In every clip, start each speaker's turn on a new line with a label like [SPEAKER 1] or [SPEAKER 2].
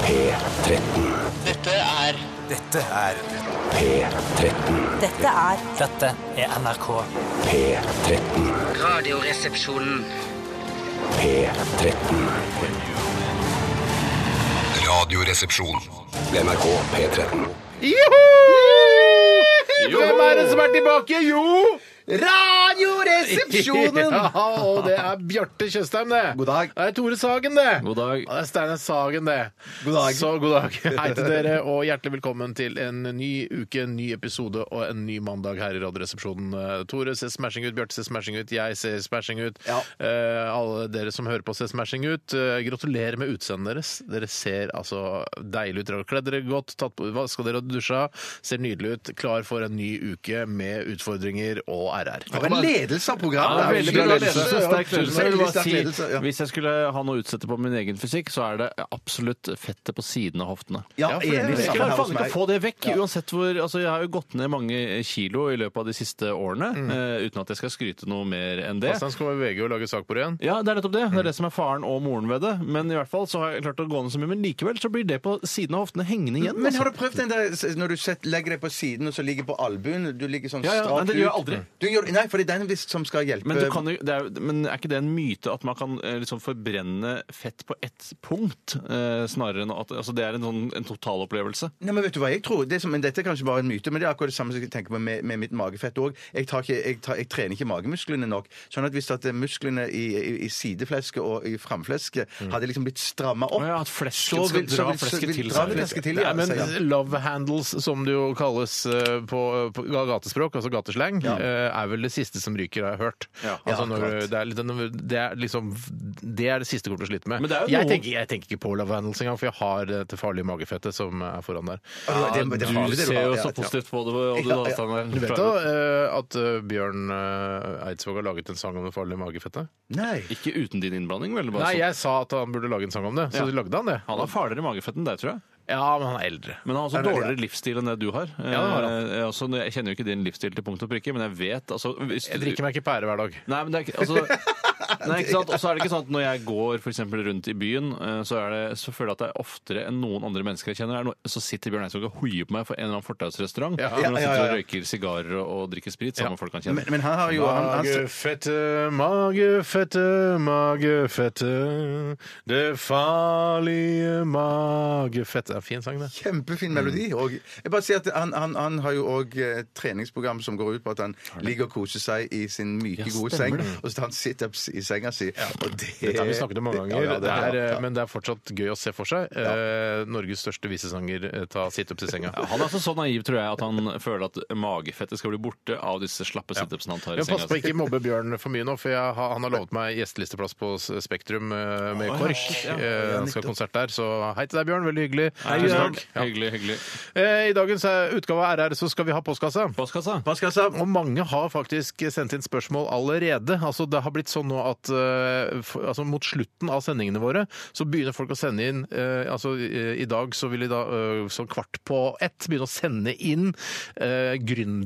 [SPEAKER 1] P13.
[SPEAKER 2] Dette er
[SPEAKER 3] Dette er
[SPEAKER 1] P13.
[SPEAKER 4] Dette er
[SPEAKER 5] Dette er NRK.
[SPEAKER 1] P13.
[SPEAKER 2] Radioresepsjonen.
[SPEAKER 1] P13.
[SPEAKER 6] Radioresepsjon.
[SPEAKER 1] NRK P13.
[SPEAKER 7] Hvem er det som er tilbake? Jo!
[SPEAKER 8] Radioresepsjonen!
[SPEAKER 7] Ja, og det er Bjarte Tjøstheim, det.
[SPEAKER 8] God dag.
[SPEAKER 7] Det er Tore Sagen, det.
[SPEAKER 8] God dag.
[SPEAKER 7] Og det er Steinar Sagen, det.
[SPEAKER 8] God dag.
[SPEAKER 7] Så god dag. Hei til dere, og hjertelig velkommen til en ny uke, en ny episode og en ny mandag her i Radioresepsjonen. Eh, Tore ser smashing ut, Bjarte ser smashing ut, jeg ser smashing ut.
[SPEAKER 8] Ja.
[SPEAKER 7] Eh, alle dere som hører på, ser smashing ut. Eh, gratulerer med utseendet deres. Dere ser altså deilig ut. Dere har kledd dere godt, tatt på, vaska dere og dusja. Ser nydelig ut. Klar for en ny uke med utfordringer og RR.
[SPEAKER 8] Det var ledelse av programmet.
[SPEAKER 7] Ja, veldig bra ledelse.
[SPEAKER 8] Ja,
[SPEAKER 7] Sterk
[SPEAKER 8] veldig
[SPEAKER 7] ledelse. Jeg
[SPEAKER 8] sterk
[SPEAKER 7] vil bare
[SPEAKER 8] sterk
[SPEAKER 7] si-
[SPEAKER 8] ledelse, ja.
[SPEAKER 3] Hvis jeg skulle ha noe å utsette på min egen fysikk, så er det absolutt fettet på siden av hoftene.
[SPEAKER 8] Ja,
[SPEAKER 7] Ja, for det er
[SPEAKER 8] enig.
[SPEAKER 7] veldig
[SPEAKER 3] Jeg
[SPEAKER 8] Samme
[SPEAKER 3] klarer
[SPEAKER 8] her hos
[SPEAKER 3] faen ikke å
[SPEAKER 8] meg.
[SPEAKER 3] få det vekk. uansett hvor, altså Jeg har jo gått ned mange kilo i løpet av de siste årene,
[SPEAKER 8] Mm.
[SPEAKER 3] eh, uten at jeg skal skryte noe mer enn det.
[SPEAKER 7] Fastlands kommer VG og lager sak på det igjen.
[SPEAKER 3] Ja, det er nettopp det.
[SPEAKER 8] Mm.
[SPEAKER 3] Det er det som er faren og moren ved det. Men i hvert fall så har jeg klart å gå ned så mye, men likevel så blir det på siden av hoftene hengende igjen.
[SPEAKER 8] Men
[SPEAKER 3] Altså.
[SPEAKER 8] har du prøvd den der s- når du set, legger deg på siden og så ligger på albuen? Du ligger sånn
[SPEAKER 3] Ja, ja,
[SPEAKER 8] strakt
[SPEAKER 3] nei, det gjør jeg aldri.
[SPEAKER 8] Du gjør, nei, for det er den visst som skal hjelpe.
[SPEAKER 3] Men, du kan, jo- det er, jo- men er ikke det en myte at man kan eh, liksom forbrenne fett på ett punkt? Eh, snarere enn at altså, Det er en, sånn, en totalopplevelse.
[SPEAKER 8] Nei, men vet du hva jeg tror? Det som, men dette er kanskje bare en myte, men det er akkurat det samme som jeg tenker på med, med mitt magefett òg. Jeg, tar ikke- jeg, tar- jeg trener ikke magemusklene nok. Sånn at hvis at eh, musklene i, i, i sideflesket og i framflesket hadde liksom blitt stramma opp
[SPEAKER 3] Å Mm. ja, at flesket
[SPEAKER 8] så
[SPEAKER 3] skal
[SPEAKER 8] vil- så
[SPEAKER 3] dra
[SPEAKER 8] vil- så
[SPEAKER 3] flesket
[SPEAKER 8] vil
[SPEAKER 3] til
[SPEAKER 8] dra
[SPEAKER 3] seg.
[SPEAKER 8] det flesket til, ja,
[SPEAKER 7] Nei, men
[SPEAKER 8] sier han.
[SPEAKER 7] Love handles, som det jo kalles eh, på, på gatespråk, altså gateslang, eh, er vel det siste som ryker, har jeg hørt. altså,
[SPEAKER 8] Ja,
[SPEAKER 7] når,
[SPEAKER 8] akkurat.
[SPEAKER 7] det, er litt, når- det er liksom Det er det siste kortet å slite med.
[SPEAKER 3] Men det er jo
[SPEAKER 7] jeg,
[SPEAKER 3] noe-
[SPEAKER 7] tenker, jeg tenker ikke på love handles engang, for jeg har dette farlige magefettet som er foran der.
[SPEAKER 8] Ja, det- det er
[SPEAKER 3] Du
[SPEAKER 8] farlig, det
[SPEAKER 3] ser
[SPEAKER 8] har.
[SPEAKER 3] jo
[SPEAKER 8] Ja,
[SPEAKER 3] så
[SPEAKER 8] ja.
[SPEAKER 3] positivt på det. Og du,
[SPEAKER 8] Ja, ja.
[SPEAKER 3] Steinar.
[SPEAKER 7] Du vet da eh, at eh, Bjørn eh, Eidsvåg har laget en sang om det farlige magefettet?
[SPEAKER 8] Nei.
[SPEAKER 3] Ikke uten din innblanding, vel? Bare
[SPEAKER 7] Nei,
[SPEAKER 3] sånn.
[SPEAKER 7] jeg sa at han burde lage en sang om det, så
[SPEAKER 3] Ja.
[SPEAKER 7] lagde han det.
[SPEAKER 3] Han har farligere magefett enn deg, tror jeg.
[SPEAKER 7] Ja, men han er eldre.
[SPEAKER 3] Men han har også
[SPEAKER 8] det det,
[SPEAKER 3] dårligere livsstil enn det du har.
[SPEAKER 7] det har han.
[SPEAKER 3] Eh, altså, jeg kjenner jo ikke din livsstil til punkt og prikke, men jeg vet altså, hvis
[SPEAKER 7] Jeg drikker meg ikke pære hver dag.
[SPEAKER 3] Nei, men det er ikke altså, Nei, ikke sant? Og så er det ikke sånn at når jeg går for eksempel, rundt i byen, eh, så, er det, så føler jeg at det er oftere enn noen andre mennesker jeg kjenner. Er noe- Så sitter Bjørn Eidsvåg og hoier på meg for en eller annen fortausrestaurant.
[SPEAKER 7] Ja.
[SPEAKER 3] Hvor han
[SPEAKER 8] Ja, ja,
[SPEAKER 3] sitter og
[SPEAKER 8] ja, ja.
[SPEAKER 3] røyker sigarer og, og drikker sprit sammen med folk han
[SPEAKER 8] Men,
[SPEAKER 3] kjenner.
[SPEAKER 8] men han har jo han, han,
[SPEAKER 7] Magefette, magefette, magefette. Det farlige magefette. Det er en fin sang, det.
[SPEAKER 8] Kjempefin
[SPEAKER 7] Mm.
[SPEAKER 8] melodi. Og jeg bare sier at han, han, han har jo òg treningsprogram som går ut på at han ligger og koser seg i sin myke,
[SPEAKER 3] Ja,
[SPEAKER 8] gode seng,
[SPEAKER 3] stemmer det.
[SPEAKER 8] og så tar han situps i senga si. Og det,
[SPEAKER 7] Dette har vi snakket om mange ganger,
[SPEAKER 8] Ja, ja,
[SPEAKER 7] det
[SPEAKER 8] ja,
[SPEAKER 7] er, eh,
[SPEAKER 8] ja.
[SPEAKER 7] men det er fortsatt gøy å se for seg. Eh, Norges største visesanger eh, ta situps i senga.
[SPEAKER 3] Ja, Han er altså så naiv, tror jeg, at han føler at magefettet skal bli borte av disse slappe situpsene han tar i
[SPEAKER 7] Men pass
[SPEAKER 3] senga.
[SPEAKER 7] på ikke mobbe Bjørn for mye nå, for jeg har, han har lovet meg gjestelisteplass på S- Spektrum eh, med
[SPEAKER 3] Å, ja,
[SPEAKER 7] KORK.
[SPEAKER 3] ja, ja,
[SPEAKER 7] Eh, Han skal ha konsert der, så hei til deg, Bjørn. Veldig hyggelig.
[SPEAKER 3] Hei,
[SPEAKER 7] Tusen
[SPEAKER 3] Bjørn.
[SPEAKER 7] takk. Ja.
[SPEAKER 3] Hyggelig, hyggelig.
[SPEAKER 7] Eh, I dagens eh, utgave av RR så skal vi ha postkassa.
[SPEAKER 3] Postkassa.
[SPEAKER 7] Postkassa. Og mange har faktisk sendt inn spørsmål allerede. Altså, det har blitt sånn nå at eh, for, altså, mot slutten av sendingene våre så begynner folk å sende inn eh, altså, eh, I dag så vil de da eh, sånn kvart på ett begynne å sende inn eh,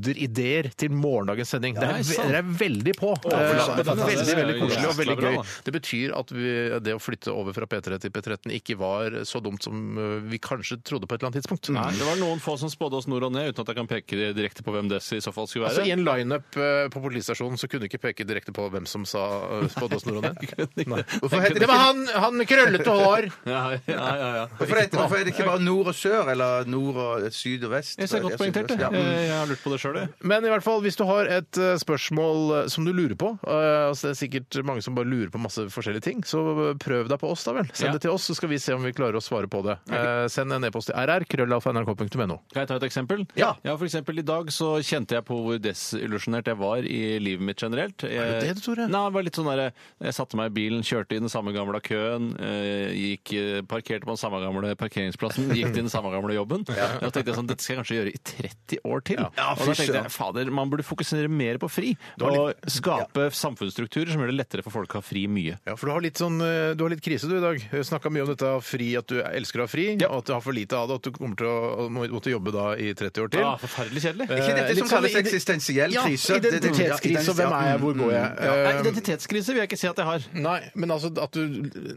[SPEAKER 7] gründerideer til morgendagens sending. Dere
[SPEAKER 3] Nei,
[SPEAKER 7] er, ve-
[SPEAKER 3] sant.
[SPEAKER 7] dere er veldig på. Eh,
[SPEAKER 3] for
[SPEAKER 7] det
[SPEAKER 3] dette
[SPEAKER 7] er
[SPEAKER 3] er
[SPEAKER 7] veldig, veldig
[SPEAKER 3] jo
[SPEAKER 7] koselig og
[SPEAKER 3] jævla
[SPEAKER 7] veldig
[SPEAKER 3] bra,
[SPEAKER 7] gøy.
[SPEAKER 3] da.
[SPEAKER 7] Det betyr at vi, det å flytte over fra P3 til P13 ikke var så dumt som eh, vi kanskje trodde på et eller annet tidspunkt.
[SPEAKER 3] Nei, det var noen få som spådde oss nord og ned, uten at jeg kan peke direkte på hvem disse i så fall skulle
[SPEAKER 7] Altså, I
[SPEAKER 3] være.
[SPEAKER 7] en lineup eh, på politistasjonen så kunne du ikke peke direkte på hvem som sa eh, spådde oss nord og ned. Nei.
[SPEAKER 8] Hvorfor heter
[SPEAKER 7] Det var han, han med krøllete hår!
[SPEAKER 3] Ja, ja, ja, ja.
[SPEAKER 8] Hvorfor heter- hvorfor er det ikke bare nord og sør, eller nord og syd og vest?
[SPEAKER 3] Jeg ser godt
[SPEAKER 8] Ja, syd og
[SPEAKER 3] poengtert, det.
[SPEAKER 8] vest, ja. Mm.
[SPEAKER 3] Eh, Jeg har lurt på det sjøl, jeg.
[SPEAKER 7] Men i hvert fall, hvis du har et eh, spørsmål eh, som du lurer på, eh, altså det er sikkert mange som bare lurer på masse forskjellige ting, så eh, prøv deg på oss, da vel. Send
[SPEAKER 3] Ja.
[SPEAKER 7] det til oss, så skal vi se om vi klarer å svare på det. Eh, Send en e-post til rr.krøllalfa.nrk.no.
[SPEAKER 3] Kan jeg ta et eksempel?
[SPEAKER 8] Ja.
[SPEAKER 3] for eksempel I dag så kjente jeg på hvor desillusjonert jeg var i livet mitt generelt. Jeg,
[SPEAKER 7] Er det det, Tore?
[SPEAKER 3] Nei, det var litt sånn der, Jeg satte meg i bilen, kjørte i den samme gamle køen, eh, gikk, eh, parkerte på den samme gamle parkeringsplassen, gikk til den samme gamle jobben. Da tenkte jeg sånn, Dette skal jeg kanskje gjøre i 30 år til.
[SPEAKER 8] Ja,
[SPEAKER 3] og da
[SPEAKER 8] fy
[SPEAKER 3] tenkte
[SPEAKER 8] søren.
[SPEAKER 3] jeg fader, man burde fokusere mer på fri. Og skape samfunnsstrukturer som gjør det lettere for folk å ha fri mye.
[SPEAKER 7] Ja, for du har litt, sånn, eh, du har litt krise du i dag. Snakka mye om dette av fri, at du elsker å ha fri, og at du har for lite av det, at du kommer til å må- måtte jobbe da i 30 år til.
[SPEAKER 3] Ja, forferdelig kjedelig.
[SPEAKER 8] Ikke dette
[SPEAKER 7] Eh, litt
[SPEAKER 8] som kalles
[SPEAKER 7] sånn ide-
[SPEAKER 8] eksistensiell krise. mm,
[SPEAKER 7] identitetskrise. Hvem er jeg? Hvor går jeg?
[SPEAKER 3] Ja, identitetskrise vil vil jeg ikke si at jeg har.
[SPEAKER 7] Nei, men altså at du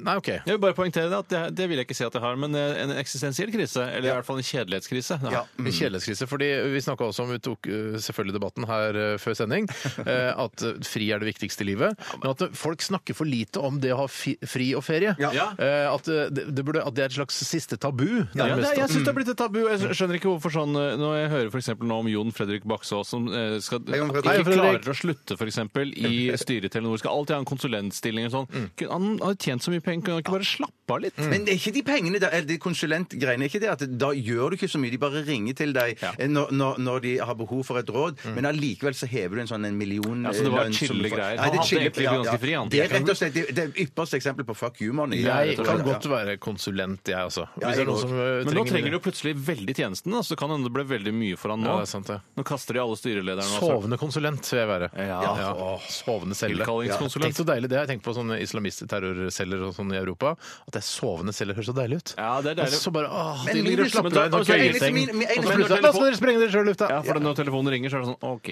[SPEAKER 7] Nei, OK.
[SPEAKER 3] Jeg vil bare poengtere det, at det, det vil jeg ikke si at jeg har, men eh, en eksistensiell krise, eller i hvert fall en kjedelighetskrise. det har jeg.
[SPEAKER 7] En mm. kjedelighetskrise. fordi vi snakka også om Vi tok uh, selvfølgelig debatten her uh, før sending. uh, At uh, fri er det viktigste i livet. Men at uh, folk snakker for lite om det å ha fi, fri og ferie.
[SPEAKER 3] Ja.
[SPEAKER 7] Uh, At, uh, det, det burde, at det er et slags siste tabu.
[SPEAKER 3] Ja, det,
[SPEAKER 7] nærmest. Mm.
[SPEAKER 3] er- jeg syns det har blitt et tabu. og Jeg skjønner ikke hvorfor sånn eh, Når jeg hører for eksempel nå om Jon Fredrik Baksås som eh, skal,
[SPEAKER 8] Jon
[SPEAKER 3] ikke
[SPEAKER 8] Fredrik.
[SPEAKER 3] klarer å slutte for eksempel, i styret i Telenor, skal alltid ha en konsulentstilling og sånn.
[SPEAKER 7] Mm.
[SPEAKER 3] Kun- Han har tjent så mye penger, kan han ikke bare slappe av litt?
[SPEAKER 8] Men det er ikke de pengene, der, eller de konsulentgreiene, er ikke det at da gjør du ikke så mye, de bare ringer til deg
[SPEAKER 3] Ja. Mm.
[SPEAKER 8] eh, når, når, når de har behov for et råd, men allikevel så hever du en sånn en million
[SPEAKER 3] Ja, så det var
[SPEAKER 8] eh, lønn som
[SPEAKER 3] chille
[SPEAKER 8] du får.
[SPEAKER 3] greier.
[SPEAKER 8] Nei, det
[SPEAKER 3] Han
[SPEAKER 8] er
[SPEAKER 3] hadde
[SPEAKER 8] chille-
[SPEAKER 3] egentlig
[SPEAKER 8] ja,
[SPEAKER 3] ganske
[SPEAKER 8] ja.
[SPEAKER 3] fri, han.
[SPEAKER 8] Det er rett og slett det, det er ypperste eksempelet på fuck humoren.
[SPEAKER 7] Jeg
[SPEAKER 8] rett og
[SPEAKER 7] kan
[SPEAKER 8] slett,
[SPEAKER 7] godt
[SPEAKER 8] ja.
[SPEAKER 7] være konsulent, jeg også.
[SPEAKER 8] Ja,
[SPEAKER 7] Hvis det
[SPEAKER 8] jeg
[SPEAKER 7] er noen
[SPEAKER 8] går.
[SPEAKER 7] som uh,
[SPEAKER 3] Men nå
[SPEAKER 7] mine-
[SPEAKER 3] trenger du plutselig veldig tjenesten, da, så det kan hende det ble veldig mye for han nå.
[SPEAKER 7] Ja, det er sant, det.
[SPEAKER 3] Nå kaster de alle styrelederne og
[SPEAKER 7] Sovende konsulent vil jeg være.
[SPEAKER 3] altså- Ja.
[SPEAKER 7] Åh, Sovende celle.
[SPEAKER 3] Tilkallingskonsulent.
[SPEAKER 7] Tenk så deilig det er. Tenk på sånne islamistterrorceller og sånn i Europa. At det er sovende celler høres så deilig ut.
[SPEAKER 3] Ja, det er deilig.
[SPEAKER 7] Og Så bare, åh,
[SPEAKER 8] Men
[SPEAKER 7] de ligger og
[SPEAKER 8] min-
[SPEAKER 7] slapper
[SPEAKER 3] men da-
[SPEAKER 7] av i noen
[SPEAKER 3] men så er det
[SPEAKER 7] køyeseng.
[SPEAKER 8] liksom min- min-
[SPEAKER 7] Og så
[SPEAKER 8] min-
[SPEAKER 7] plutselig,
[SPEAKER 3] min-
[SPEAKER 7] da skal dere sprenge dere sjøl i lufta!
[SPEAKER 3] Ja, for når telefonen ringer, så er det sånn OK.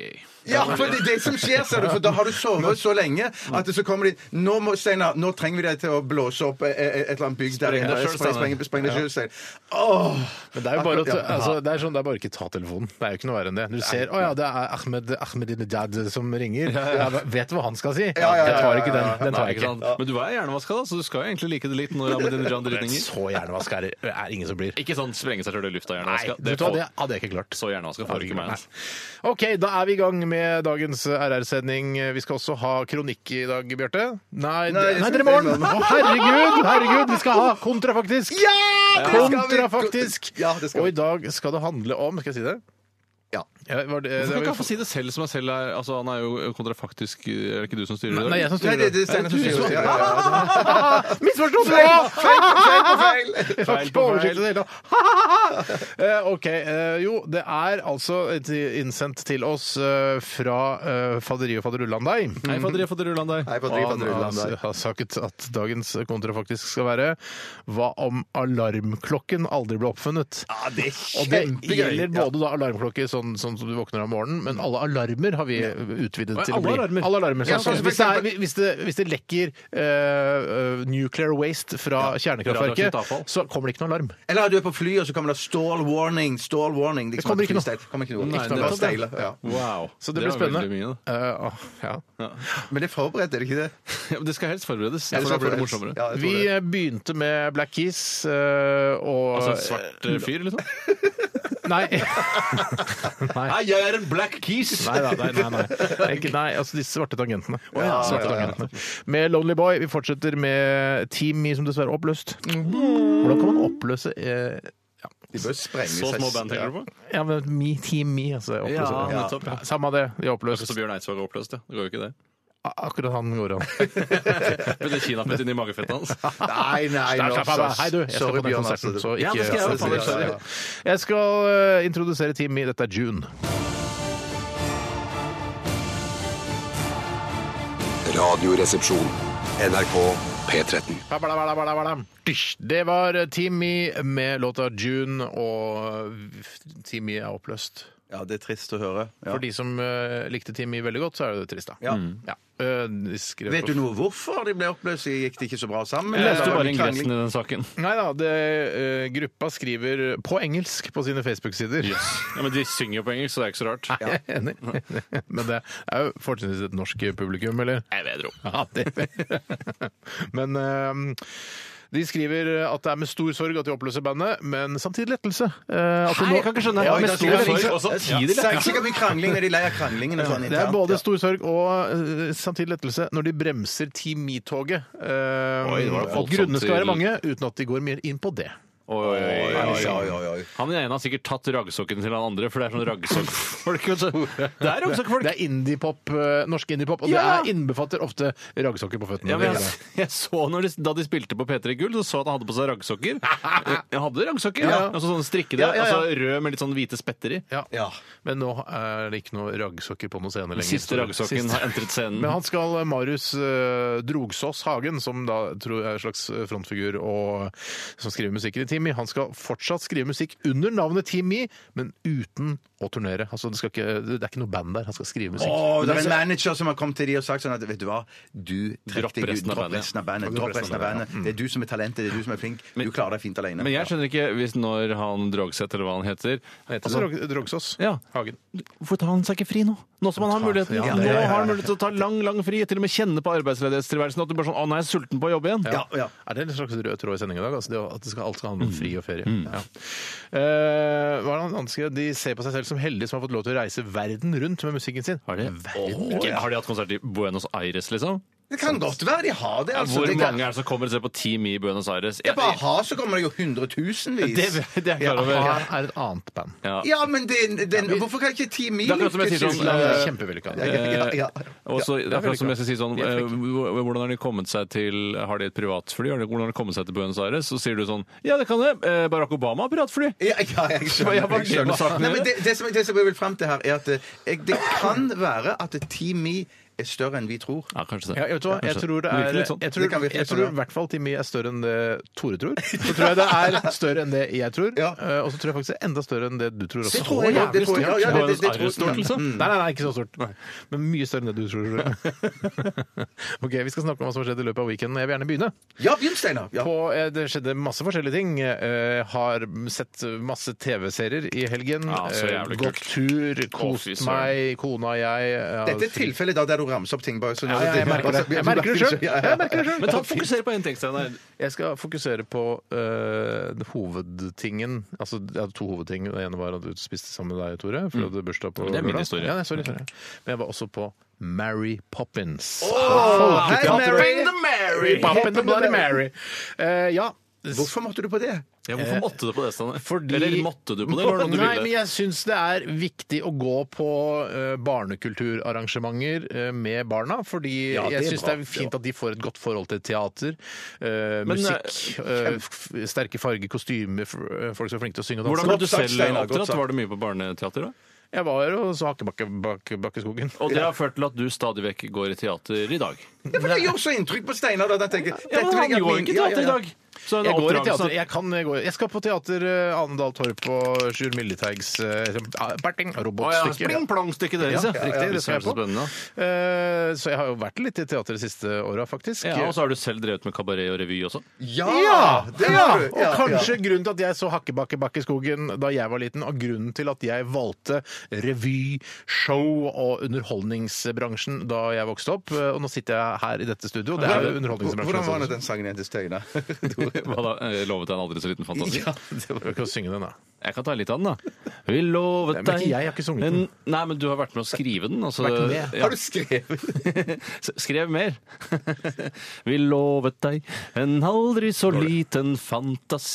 [SPEAKER 8] Ja, for det er det som skjer, ser du. For da har du sovet så lenge at det så kommer de Nå må, Steinar, nå trenger vi deg til å blåse opp eh, eh, et eller annet bygg der
[SPEAKER 3] Spreng deg
[SPEAKER 8] Spreng-
[SPEAKER 3] selv,
[SPEAKER 8] spreng-
[SPEAKER 3] Steinar.
[SPEAKER 8] Spreng deg sjøl, Steinar. Åh!
[SPEAKER 7] Men det er jo bare, at,
[SPEAKER 8] Akkurat, ja.
[SPEAKER 7] altså, det, er sånn, det er bare ikke ta telefonen. Det er jo ikke noe verre enn det. Når du ser å ja, det er Ahmed Ahmedinejad som ringer, jeg vet hva han skal si.
[SPEAKER 8] ja, ja,
[SPEAKER 7] Jeg tar ikke
[SPEAKER 8] ja, ja,
[SPEAKER 7] den. Den
[SPEAKER 3] Nei,
[SPEAKER 7] tar jeg
[SPEAKER 3] ikke
[SPEAKER 7] ikke.
[SPEAKER 3] sant? Men du er hjernevaska, da, så du skal jo egentlig like det litt når Ahmedinejad ringer.
[SPEAKER 7] Så hjernevask er det er ingen som blir.
[SPEAKER 3] Ikke sånn sprenge seg sjøl i lufta
[SPEAKER 7] Nei,
[SPEAKER 3] hjernevaska.
[SPEAKER 7] det, det hadde jeg ikke klart.
[SPEAKER 3] Så hjernevaska får du ikke meg. altså.
[SPEAKER 7] OK, da er vi i gang med dagens RR-sending. Vi skal også ha kronikk i dag, Bjarte. Nei, det,
[SPEAKER 8] Nei,
[SPEAKER 7] nei,
[SPEAKER 8] det
[SPEAKER 7] dere
[SPEAKER 8] skal
[SPEAKER 7] i morgen!
[SPEAKER 8] vi ikke.
[SPEAKER 7] Å, herregud, herregud! Vi skal ha kontrafaktisk!
[SPEAKER 8] Ja! det skal vi.
[SPEAKER 7] Kontrafaktisk!
[SPEAKER 8] Ja, det skal
[SPEAKER 7] Og
[SPEAKER 8] vi.
[SPEAKER 7] i dag skal det handle om Skal jeg si det?
[SPEAKER 8] Ja.
[SPEAKER 7] Ja, var det, det
[SPEAKER 3] Hvorfor kan ikke
[SPEAKER 7] var,
[SPEAKER 3] han få si det selv, som jeg selv er altså, Han er jo kontrafaktisk Er det ikke du som styrer i dag?
[SPEAKER 7] nei, jeg som
[SPEAKER 8] Nei,
[SPEAKER 7] styrer.
[SPEAKER 8] det det er Steinar som sier det. Ja, ja, ja.
[SPEAKER 7] Misforstått! Feil,
[SPEAKER 8] Feil på feil!
[SPEAKER 7] Jeg får ikke oversikt over det hele tatt. Eh, OK. eh, Jo, det er altså et innsendt til oss eh, fra eh, Faderi og faderullan deg.
[SPEAKER 3] Hei, fader, fader Ulland der.
[SPEAKER 8] Nei, på driv, på driv,
[SPEAKER 7] Han
[SPEAKER 8] land
[SPEAKER 7] har
[SPEAKER 8] der.
[SPEAKER 7] har sagt at dagens kontra faktisk skal være Hva om alarmklokken aldri ble oppfunnet?
[SPEAKER 8] Ja, det er
[SPEAKER 7] Og det
[SPEAKER 8] kjempegøy.
[SPEAKER 7] gjelder
[SPEAKER 8] Ja.
[SPEAKER 7] både da alarmklokke sånn, sånn som du våkner om morgenen, men alle alarmer har vi utvidet
[SPEAKER 3] Oi,
[SPEAKER 7] til å
[SPEAKER 3] alle
[SPEAKER 7] bli.
[SPEAKER 3] alarmer?
[SPEAKER 7] Alle alarmer.
[SPEAKER 8] Ja,
[SPEAKER 7] Sånn, som
[SPEAKER 8] sånn som
[SPEAKER 7] hvis, det er, hvis, det, hvis det lekker eh, eh, nuclear waste fra
[SPEAKER 3] radioaktivt
[SPEAKER 7] kjernekraftverket,
[SPEAKER 3] avfall.
[SPEAKER 7] så kommer det ikke noen alarm.
[SPEAKER 8] Eller du er på fly, og så kommer det stall warning. Stall warning. Liksom
[SPEAKER 7] Det kommer
[SPEAKER 8] at
[SPEAKER 7] ikke noe.
[SPEAKER 8] flysteil- kommer ikke noe.
[SPEAKER 3] Nei,
[SPEAKER 8] Ikke noe,
[SPEAKER 3] det-
[SPEAKER 8] bare steile, ja.
[SPEAKER 3] Wow.
[SPEAKER 7] Så det, blir
[SPEAKER 3] var veldig
[SPEAKER 7] spennende.
[SPEAKER 3] mye, da.
[SPEAKER 7] Eh, åh, ja.
[SPEAKER 8] Men det er forberedt, er det ikke det?
[SPEAKER 3] Ja, men det skal helst forberedes.
[SPEAKER 8] Ellers
[SPEAKER 3] Da
[SPEAKER 8] er
[SPEAKER 3] blir det
[SPEAKER 8] forberedt.
[SPEAKER 3] morsommere.
[SPEAKER 8] Ja, jeg tror
[SPEAKER 7] Vi
[SPEAKER 8] det.
[SPEAKER 7] eh, begynte med Black Keys eh, og
[SPEAKER 3] Altså en svart eh, fyr, liksom?
[SPEAKER 7] Nei.
[SPEAKER 8] eh,
[SPEAKER 3] Nei, jeg er en black keys!
[SPEAKER 7] Nei da, nei, nei, nei. Ikke, nei. Altså de svarte tangentene.
[SPEAKER 8] ja,
[SPEAKER 7] svarte
[SPEAKER 8] ja, ja.
[SPEAKER 7] tangentene. Med Lonely Boy. Vi fortsetter med Team Me, som dessverre er oppløst. Hvordan kan man oppløse eh,
[SPEAKER 8] De bør sprenge
[SPEAKER 3] Så små band
[SPEAKER 8] Ja.
[SPEAKER 3] tenker du på?
[SPEAKER 7] Ja, men Me, Team Me, altså. oppløse.
[SPEAKER 3] Ja,
[SPEAKER 7] Ja,
[SPEAKER 3] nettopp, ja.
[SPEAKER 7] Samme av det, de er
[SPEAKER 3] Så
[SPEAKER 7] oppløst.
[SPEAKER 3] Bjørn Eidsvåg er oppløst, ja. Det går jo ikke det.
[SPEAKER 7] A- Akkurat han går an.
[SPEAKER 3] Med det kinafett inni magefettet hans.
[SPEAKER 8] Nei, nei,
[SPEAKER 7] Nei,
[SPEAKER 8] nå,
[SPEAKER 7] slapp av,
[SPEAKER 8] så-
[SPEAKER 7] Hei, du. Jeg skal
[SPEAKER 8] Sorry,
[SPEAKER 7] på den
[SPEAKER 8] Bjørn,
[SPEAKER 7] konserten,
[SPEAKER 8] altså.
[SPEAKER 7] så
[SPEAKER 3] Ja,
[SPEAKER 7] ikke
[SPEAKER 3] det skal jeg,
[SPEAKER 7] altså,
[SPEAKER 8] faen,
[SPEAKER 7] det-
[SPEAKER 8] sorry.
[SPEAKER 7] Jeg skal eh, introdusere Team Me. Dette er June.
[SPEAKER 1] Radioresepsjon. NRK P13.
[SPEAKER 7] Bla, bla, bla, bla, bla. Dysj. Det var Team Me med låta June, og Team Me er oppløst.
[SPEAKER 8] Ja, det er trist å høre. Ja.
[SPEAKER 7] For de som eh, likte Timmy veldig godt, så er det trist, da.
[SPEAKER 8] Ja.
[SPEAKER 7] Ja. Eh, de skrev
[SPEAKER 8] Vet
[SPEAKER 7] på-
[SPEAKER 8] du noe hvorfor de ble oppløst? Gikk det ikke så bra sammen?
[SPEAKER 3] Jeg leste
[SPEAKER 8] Eller
[SPEAKER 3] jo
[SPEAKER 8] var
[SPEAKER 3] bare
[SPEAKER 8] det
[SPEAKER 3] ingressen
[SPEAKER 8] krangling?
[SPEAKER 3] i Eh, den saken.
[SPEAKER 7] Nei da, det, eh, gruppa skriver på engelsk på sine Facebook-sider.
[SPEAKER 3] Ja, Men de synger jo på engelsk, så det er ikke så rart.
[SPEAKER 7] Jeg er Enig. Men det er jo fortrinnsvis et norsk publikum, eller?
[SPEAKER 3] Jeg vedro.
[SPEAKER 7] Ja, det Men eh, de skriver at det er med stor sorg at de oppløser bandet, men samtidig lettelse. Eh, at det nå-
[SPEAKER 3] Nei, jeg kan ikke skjønne.
[SPEAKER 7] Ja,
[SPEAKER 3] Med
[SPEAKER 7] det er
[SPEAKER 3] stor
[SPEAKER 7] sikkert-
[SPEAKER 3] sorg og samtidig
[SPEAKER 8] Det er ikke sikkert mye krangling når de er lei av kranglingen. og Sånn,
[SPEAKER 7] Det er
[SPEAKER 8] internt,
[SPEAKER 7] både
[SPEAKER 8] ja.
[SPEAKER 7] stor sorg og eh, samtidig lettelse når de bremser Team Me-toget. Eh,
[SPEAKER 3] Oi, det var
[SPEAKER 7] og
[SPEAKER 3] voldsomt
[SPEAKER 7] grunnene skal
[SPEAKER 3] til-
[SPEAKER 7] være mange, uten at de går mer inn på det.
[SPEAKER 3] Oi, oi, oi,
[SPEAKER 8] Oi,
[SPEAKER 3] oi.
[SPEAKER 8] oi, oi, oi.
[SPEAKER 3] Han ene har sikkert tatt raggsokken til han andre, for det er sånn raggsokkfolk. vet du. Det er raggsokkfolk!
[SPEAKER 7] Det er indiepop, eh, norsk indiepop, og
[SPEAKER 3] Ja!
[SPEAKER 7] det er innbefatter ofte raggsokker på føttene.
[SPEAKER 3] Ja, men jeg, jeg så når de, Da de spilte på P3 Gull, så så jeg at han hadde på seg raggsokker. Jeg hadde raggsokker, ja.
[SPEAKER 7] Ja.
[SPEAKER 3] altså sånne strikkede,
[SPEAKER 7] Ja, ja, ja.
[SPEAKER 3] altså rød med litt sånn hvite spetter i.
[SPEAKER 7] Ja.
[SPEAKER 8] Ja.
[SPEAKER 7] Men nå er det ikke noe raggsokker på noen scene lenger.
[SPEAKER 3] Siste raggsokken
[SPEAKER 7] Siste.
[SPEAKER 3] har entret scenen.
[SPEAKER 7] Men han skal eh, Marius eh, Drogsås Hagen, som da tror jeg er en slags frontfigur og som skriver musikken i Team Timmy han skal fortsatt skrive musikk under navnet Timmy, men uten å turnere. Altså, det, skal ikke, det er ikke noe band der. Han skal skrive musikk.
[SPEAKER 8] Og det er en manager som har kommet til de og sagt sånn at vet du hva, du
[SPEAKER 3] Dropp
[SPEAKER 8] trekk deg ut.
[SPEAKER 3] resten av
[SPEAKER 8] Dropp
[SPEAKER 3] bandet.
[SPEAKER 8] resten av bandet. Dropp resten av bandet. Det er du som er talentet, det er du som er flink. Du klarer deg fint alene.
[SPEAKER 3] Men jeg skjønner ikke hvis når han Drogseth, eller hva han heter,
[SPEAKER 7] Altså, Rog- Drogsås.
[SPEAKER 3] Ja.
[SPEAKER 7] Hagen.
[SPEAKER 3] Hvorfor tar han seg ikke fri nå? Nå som han har muligheten.
[SPEAKER 7] ja,
[SPEAKER 3] nå
[SPEAKER 7] ja, ja, ja.
[SPEAKER 3] har han mulighet til å ta lang, lang fri. Til og med kjenne på arbeidsledighetstrilværelsen at du bare sånn Å, nå er jeg sulten på å jobbe igjen.
[SPEAKER 8] Ja, ja.
[SPEAKER 7] Er det en slags rød tråd i sendingen i dag? Altså det, at det skal, alt skal handle om fri og ferie. Ja. Eh, hva er det han anskrev? De ser på seg selv som heldige som har fått lov til å reise verden rundt med musikken sin.
[SPEAKER 3] Har de, Åh, har de hatt konsert i Buenos Aires, liksom?
[SPEAKER 8] Det kan godt være de har det. altså.
[SPEAKER 3] Hvor
[SPEAKER 8] Det kan-
[SPEAKER 3] mange er det som kommer og ser på Team E i Buenos Aires?
[SPEAKER 8] Ja, På a-ha så kommer det jo hundretusenvis.
[SPEAKER 3] det, det er jeg klar over.
[SPEAKER 7] Her er et annet band.
[SPEAKER 3] Ja.
[SPEAKER 8] Ja, men det, det, hvorfor kan ikke Team E
[SPEAKER 3] Det er akkurat som jeg sier sånn,
[SPEAKER 7] Det er
[SPEAKER 3] eh,
[SPEAKER 7] Kjempevellykka.
[SPEAKER 8] Ja, ja, ja.
[SPEAKER 3] Og så,
[SPEAKER 7] er
[SPEAKER 3] akkurat som jeg skal si sånn,
[SPEAKER 7] Vi er
[SPEAKER 3] eh, hvor- Hvordan har de kommet seg til Har de et privatfly? Har de- Hvordan har de kommet seg til Buenos Aires? Så sier du sånn Ja, det kan det. Eh, Barack Obama har privatfly.
[SPEAKER 8] Ja, ja, jeg skjønner.
[SPEAKER 3] Jeg bare
[SPEAKER 8] Jeg skjønner.
[SPEAKER 3] glemmer saken
[SPEAKER 8] Nei,
[SPEAKER 3] dere.
[SPEAKER 8] men det, det, som, det som jeg vil fram til her, er at eh, jeg, det kan være at Team E er større enn vi tror.
[SPEAKER 3] Ja, kanskje det.
[SPEAKER 7] Ja, vet du hva? Jeg
[SPEAKER 3] Kanskje.
[SPEAKER 7] tror det
[SPEAKER 3] Virker
[SPEAKER 7] er
[SPEAKER 3] litt sånn.
[SPEAKER 7] Jeg
[SPEAKER 8] Det kan
[SPEAKER 7] tror,
[SPEAKER 8] virke
[SPEAKER 7] jeg
[SPEAKER 8] sånn,
[SPEAKER 7] tror
[SPEAKER 8] ja.
[SPEAKER 7] i hvert fall Timmy er større enn det Tore tror. Så tror jeg det er større enn det jeg tror.
[SPEAKER 8] Ja.
[SPEAKER 7] Eh, Og så tror jeg faktisk det er enda større enn det du tror. Også.
[SPEAKER 8] Det tror jeg, ja, det tror jeg, ja, ja, det- det- det
[SPEAKER 3] Buenos
[SPEAKER 8] tror jeg.
[SPEAKER 3] Aires-stort, liksom.
[SPEAKER 7] Mm. Nei, nei, nei, ikke så stort. Men mye større enn det du tror. ok, Vi skal snakke om hva som har skjedd i løpet av weekenden. Jeg vil gjerne begynne.
[SPEAKER 8] Ja, begynn, Steinar. Ja.
[SPEAKER 7] På, eh, det skjedde masse forskjellige ting. Eh, har sett masse TV-serier i helgen.
[SPEAKER 3] Ja, så
[SPEAKER 7] Eh,
[SPEAKER 3] jævlig
[SPEAKER 7] Gått tur, kost
[SPEAKER 3] fy søren.
[SPEAKER 7] meg, kona og jeg. ja,
[SPEAKER 8] Dette er tilfellet da der du ramser opp ting. Bare, sånn,
[SPEAKER 7] Ja, ja, jeg merker det. Jeg merker det sjøl. Jeg merker det selv.
[SPEAKER 3] Men ta fokusere på én ting, Steinar.
[SPEAKER 7] Jeg skal fokusere på øh, det hovedtingen. Altså, jeg hadde to hovedting. Det ene var at du spiste sammen med deg, Tore. For du hadde bursdag på
[SPEAKER 3] Mm. Det er min
[SPEAKER 7] lørdag.
[SPEAKER 3] historie.
[SPEAKER 7] Ja, nei, sorry, sorry. Men jeg var også på Mary Poppins.
[SPEAKER 8] hei, Mary.
[SPEAKER 7] Mary. Pop and the Bloody Mary. Eh, ja.
[SPEAKER 8] Hvorfor måtte du på det?
[SPEAKER 3] Ja, hvorfor måtte du på det, Steinar?
[SPEAKER 7] Eh, Fordi-
[SPEAKER 3] Eller måtte du på det? Var det noe du
[SPEAKER 7] Nei, men
[SPEAKER 3] ville?
[SPEAKER 7] jeg syns det er viktig å gå på eh, barnekulturarrangementer eh, med barna. Fordi
[SPEAKER 8] Ja, det er
[SPEAKER 7] jeg syns det
[SPEAKER 8] bra.
[SPEAKER 7] er fint at de får et godt forhold til teater, eh,
[SPEAKER 3] Men,
[SPEAKER 7] musikk, eh, f- sterke farger, kostymer, f- eh, folk som er flinke til å synge og
[SPEAKER 3] Hvordan
[SPEAKER 7] danse.
[SPEAKER 3] ble
[SPEAKER 8] Godt
[SPEAKER 3] du
[SPEAKER 8] sagt,
[SPEAKER 3] selv
[SPEAKER 8] Steinar, godt
[SPEAKER 3] oppdratt?
[SPEAKER 8] sagt.
[SPEAKER 3] Var det mye på barneteater? da?
[SPEAKER 7] Jeg var jo så Hakkebakkeskogen.
[SPEAKER 3] Og det har ført til at du stadig vekk går i teater i dag.
[SPEAKER 8] Ja, for det gjør så inntrykk på Steinar. da, at jeg tenker,
[SPEAKER 3] Ja,
[SPEAKER 8] dette
[SPEAKER 3] men
[SPEAKER 8] vil
[SPEAKER 3] han
[SPEAKER 8] jeg at
[SPEAKER 3] gjorde
[SPEAKER 8] min-
[SPEAKER 3] ikke
[SPEAKER 8] Ja,
[SPEAKER 3] teater i
[SPEAKER 8] ja, ja.
[SPEAKER 3] dag. Så
[SPEAKER 7] Jeg går i
[SPEAKER 3] sånn-
[SPEAKER 7] teater. Jeg, kan eh, gå. jeg skal på teater eh, Ane Dahl Torp og Sjur Milleteigs eh, Berting, robotstykke.
[SPEAKER 3] Pling plong-stykket deres,
[SPEAKER 7] Ja, riktig, det skal jeg
[SPEAKER 3] så
[SPEAKER 7] på.
[SPEAKER 3] spennende.
[SPEAKER 7] Eh, Så jeg har jo vært litt i teater de siste åra, faktisk.
[SPEAKER 3] Ja, og så har du selv drevet med kabaret og revy også.
[SPEAKER 7] Ja!
[SPEAKER 8] Ja! Det har du.
[SPEAKER 7] Og kanskje grunnen til at jeg så Hakkebakkeskogen da jeg var liten, og grunnen til at jeg valgte revy, show og underholdningsbransjen da jeg vokste opp. Og nå sitter jeg her i dette studio, og det sånn- er jo underholdningsbransjen.
[SPEAKER 8] Hvordan var
[SPEAKER 7] også.
[SPEAKER 8] nå den sangen igjen til Steinar?
[SPEAKER 3] Hva da? Eh, Lovet deg en aldri så liten fantasi?
[SPEAKER 7] Du kan synge den, da.
[SPEAKER 3] Jeg kan ta litt av den, da. Vi lovet
[SPEAKER 7] Nei, men
[SPEAKER 3] deg
[SPEAKER 7] ikke jeg har ikke sunget den.
[SPEAKER 3] En- Nei, men du har vært med å skrive den. Altså,
[SPEAKER 7] Vært med.
[SPEAKER 3] Ja.
[SPEAKER 8] Har du skrevet?
[SPEAKER 3] S- Skrev mer. Vi lovet deg en aldri så liten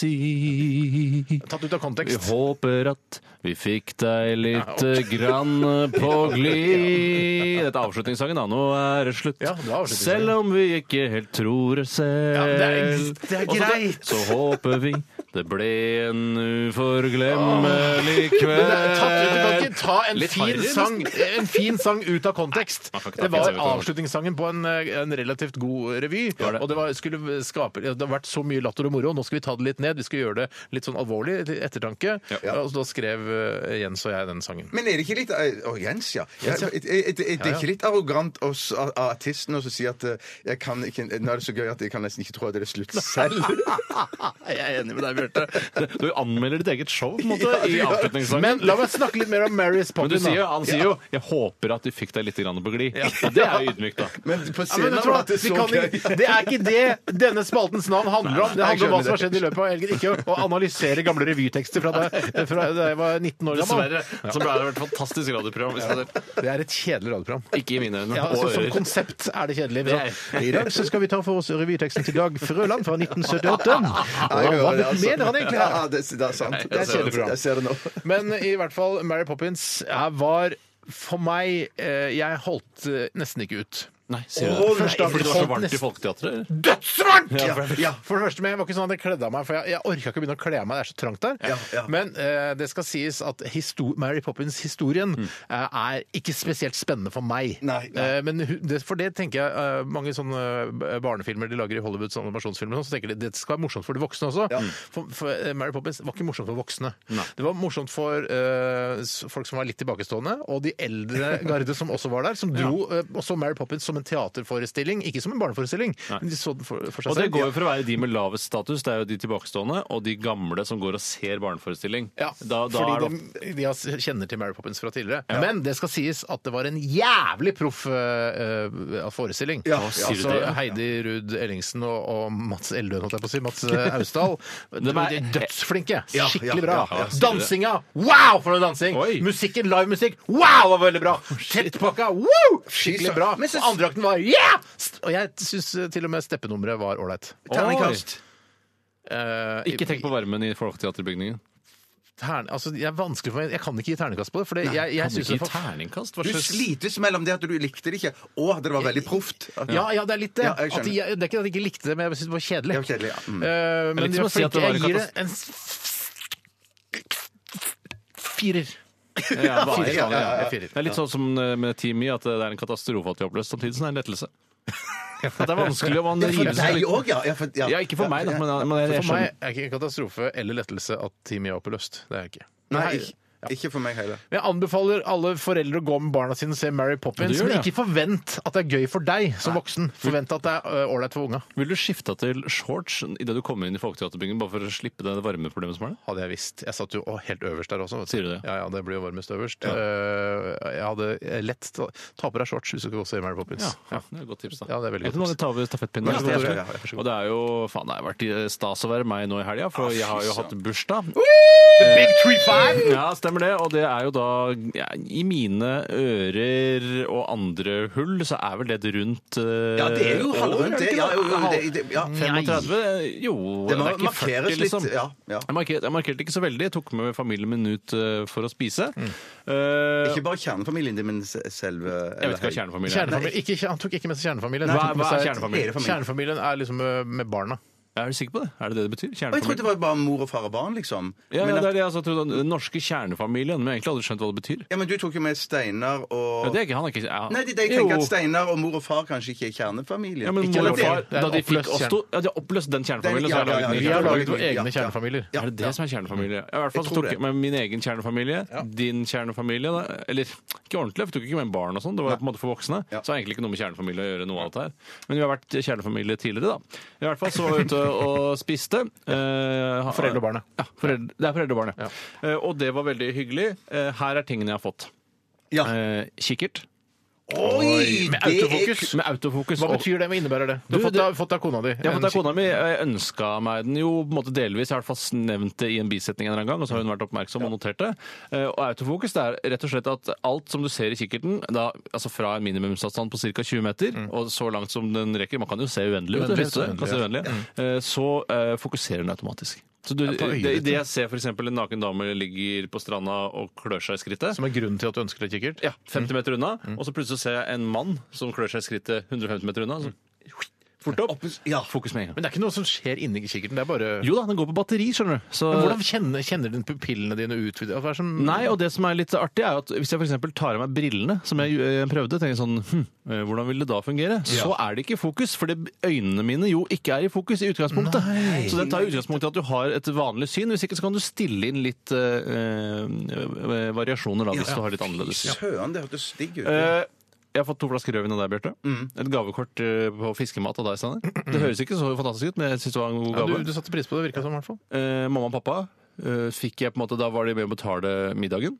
[SPEAKER 3] fantasi.
[SPEAKER 7] Tatt ut av
[SPEAKER 3] Vi
[SPEAKER 7] kontekst.
[SPEAKER 3] håper at vi fikk deg lite grann på glid. Dette er avslutningssangen, da. Nå er det slutt.
[SPEAKER 7] Ja, det var avslutningssangen.
[SPEAKER 3] selv om vi ikke helt tror det selv.
[SPEAKER 7] Ja, men det er- det er
[SPEAKER 3] Og så-
[SPEAKER 7] greit.
[SPEAKER 3] Så håper vi det ble en uforglemmelig kveld.
[SPEAKER 7] Du kan ikke ta en
[SPEAKER 3] Eh, Litt
[SPEAKER 7] fin,
[SPEAKER 3] harry,
[SPEAKER 7] sang, en fin sang ut av kontekst.
[SPEAKER 3] man kan ikke ta
[SPEAKER 7] Det
[SPEAKER 3] fin sang
[SPEAKER 7] var
[SPEAKER 3] ut av kontekst.
[SPEAKER 7] avslutningssangen på en, eh, en relativt god revy.
[SPEAKER 3] var det.
[SPEAKER 7] Og det, var, skulle skape, det har vært så mye latter og moro. Nå skal vi ta det litt ned. Vi skal gjøre det litt sånn alvorlig til ettertanke. Og så da skrev eh, Jens og jeg den sangen.
[SPEAKER 8] Men er det ikke litt Å, Jens, ja.
[SPEAKER 7] Jens, ja.
[SPEAKER 8] Er, er, er, er det ikke litt arrogant av oss- av av artisten å så si at eh, jeg kan ikke, nå er det så gøy at jeg kan nesten ikke tro at det er slutt selv?
[SPEAKER 3] Jeg er enig med deg, Bjarte. Du anmelder ditt eget show på en måte,
[SPEAKER 8] Ja, du
[SPEAKER 3] i
[SPEAKER 8] gjør det.
[SPEAKER 3] avslutningssangen.
[SPEAKER 7] Men la meg snakke litt mer om Mary's
[SPEAKER 3] Men du
[SPEAKER 7] Poppin.
[SPEAKER 3] sier, jo-
[SPEAKER 7] da.
[SPEAKER 3] han sier jo 'jeg håper at de fikk deg litt grann på glid'. Og det er jo ydmykt, da.
[SPEAKER 8] Men på
[SPEAKER 7] Ja, men
[SPEAKER 8] scenen
[SPEAKER 7] vet du
[SPEAKER 8] var
[SPEAKER 7] hva?
[SPEAKER 8] det
[SPEAKER 7] Vi
[SPEAKER 8] så
[SPEAKER 7] kan
[SPEAKER 8] gøy.
[SPEAKER 7] ikke, det er ikke det denne spaltens navn handler om. Det
[SPEAKER 8] Nei, jeg
[SPEAKER 7] handler om hva
[SPEAKER 8] skjønner
[SPEAKER 7] som har skjedd i løpet av helgen. Ikke å- å analysere gamle revytekster fra da, fra da jeg var 19 år gammel.
[SPEAKER 3] Dessverre så ble det et fantastisk radioprogram. hvis det-
[SPEAKER 7] Det er et kjedelig radioprogram.
[SPEAKER 3] Ikke i mine øyne.
[SPEAKER 7] Ja,
[SPEAKER 3] og
[SPEAKER 7] altså, som
[SPEAKER 3] ører.
[SPEAKER 7] konsept er det kjedelig.
[SPEAKER 3] Det er-
[SPEAKER 7] I dag så skal vi ta for oss revyteksten til Dag Frøland fra 1978.
[SPEAKER 8] Nei,
[SPEAKER 7] Og
[SPEAKER 8] jeg
[SPEAKER 7] hva
[SPEAKER 8] hører det, altså.
[SPEAKER 7] mener han egentlig her?
[SPEAKER 8] Ja, det, det er sant.
[SPEAKER 7] Det er kjedelig program.
[SPEAKER 8] Jeg ser det nå.
[SPEAKER 7] Men i hvert fall, Mary Poppins eh, var for meg eh, Jeg holdt eh, nesten ikke ut.
[SPEAKER 3] Nei, sier
[SPEAKER 7] Å,
[SPEAKER 3] du det?
[SPEAKER 7] første gang
[SPEAKER 3] Fordi det var så
[SPEAKER 7] holdt
[SPEAKER 3] varmt i
[SPEAKER 7] nesten-
[SPEAKER 3] Folketeatret? eller?
[SPEAKER 7] Dødsvarmt!
[SPEAKER 3] Ja,
[SPEAKER 7] Ja,
[SPEAKER 3] for-
[SPEAKER 7] ja, for det første, men jeg var ikke sånn at jeg kledde av meg, for jeg, jeg orka ikke å begynne å kle av meg, det er så trangt der.
[SPEAKER 8] Ja, ja.
[SPEAKER 7] Men eh, det skal sies at histo Mary Poppins-historien eh, er ikke spesielt spennende for meg.
[SPEAKER 8] Nei, nei.
[SPEAKER 7] Eh, men hu- det, for det tenker jeg eh, mange sånne eh, barnefilmer de lager i Hollywood, sånne animasjonsfilmer, og sånn, så tenker de det skal være morsomt for de voksne også. For, for eh, Mary Poppins var ikke morsomt for voksne. Det var morsomt for eh, s- folk som var litt tilbakestående, og de eldre garde som også var der, som dro eh, og så Mary Poppins som en teaterforestilling, ikke som en barneforestilling. Men de så den for, for seg
[SPEAKER 3] Og det
[SPEAKER 7] selv.
[SPEAKER 3] går jo for å være de med lavest status, det er jo de tilbakestående, og de gamle som går og ser barneforestilling.
[SPEAKER 7] Ja,
[SPEAKER 3] Da, da er det
[SPEAKER 7] fordi
[SPEAKER 3] ofte...
[SPEAKER 7] de, de har- kjenner til Mary Poppins fra tidligere. Men det skal sies at det var en jævlig proff eh, eh, forestilling.
[SPEAKER 8] Ja,
[SPEAKER 7] Hva sier
[SPEAKER 3] altså,
[SPEAKER 7] du det? Heidi Ruud Ellingsen og, og Mats Eldøen, holdt jeg på å si. Mats eh, Austdal. de er dødsflinke.
[SPEAKER 8] Ja, ja,
[SPEAKER 7] Skikkelig bra.
[SPEAKER 8] ja, ja.
[SPEAKER 7] Dansinga! Wow, for noe dansing!
[SPEAKER 3] Oi.
[SPEAKER 7] Musikken, livemusikk, wow, var veldig bra! Tettpakka, wow! Skikkelig bra.
[SPEAKER 8] Men så-
[SPEAKER 7] Og andreakten var yeah! Og jeg syns eh, til og med steppenummeret var ålreit.
[SPEAKER 8] Terningkast.
[SPEAKER 7] Eh,
[SPEAKER 3] Ikke tenk på varmen i Folketeaterbygningen.
[SPEAKER 7] tern, altså, jeg, er vanskelig for meg, jeg kan ikke gi terningkast på det. For det, jeg, jeg
[SPEAKER 3] Kan du
[SPEAKER 7] synes det
[SPEAKER 3] ikke gi
[SPEAKER 7] er for-
[SPEAKER 3] terningkast? Hva
[SPEAKER 8] Du
[SPEAKER 3] slags
[SPEAKER 8] slites mellom det at du likte det ikke, og at det var veldig proft.
[SPEAKER 7] ja, ja, det er litt det.
[SPEAKER 8] Ja, jeg
[SPEAKER 7] at
[SPEAKER 8] skjønner.
[SPEAKER 7] jeg, det er ikke at jeg ikke likte det, men jeg syntes det var kjedelig.
[SPEAKER 8] Det var kjedelig, ja. Mm.
[SPEAKER 7] Eh,
[SPEAKER 3] Det er
[SPEAKER 7] men
[SPEAKER 3] litt
[SPEAKER 7] de
[SPEAKER 3] som
[SPEAKER 7] var
[SPEAKER 3] å si at
[SPEAKER 7] flinke.
[SPEAKER 3] det var
[SPEAKER 7] Jeg
[SPEAKER 3] en
[SPEAKER 7] gir det en s- firer.
[SPEAKER 3] Ja, bare-
[SPEAKER 7] Firer, ja, ja, ja,
[SPEAKER 3] ja.
[SPEAKER 7] firer.
[SPEAKER 3] Det er litt sånn som eh, med Team Me, at det er en katastrofe at de har oppløst, samtidig som det er en lettelse. At det er vanskelig om man
[SPEAKER 8] Ja, for
[SPEAKER 3] river seg
[SPEAKER 8] deg
[SPEAKER 3] litt
[SPEAKER 8] òg, ja. ja, for- ja.
[SPEAKER 3] Ja, ikke for meg, da, men, men jeg, sånn- jeg
[SPEAKER 7] For meg
[SPEAKER 3] skjønner.
[SPEAKER 7] er ikke en katastrofe eller lettelse at Team Jakob er løst. Det er jeg ikke.
[SPEAKER 8] Nei,
[SPEAKER 7] Nei,
[SPEAKER 8] ikke, ikke for meg heller.
[SPEAKER 7] Men Jeg anbefaler alle foreldre å gå med barna sine og se Mary Poppins.
[SPEAKER 3] Ja, du gjør
[SPEAKER 7] men
[SPEAKER 3] det,
[SPEAKER 7] ikke forvent at det er gøy for deg som voksen. Forvent at det er øh, ålreit for unga.
[SPEAKER 3] Vil du skifte til shorts idet du kommer inn i Folketeaterbygningen, bare for å slippe det varmeproblemet som er der?
[SPEAKER 7] Hadde jeg visst. Jeg satt jo å, helt øverst der også. vet
[SPEAKER 3] Sier du det?
[SPEAKER 7] Ja, ja, det blir jo varmest øverst. Eh, jeg hadde lett ta ta på deg shorts hvis du skal gå og se Mary Poppins.
[SPEAKER 3] Ja, det er et godt tips, da.
[SPEAKER 7] Ja, det er veldig
[SPEAKER 3] Jeg
[SPEAKER 7] godt
[SPEAKER 3] tror mange tar over stafettpinnen.
[SPEAKER 7] Vær så god,
[SPEAKER 3] Ja, det er
[SPEAKER 7] Tore.
[SPEAKER 3] det.
[SPEAKER 7] Ja, vær så god.
[SPEAKER 3] og det er jo faen, det har vært i- stas å være meg nå i helga, for jeg har jo hatt bursdag. Eh,
[SPEAKER 7] The Big Three Five!
[SPEAKER 3] Ja, stemmer det. Og det er jo da ja, I mine ører og andre hull så er vel det et rundt eh,
[SPEAKER 8] Ja, det er jo
[SPEAKER 3] år,
[SPEAKER 8] halvrundt,
[SPEAKER 3] er
[SPEAKER 8] det.
[SPEAKER 3] ikke
[SPEAKER 8] Ja, jo, jo,
[SPEAKER 3] Halv-
[SPEAKER 8] det- det- ja.
[SPEAKER 3] 35? Eh, Jo,
[SPEAKER 8] Det må
[SPEAKER 3] er ikke
[SPEAKER 8] markeres
[SPEAKER 3] 40,
[SPEAKER 8] litt,
[SPEAKER 3] liksom.
[SPEAKER 8] ja, ja.
[SPEAKER 3] Jeg, markerte, jeg markerte ikke så veldig. Jeg tok med familien min ut eh, for å spise. Eh,
[SPEAKER 8] Mm. Ikke bare kjernefamilien din, men se- selve
[SPEAKER 3] jeg vet ikke hva kjernefamilie er.
[SPEAKER 7] Kjernefamilien. Ikke, han tok ikke med seg kjernefamilien.
[SPEAKER 3] Hva-
[SPEAKER 7] Han tok med
[SPEAKER 3] hva er
[SPEAKER 7] seg-
[SPEAKER 3] kjernefamilien?
[SPEAKER 7] Kjernefamilien er liksom øh, med barna.
[SPEAKER 3] Er du sikker på det? Er det det det betyr?
[SPEAKER 8] Og jeg trodde det
[SPEAKER 3] Kjernefamilie?
[SPEAKER 8] var bare mor og far og barn, liksom.
[SPEAKER 3] Ja,
[SPEAKER 8] men,
[SPEAKER 3] ja,
[SPEAKER 8] at-
[SPEAKER 3] det er det jeg altså, trodde. Den norske kjernefamilien. Men jeg har egentlig aldri skjønt hva det betyr.
[SPEAKER 8] ja, men du tok jo med Steinar og
[SPEAKER 3] Men det er ikke, han er ikke ja.
[SPEAKER 8] Nei, de, de tenker
[SPEAKER 3] Jo.
[SPEAKER 8] at Steinar og mor og far kanskje ikke er kjernefamilie.
[SPEAKER 3] ja, men
[SPEAKER 8] Ikke
[SPEAKER 3] mor og
[SPEAKER 8] det.
[SPEAKER 3] far,
[SPEAKER 7] Det er
[SPEAKER 3] da de fikk
[SPEAKER 7] oppløst
[SPEAKER 3] oss to Ja, de har oppløst den kjernefamilien, så
[SPEAKER 8] ja,
[SPEAKER 3] har jeg
[SPEAKER 8] ja,
[SPEAKER 3] laget
[SPEAKER 8] ja,
[SPEAKER 7] Vi har
[SPEAKER 3] ny kjernefamilie.
[SPEAKER 7] laget våre
[SPEAKER 8] Ja,
[SPEAKER 7] egne
[SPEAKER 8] ja.
[SPEAKER 7] kjernefamilier.
[SPEAKER 8] Ja. Mm.
[SPEAKER 3] Er det det som er kjernefamilie? Ja, I hvert
[SPEAKER 8] Jeg
[SPEAKER 3] fall så
[SPEAKER 8] tror
[SPEAKER 3] tok
[SPEAKER 8] det.
[SPEAKER 3] jeg med min egen kjernefamilie, din kjernefamilie da. Eller ikke ordentlig, for jeg tok ikke med barn og sånn. Det var på en måte for voksne.
[SPEAKER 8] Ja.
[SPEAKER 3] Så det er egentlig ikke noe med kjernefamilie å gjøre noe av dette her. Men vi har vært kjernefamilie tidligere, da. I hvert fall så var vi ute og spiste. Eh,
[SPEAKER 7] Foreldre og barn,
[SPEAKER 3] Ja, foreldre, det er foreldre og barn, ja. Eh, og det var veldig hyggelig. Eh, her er tingene jeg har fått.
[SPEAKER 8] Ja.
[SPEAKER 3] Eh, kikkert.
[SPEAKER 8] Oi!
[SPEAKER 7] Med
[SPEAKER 8] det er-
[SPEAKER 7] autofokus.
[SPEAKER 3] Med autofokus.
[SPEAKER 7] Hva
[SPEAKER 3] og-
[SPEAKER 7] betyr det? Hva innebærer det? Du har
[SPEAKER 3] Du,
[SPEAKER 7] fått,
[SPEAKER 3] det-
[SPEAKER 7] av, fått av kona di.
[SPEAKER 3] Jeg har fått
[SPEAKER 7] en
[SPEAKER 3] av kona mi. Jeg ønska meg den jo på en måte delvis. Jeg har i hvert fall nevnt det i en bisetning en eller annen gang, og så har hun vært oppmerksom og notert det. Eh, Og autofokus det er rett og slett at alt som du ser i kikkerten, da, altså fra en minimumsavstand på ca. 20 meter, og så langt som den rekker Man kan jo se Mm. uendelig, vet du,
[SPEAKER 7] Uendelig,
[SPEAKER 3] hvis du kan se uendelig. Eh, Så eh, fokuserer den automatisk. Så du,
[SPEAKER 7] på øyet
[SPEAKER 3] det,
[SPEAKER 7] ditt,
[SPEAKER 3] det jeg ser f.eks. en naken dame ligger på stranda og klør seg i skrittet,
[SPEAKER 7] Som er grunnen til at du ønsker deg kikkert?
[SPEAKER 3] ja, 50 meter unna, og så plutselig så ser jeg en mann som klør seg i skrittet 150 meter unna. Så, fort Mm. opp. Fokus med en gang.
[SPEAKER 7] Men det er ikke noe som skjer inni kikkerten. Det er bare
[SPEAKER 3] Jo da, den går på batteri, skjønner du. Så...
[SPEAKER 7] Men hvordan kjenner, kjenner den pupillene dine ut? Hva er det som
[SPEAKER 3] Nei, og det som er litt artig er jo at hvis jeg f.eks. tar av meg brillene, som jeg eh, prøvde, tenker jeg sånn hm, eh, hvordan vil det da fungere? Så er det ikke i fokus, fordi øynene mine jo ikke er i fokus i utgangspunktet. Så den tar jo utgangspunkt i at du har et vanlig syn, hvis ikke så kan du stille inn litt eh, eh, variasjoner da, hvis du har litt annerledes syn.
[SPEAKER 8] Søren, det hørtes digg ut.
[SPEAKER 3] Eh, jeg har fått to flasker rødvin av deg, Bjarte.
[SPEAKER 7] Mm.
[SPEAKER 3] Et gavekort eh, på fiskemat av deg, Steinar. Det høres ikke så fantastisk ut, men jeg syns det var en
[SPEAKER 7] ja,
[SPEAKER 3] god gave.
[SPEAKER 7] du, du satte pris på det, virka som. i hvert fall.
[SPEAKER 3] Eh, mamma og pappa eh, fikk jeg på en måte, Da var de med å betale middagen.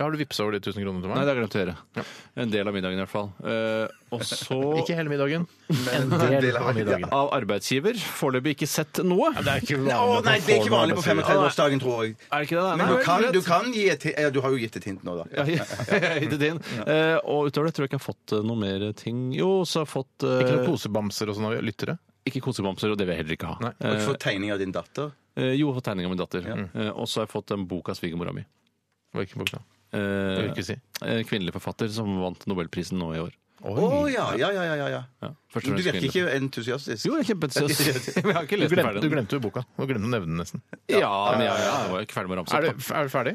[SPEAKER 7] Ja, har du vippsa over de 1000 kronene til
[SPEAKER 3] Nei,
[SPEAKER 7] meg?
[SPEAKER 3] det har jeg glemt å gjøre. En del av middagen i hvert fall. Eh, og så
[SPEAKER 7] Ikke hele middagen.
[SPEAKER 8] Men
[SPEAKER 7] En
[SPEAKER 8] en
[SPEAKER 7] del av
[SPEAKER 8] middagen.
[SPEAKER 7] middagen.
[SPEAKER 3] av arbeidsgiver. Foreløpig ikke sett noe.
[SPEAKER 7] Det er ikke
[SPEAKER 8] Å nei, det er ikke vanlig på 35-årsdagen, tror jeg.
[SPEAKER 3] Er det ikke det? Nei,
[SPEAKER 8] Men
[SPEAKER 3] nei,
[SPEAKER 8] du
[SPEAKER 3] vel,
[SPEAKER 8] kan,
[SPEAKER 3] greit.
[SPEAKER 8] du kan gi et hint. Ja, du har jo gitt et hint nå, da.
[SPEAKER 3] Ja, ja, ja, i det din. Eh, og utover det tror jeg ikke jeg har fått eh, noe mer ting. Jo, så har jeg fått eh,
[SPEAKER 7] Ikke noen kosebamser og sånn av lyttere?
[SPEAKER 3] ikke kosebamser, og det vil jeg heller ikke ha.
[SPEAKER 8] Har
[SPEAKER 7] Eh,
[SPEAKER 8] du fått tegning av din datter?
[SPEAKER 3] Eh, jo, jeg har fått tegning av min datter. Eh, og så har jeg fått en bok av svigermora mi.
[SPEAKER 7] Det var ikke på knapp.
[SPEAKER 3] Eh,
[SPEAKER 7] Det vil jeg ikke si.
[SPEAKER 3] eh, Kvinnelig forfatter som vant nobelprisen nå i år.
[SPEAKER 8] Å ja, ja, ja, ja, ja.
[SPEAKER 3] Ja, først og
[SPEAKER 8] Du
[SPEAKER 3] fremst
[SPEAKER 8] virker
[SPEAKER 3] kvinnelig.
[SPEAKER 8] ikke entusiastisk.
[SPEAKER 3] Jo, jeg er kjempeentusiast. Men jeg har ikke
[SPEAKER 7] Du
[SPEAKER 3] lest den
[SPEAKER 7] glemte,
[SPEAKER 3] ferdig.
[SPEAKER 7] du glemte jo boka. Du glemte å nevne den nesten.
[SPEAKER 3] Ja, men jeg, jeg var ikke ferdig med å ramse
[SPEAKER 7] Er du,
[SPEAKER 3] opp. da.
[SPEAKER 7] er du ferdig?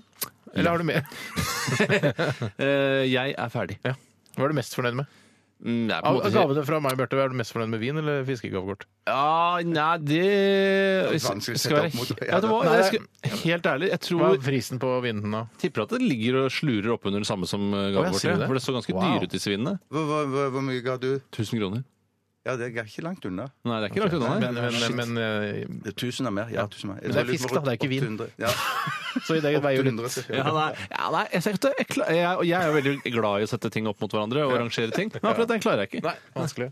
[SPEAKER 7] Eller har du mer?
[SPEAKER 3] Eh, Jeg er ferdig.
[SPEAKER 7] Ja. Hva er du mest fornøyd med?
[SPEAKER 3] Mm, det er på en
[SPEAKER 7] Av
[SPEAKER 3] måte
[SPEAKER 7] av
[SPEAKER 3] ikke-
[SPEAKER 7] gavene fra meg og Bjarte, er du mest fornøyd med vin eller fiskegavekort?
[SPEAKER 3] Ja, nei, det
[SPEAKER 8] Det er vanskelig å
[SPEAKER 3] Skal
[SPEAKER 8] sette
[SPEAKER 3] være
[SPEAKER 8] opp mot-
[SPEAKER 3] he- Vet du hva,
[SPEAKER 7] Nei,
[SPEAKER 3] jeg skal... Helt ærlig, jeg
[SPEAKER 7] Hva
[SPEAKER 3] tror
[SPEAKER 7] er prisen på vinene da?
[SPEAKER 3] tipper at det ligger og slurer opp under det samme som eh,
[SPEAKER 7] Å, ja,
[SPEAKER 3] gavekortet.
[SPEAKER 7] sier du det?
[SPEAKER 3] for det så ganske
[SPEAKER 7] Wow.
[SPEAKER 3] dyre ut, disse vinene.
[SPEAKER 8] Hvor, hvor, hvor, hvor mye ga du?
[SPEAKER 3] 1000 kroner.
[SPEAKER 8] Ja, det er ikke langt unna.
[SPEAKER 3] Nei, det er ikke langt unna.
[SPEAKER 7] Men,
[SPEAKER 3] nei.
[SPEAKER 7] men,
[SPEAKER 3] Shit.
[SPEAKER 7] men, eh,
[SPEAKER 8] Det er tusen av mer. Ja, tusen av mer.
[SPEAKER 7] Men
[SPEAKER 8] Jeg
[SPEAKER 7] det er
[SPEAKER 8] tror jeg
[SPEAKER 7] fisk,
[SPEAKER 8] lurer på
[SPEAKER 7] da, det er ikke vin.
[SPEAKER 8] 800. Ja,
[SPEAKER 7] så i dag veier jo litt
[SPEAKER 8] 800 cirka.
[SPEAKER 3] ja, nei, ja, nei, jeg, ser ikke det. jeg, kla- jeg, og jeg er jo veldig glad i å sette ting opp mot hverandre og rangere ting, men akkurat den klarer jeg ikke.
[SPEAKER 7] Nei, vanskelig.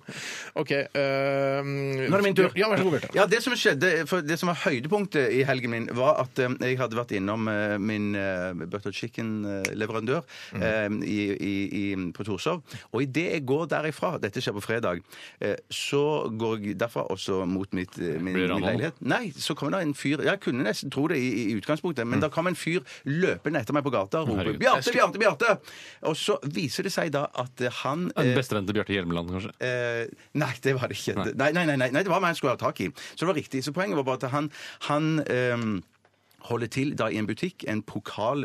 [SPEAKER 7] OK. eh,
[SPEAKER 8] Nå er det min tur.
[SPEAKER 7] Ja, vær så god, Bjarte.
[SPEAKER 8] Ja, det som skjedde, for det som var høydepunktet i helgen min, var at eh, jeg hadde vært innom eh, min eh, butter chicken-leverandør
[SPEAKER 3] Mm.
[SPEAKER 8] eh, i, i, i, på Torshov. Og idet jeg går derifra, dette skjer på fredag, eh, så går jeg derfra også mot mitt, eh, min,
[SPEAKER 3] Blir det
[SPEAKER 8] min
[SPEAKER 3] annet?
[SPEAKER 8] leilighet. Nei, så kommer det en fyr Jeg kunne nesten tro det i, i utgangspunktet, men da kom en fyr løpende etter meg på gata og roper
[SPEAKER 3] Mm. Herregud.
[SPEAKER 8] 'Bjarte, Bjarte, Bjarte!' Og så viser det seg da at eh, han eh,
[SPEAKER 3] En Bestevenn til Bjarte Hjelmeland, kanskje.
[SPEAKER 8] Eh, nei, det var det ikke. Nei, nei, nei, nei, nei det var meg han skulle ha tak i. Så det var riktig. Så poenget var bare at han, han ehm, holder til da i en butikk, en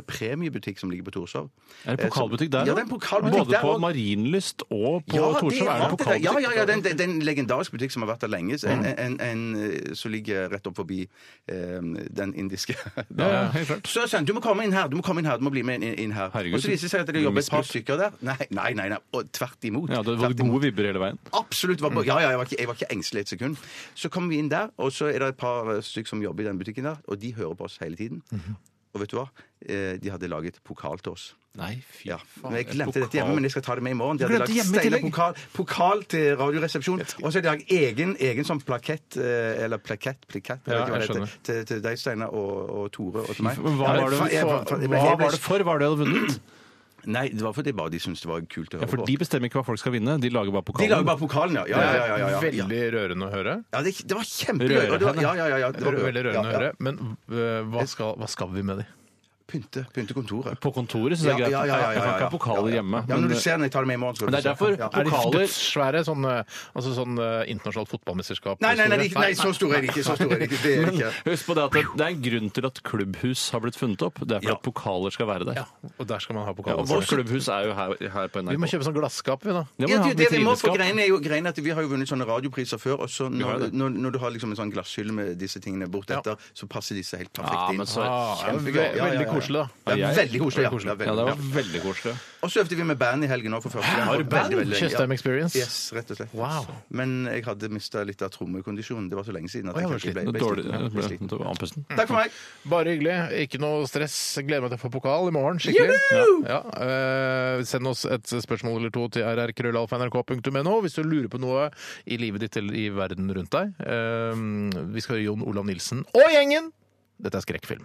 [SPEAKER 8] pokalpremiebutikk som ligger på Torshov. Eh,
[SPEAKER 3] Er det pokalbutikk der
[SPEAKER 8] Ja,
[SPEAKER 3] også?
[SPEAKER 8] det er en pokalbutikk
[SPEAKER 3] Både
[SPEAKER 8] der
[SPEAKER 3] på
[SPEAKER 8] også.
[SPEAKER 3] Marienlyst og på
[SPEAKER 8] Ja,
[SPEAKER 3] Torshov er det
[SPEAKER 8] det der.
[SPEAKER 3] pokalbutikk. Mm.
[SPEAKER 8] ja, ja, ja, det er en- det er en legendarisk butikk som har vært der lenge. så En, en, en, en som ligger rett opp forbi ehm, den indiske.
[SPEAKER 3] Ja, ja, helt klart.
[SPEAKER 8] Så jeg sa han, du må komme inn her, du må komme inn her, du må bli med inn, inn her.
[SPEAKER 3] Herregud,
[SPEAKER 8] og så viser det seg at det
[SPEAKER 3] du
[SPEAKER 8] jobber et par
[SPEAKER 3] misbrukt.
[SPEAKER 8] stykker der. Nei, nei, nei, nei. Og tvert imot.
[SPEAKER 3] Ja, det var
[SPEAKER 8] Tvert imot.
[SPEAKER 3] gode vibber hele veien.
[SPEAKER 8] Absolutt.
[SPEAKER 3] Mm.
[SPEAKER 8] Var på, ja, ja, jeg, var ikke, jeg var ikke engstelig et sekund. Så kommer vi inn der, og så er det et par eh, stykk som jobber i den butikken der, og de hører på oss hele tiden. Og vet du hva? Eh, De hadde laget pokal til oss.
[SPEAKER 3] Nei, Mhm. fy
[SPEAKER 8] Ja.
[SPEAKER 3] faen.
[SPEAKER 8] Men jeg glemte
[SPEAKER 3] Pokal.
[SPEAKER 8] dette hjemme, men jeg skal ta det med i morgen. De hadde
[SPEAKER 3] glemte
[SPEAKER 8] laget
[SPEAKER 3] hjemme i
[SPEAKER 8] Steinar
[SPEAKER 3] tillegg?
[SPEAKER 8] pokal, pokal til Radioresepsjonen. Og så er det laget egen, egen sånn plakett, eh, eller plakett, plakett, jeg
[SPEAKER 7] Ja,
[SPEAKER 8] vet ikke hva
[SPEAKER 7] jeg
[SPEAKER 8] det heter, til, til deg, Steinar, og, og Tore, og til meg.
[SPEAKER 3] Men Hva
[SPEAKER 8] Ja,
[SPEAKER 3] var det,
[SPEAKER 8] fa- jeg- fa-
[SPEAKER 3] for,
[SPEAKER 8] jeg ble-
[SPEAKER 3] hva
[SPEAKER 8] jeg ble-
[SPEAKER 3] var det for? Hva er det du hadde vunnet?
[SPEAKER 8] Nei, det var fordi bare de syntes det var kult å
[SPEAKER 3] Ja,
[SPEAKER 8] høre
[SPEAKER 3] for
[SPEAKER 8] på.
[SPEAKER 3] de bestemmer ikke hva folk skal vinne, de lager bare pokalen.
[SPEAKER 8] De lager bare pokalen, ja. Ja, ja, ja, ja, ja, ja.
[SPEAKER 7] Veldig rørende å høre.
[SPEAKER 8] Ja, det, det var kjempegøy.
[SPEAKER 3] Rørende.
[SPEAKER 8] og det var- Ja, ja, ja, ja, det var-
[SPEAKER 7] Veldig rørende
[SPEAKER 8] ja, ja.
[SPEAKER 7] å høre. Men øh, hva, skal, hva skal vi med de?
[SPEAKER 8] Pynte, pynte kontoret.
[SPEAKER 3] På kontoret, så det er greit. Jeg kan ikke ha pokaler hjemme.
[SPEAKER 8] Ja, når
[SPEAKER 3] men-
[SPEAKER 8] du ser den, jeg tar den med i morgen. så
[SPEAKER 3] Men det
[SPEAKER 8] du se.
[SPEAKER 3] er derfor
[SPEAKER 8] Ja.
[SPEAKER 7] Er de
[SPEAKER 3] Pokaler-
[SPEAKER 7] dødssvære sånn, øh, altså sånn øh, internasjonalt fotballmesterskap?
[SPEAKER 8] Nei, nei, nei, nei, nei, så stor er det ikke. Så stor er det ikke. Det er det ikke.
[SPEAKER 3] Husk på det at det det er en grunn til at klubbhus har blitt funnet opp. Det er for
[SPEAKER 8] Ja.
[SPEAKER 3] at pokaler skal være der.
[SPEAKER 7] Ja, og der skal man ha
[SPEAKER 3] Ja,
[SPEAKER 7] pokaler.
[SPEAKER 3] og vårt klubbhus er jo her, her på NRK.
[SPEAKER 7] vi må kjøpe sånn glasskap, vi, da.
[SPEAKER 3] Ja, men
[SPEAKER 8] Ja,
[SPEAKER 3] ha
[SPEAKER 8] det, det vi må for
[SPEAKER 3] vitrineskap.
[SPEAKER 8] greiene er jo greiene at Vi har jo vunnet sånne radiopriser før. Og så
[SPEAKER 3] har
[SPEAKER 8] når,
[SPEAKER 3] det.
[SPEAKER 8] når, når du har liksom en sånn glasshylle med disse tingene bort
[SPEAKER 7] Ja.
[SPEAKER 8] etter, så passer disse helt
[SPEAKER 3] Ja,
[SPEAKER 8] perfekt inn.
[SPEAKER 3] men så-
[SPEAKER 7] Ah, ja,
[SPEAKER 8] Kjempegøy.
[SPEAKER 7] ve-
[SPEAKER 8] Ja, ja, ja, ja.
[SPEAKER 7] Veldig koselig, da.
[SPEAKER 8] Ja,
[SPEAKER 3] Ja, jeg-
[SPEAKER 8] veldig koselig. Ja, Ja,
[SPEAKER 3] Ja,
[SPEAKER 8] veldig
[SPEAKER 3] det var
[SPEAKER 8] koselig.
[SPEAKER 3] veldig koselig.
[SPEAKER 8] Og så øvde vi med band i helgen òg, for første gang.
[SPEAKER 3] Har du band?
[SPEAKER 8] Veldig, veldig lenge.
[SPEAKER 7] Tjøstheim Experience?
[SPEAKER 8] Yes, rett og slett.
[SPEAKER 7] Wow.
[SPEAKER 8] Men jeg hadde mista litt av trommekondisjonen. Det var så lenge siden.
[SPEAKER 7] Å,
[SPEAKER 8] at jeg
[SPEAKER 7] jeg var
[SPEAKER 8] kanskje
[SPEAKER 7] sliten.
[SPEAKER 8] ble- ble
[SPEAKER 3] Dårlig,
[SPEAKER 8] sliten. Ja, ble sliten.
[SPEAKER 3] det var andpusten.
[SPEAKER 8] Takk for meg.
[SPEAKER 7] Bare hyggelig. Ikke noe stress. Gleder meg til å få pokal i morgen. Skikkelig. Ja, øh, send oss et spørsmål eller to til rrkrøllalfa.nrk.no hvis du lurer på noe i livet ditt eller i verden rundt deg. Ehm, vi skal høre Jon Olav Nilsen og gjengen! Dette er skrekkfilm.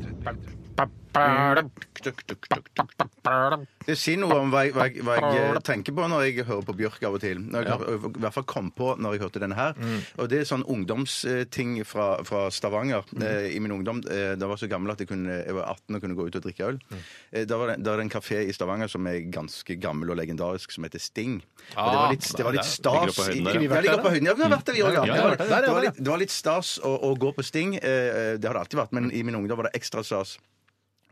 [SPEAKER 8] Det sier noe om hva jeg, hva, jeg, hva jeg tenker på når jeg hører på Bjørk av og til. Når jeg, I hvert fall kom på når jeg hørte denne her.
[SPEAKER 3] Mm.
[SPEAKER 8] Og det er sånn ungdomsting fra, fra Stavanger.
[SPEAKER 3] Mm.
[SPEAKER 8] Eh, I min ungdom eh, da var jeg så gammel at jeg, kunne, jeg var 18 og kunne gå ut og drikke
[SPEAKER 3] Mm.
[SPEAKER 8] øl. Eh, da, var det, da er det en kafé i Stavanger som er ganske gammel og legendarisk, som heter Sting. Og det var litt, det var litt
[SPEAKER 3] Ah, ligger det
[SPEAKER 8] stas
[SPEAKER 3] på høyden der,
[SPEAKER 8] i-
[SPEAKER 3] ja.
[SPEAKER 8] Ja, ligger på høyden. Ja, vi har vært der, vi òg. Ja.
[SPEAKER 3] Ja, jeg
[SPEAKER 8] Det,
[SPEAKER 3] har
[SPEAKER 8] var-
[SPEAKER 3] vært der,
[SPEAKER 8] det,
[SPEAKER 3] ja.
[SPEAKER 8] var litt- det var litt stas å, å gå på Sting. Eh, det har det alltid vært, men i min ungdom var det ekstra stas.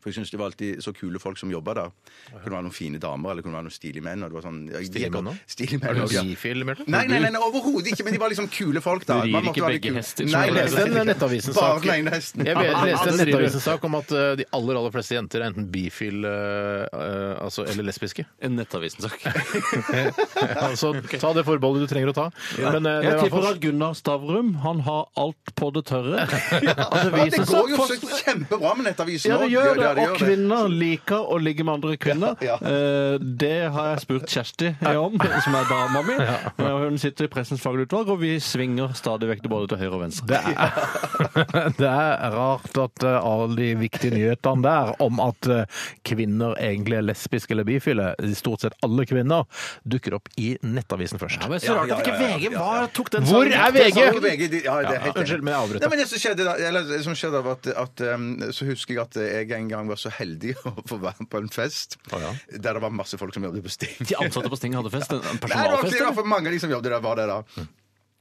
[SPEAKER 8] For jeg synes det var alltid så kule folk som jobba der. Det kunne være noen fine damer eller det kunne være noen stilige menn. Og det var sånn, ja, de-
[SPEAKER 7] Stilige menn også?
[SPEAKER 8] Stilige
[SPEAKER 7] Er
[SPEAKER 8] menn
[SPEAKER 7] du
[SPEAKER 8] også, ja.
[SPEAKER 7] bifil, Bjarte?
[SPEAKER 8] Nei, nei, nei, nei overhodet ikke, men de var liksom kule folk. da
[SPEAKER 3] Du rir
[SPEAKER 8] Man måtte
[SPEAKER 3] ikke
[SPEAKER 8] være litt
[SPEAKER 3] begge
[SPEAKER 8] kul.
[SPEAKER 3] hester,
[SPEAKER 8] Nei,
[SPEAKER 3] som jeg
[SPEAKER 8] nei,
[SPEAKER 7] Jeg leste en
[SPEAKER 8] nei, nei. Bare
[SPEAKER 7] Nettavisen-sak.
[SPEAKER 8] den ene hesten.
[SPEAKER 7] Jeg vet- leste en
[SPEAKER 3] det driver-
[SPEAKER 7] Nettavisen-sak om at eh, de aller aller fleste jenter er enten bifil eh, eh, altså, eller lesbiske.
[SPEAKER 3] En Nettavisen-sak.
[SPEAKER 7] Altså, ta det forbeholdet du trenger å ta. Men eh, det er
[SPEAKER 3] Jeg
[SPEAKER 7] i hvert
[SPEAKER 3] tipper
[SPEAKER 7] fall
[SPEAKER 3] at Gunnar Stavrum han har alt på det tørre. Altså,
[SPEAKER 8] Ja, det går jo så
[SPEAKER 3] forskning-
[SPEAKER 8] kjempebra med Nettavisen
[SPEAKER 3] Ja,
[SPEAKER 8] nå.
[SPEAKER 3] det gjør det.
[SPEAKER 8] det
[SPEAKER 3] Og
[SPEAKER 8] gjør det.
[SPEAKER 3] kvinner liker å ligge med andre kvinner.
[SPEAKER 8] Ja,
[SPEAKER 3] Eh, Det har jeg spurt Kjersti om, som er dama mi. Eh, Hun sitter i Pressens fagutvalg, og vi svinger stadig vekk både til høyre og venstre.
[SPEAKER 4] Det er, det er rart at eh, alle de viktige nyhetene der om at eh, kvinner egentlig er lesbiske eller bifile, stort sett alle kvinner, dukker opp i Nettavisen først.
[SPEAKER 3] men
[SPEAKER 8] så rart at ikke VG var-
[SPEAKER 3] tok den
[SPEAKER 4] Hvor er VG?
[SPEAKER 8] Og VG, de- ja, det er helt
[SPEAKER 4] Unnskyld, men jeg avbryter.
[SPEAKER 8] Nei, men det som skjedde da, eller det som skjedde da var at, at um, Så husker jeg at jeg en gang gang var så heldig å få være med på en fest der det var masse folk som jobbet på Sting.
[SPEAKER 3] De ansatte på Sting hadde fest? En
[SPEAKER 8] Nei, det var
[SPEAKER 3] personalfest?
[SPEAKER 8] flere,
[SPEAKER 3] eller?
[SPEAKER 8] for mange av de som jobbet der, var det da.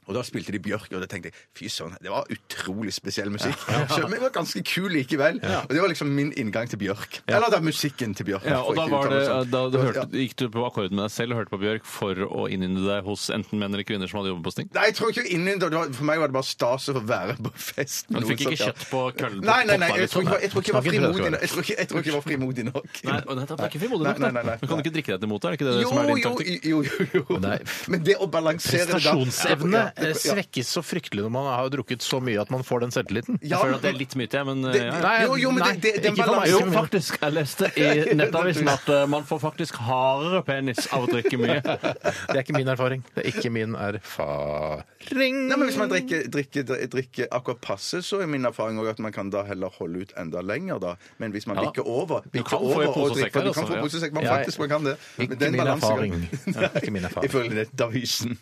[SPEAKER 8] Og da spilte de Bjørk, og da tenkte jeg fy søren, det var utrolig spesiell musikk. Så, men det var ganske kul likevel. Og det var liksom min inngang til Bjørk. Eller da musikken til Bjørk.
[SPEAKER 3] Ja, og
[SPEAKER 8] for
[SPEAKER 3] da,
[SPEAKER 8] ikke å
[SPEAKER 3] var det,
[SPEAKER 8] uttale meg sånn.
[SPEAKER 3] da du
[SPEAKER 8] Det var-
[SPEAKER 3] hørte,
[SPEAKER 8] ja.
[SPEAKER 3] gikk du på akkord med deg selv og hørte på Bjørk for å innynde deg hos enten menn eller kvinner som hadde jobbet på Sting?
[SPEAKER 8] Nei, jeg tror ikke innen, det var, For meg var det bare stas å få være på fest. med
[SPEAKER 3] Men du fikk
[SPEAKER 8] noen
[SPEAKER 3] ikke
[SPEAKER 8] sånt, ja.
[SPEAKER 3] kjøtt på liksom? køllen?
[SPEAKER 8] Nei, nei, nei, jeg tror ikke jeg tror ikke jeg var
[SPEAKER 7] Snakker ikke
[SPEAKER 8] frimodig
[SPEAKER 7] til
[SPEAKER 8] nok. Jeg tror ikke- jeg tror ikke jeg var frimodig nok.
[SPEAKER 3] Nei, og nettopp, det er ikke frimodig nok.
[SPEAKER 8] Nei, nei, nei, nei.
[SPEAKER 3] det. Men kan du ikke drikke deg til mot det? Er det ikke det
[SPEAKER 8] Jo,
[SPEAKER 3] som er din
[SPEAKER 8] jo,
[SPEAKER 3] taktikk?
[SPEAKER 8] jo, jo, jo.
[SPEAKER 7] Nei.
[SPEAKER 8] Men det å balansere da-
[SPEAKER 7] Prestasjonsevne
[SPEAKER 8] Ja,
[SPEAKER 7] eh,
[SPEAKER 8] ja, ja.
[SPEAKER 7] svekkes så fryktelig når man har drukket så mye at man får den selvtilliten.
[SPEAKER 8] Ja,
[SPEAKER 3] Jeg føler at det er litt myte, jeg, men eh, ja.
[SPEAKER 7] Nei,
[SPEAKER 8] jo, jo, men det, det, den
[SPEAKER 7] ikke for meg.
[SPEAKER 3] Jo,
[SPEAKER 8] balansen
[SPEAKER 3] faktisk. Jeg leste i Nettavisen at eh, man får faktisk hardere penis av å drikke mye.
[SPEAKER 7] Det er ikke min erfaring. Det er ikke min erfaring.
[SPEAKER 8] Nei, men Hvis man drikker, drikker, drikker akkurat passe, så er min erfaring også at man kan da heller holde ut enda lenger. da. Men hvis man
[SPEAKER 3] Ja.
[SPEAKER 8] bikker over bikker
[SPEAKER 3] kan få i
[SPEAKER 8] over og
[SPEAKER 3] pose og
[SPEAKER 8] drikker-
[SPEAKER 3] sekk her,
[SPEAKER 8] Du kan
[SPEAKER 3] altså,
[SPEAKER 8] få
[SPEAKER 3] ja.
[SPEAKER 8] posesekk, man
[SPEAKER 7] Ja,
[SPEAKER 8] faktisk man kan det.
[SPEAKER 7] ikke
[SPEAKER 8] Men den
[SPEAKER 7] min erfaring.
[SPEAKER 8] balansegang-
[SPEAKER 7] Ja, ikke min erfaring.
[SPEAKER 8] Ifølge Nettavisen.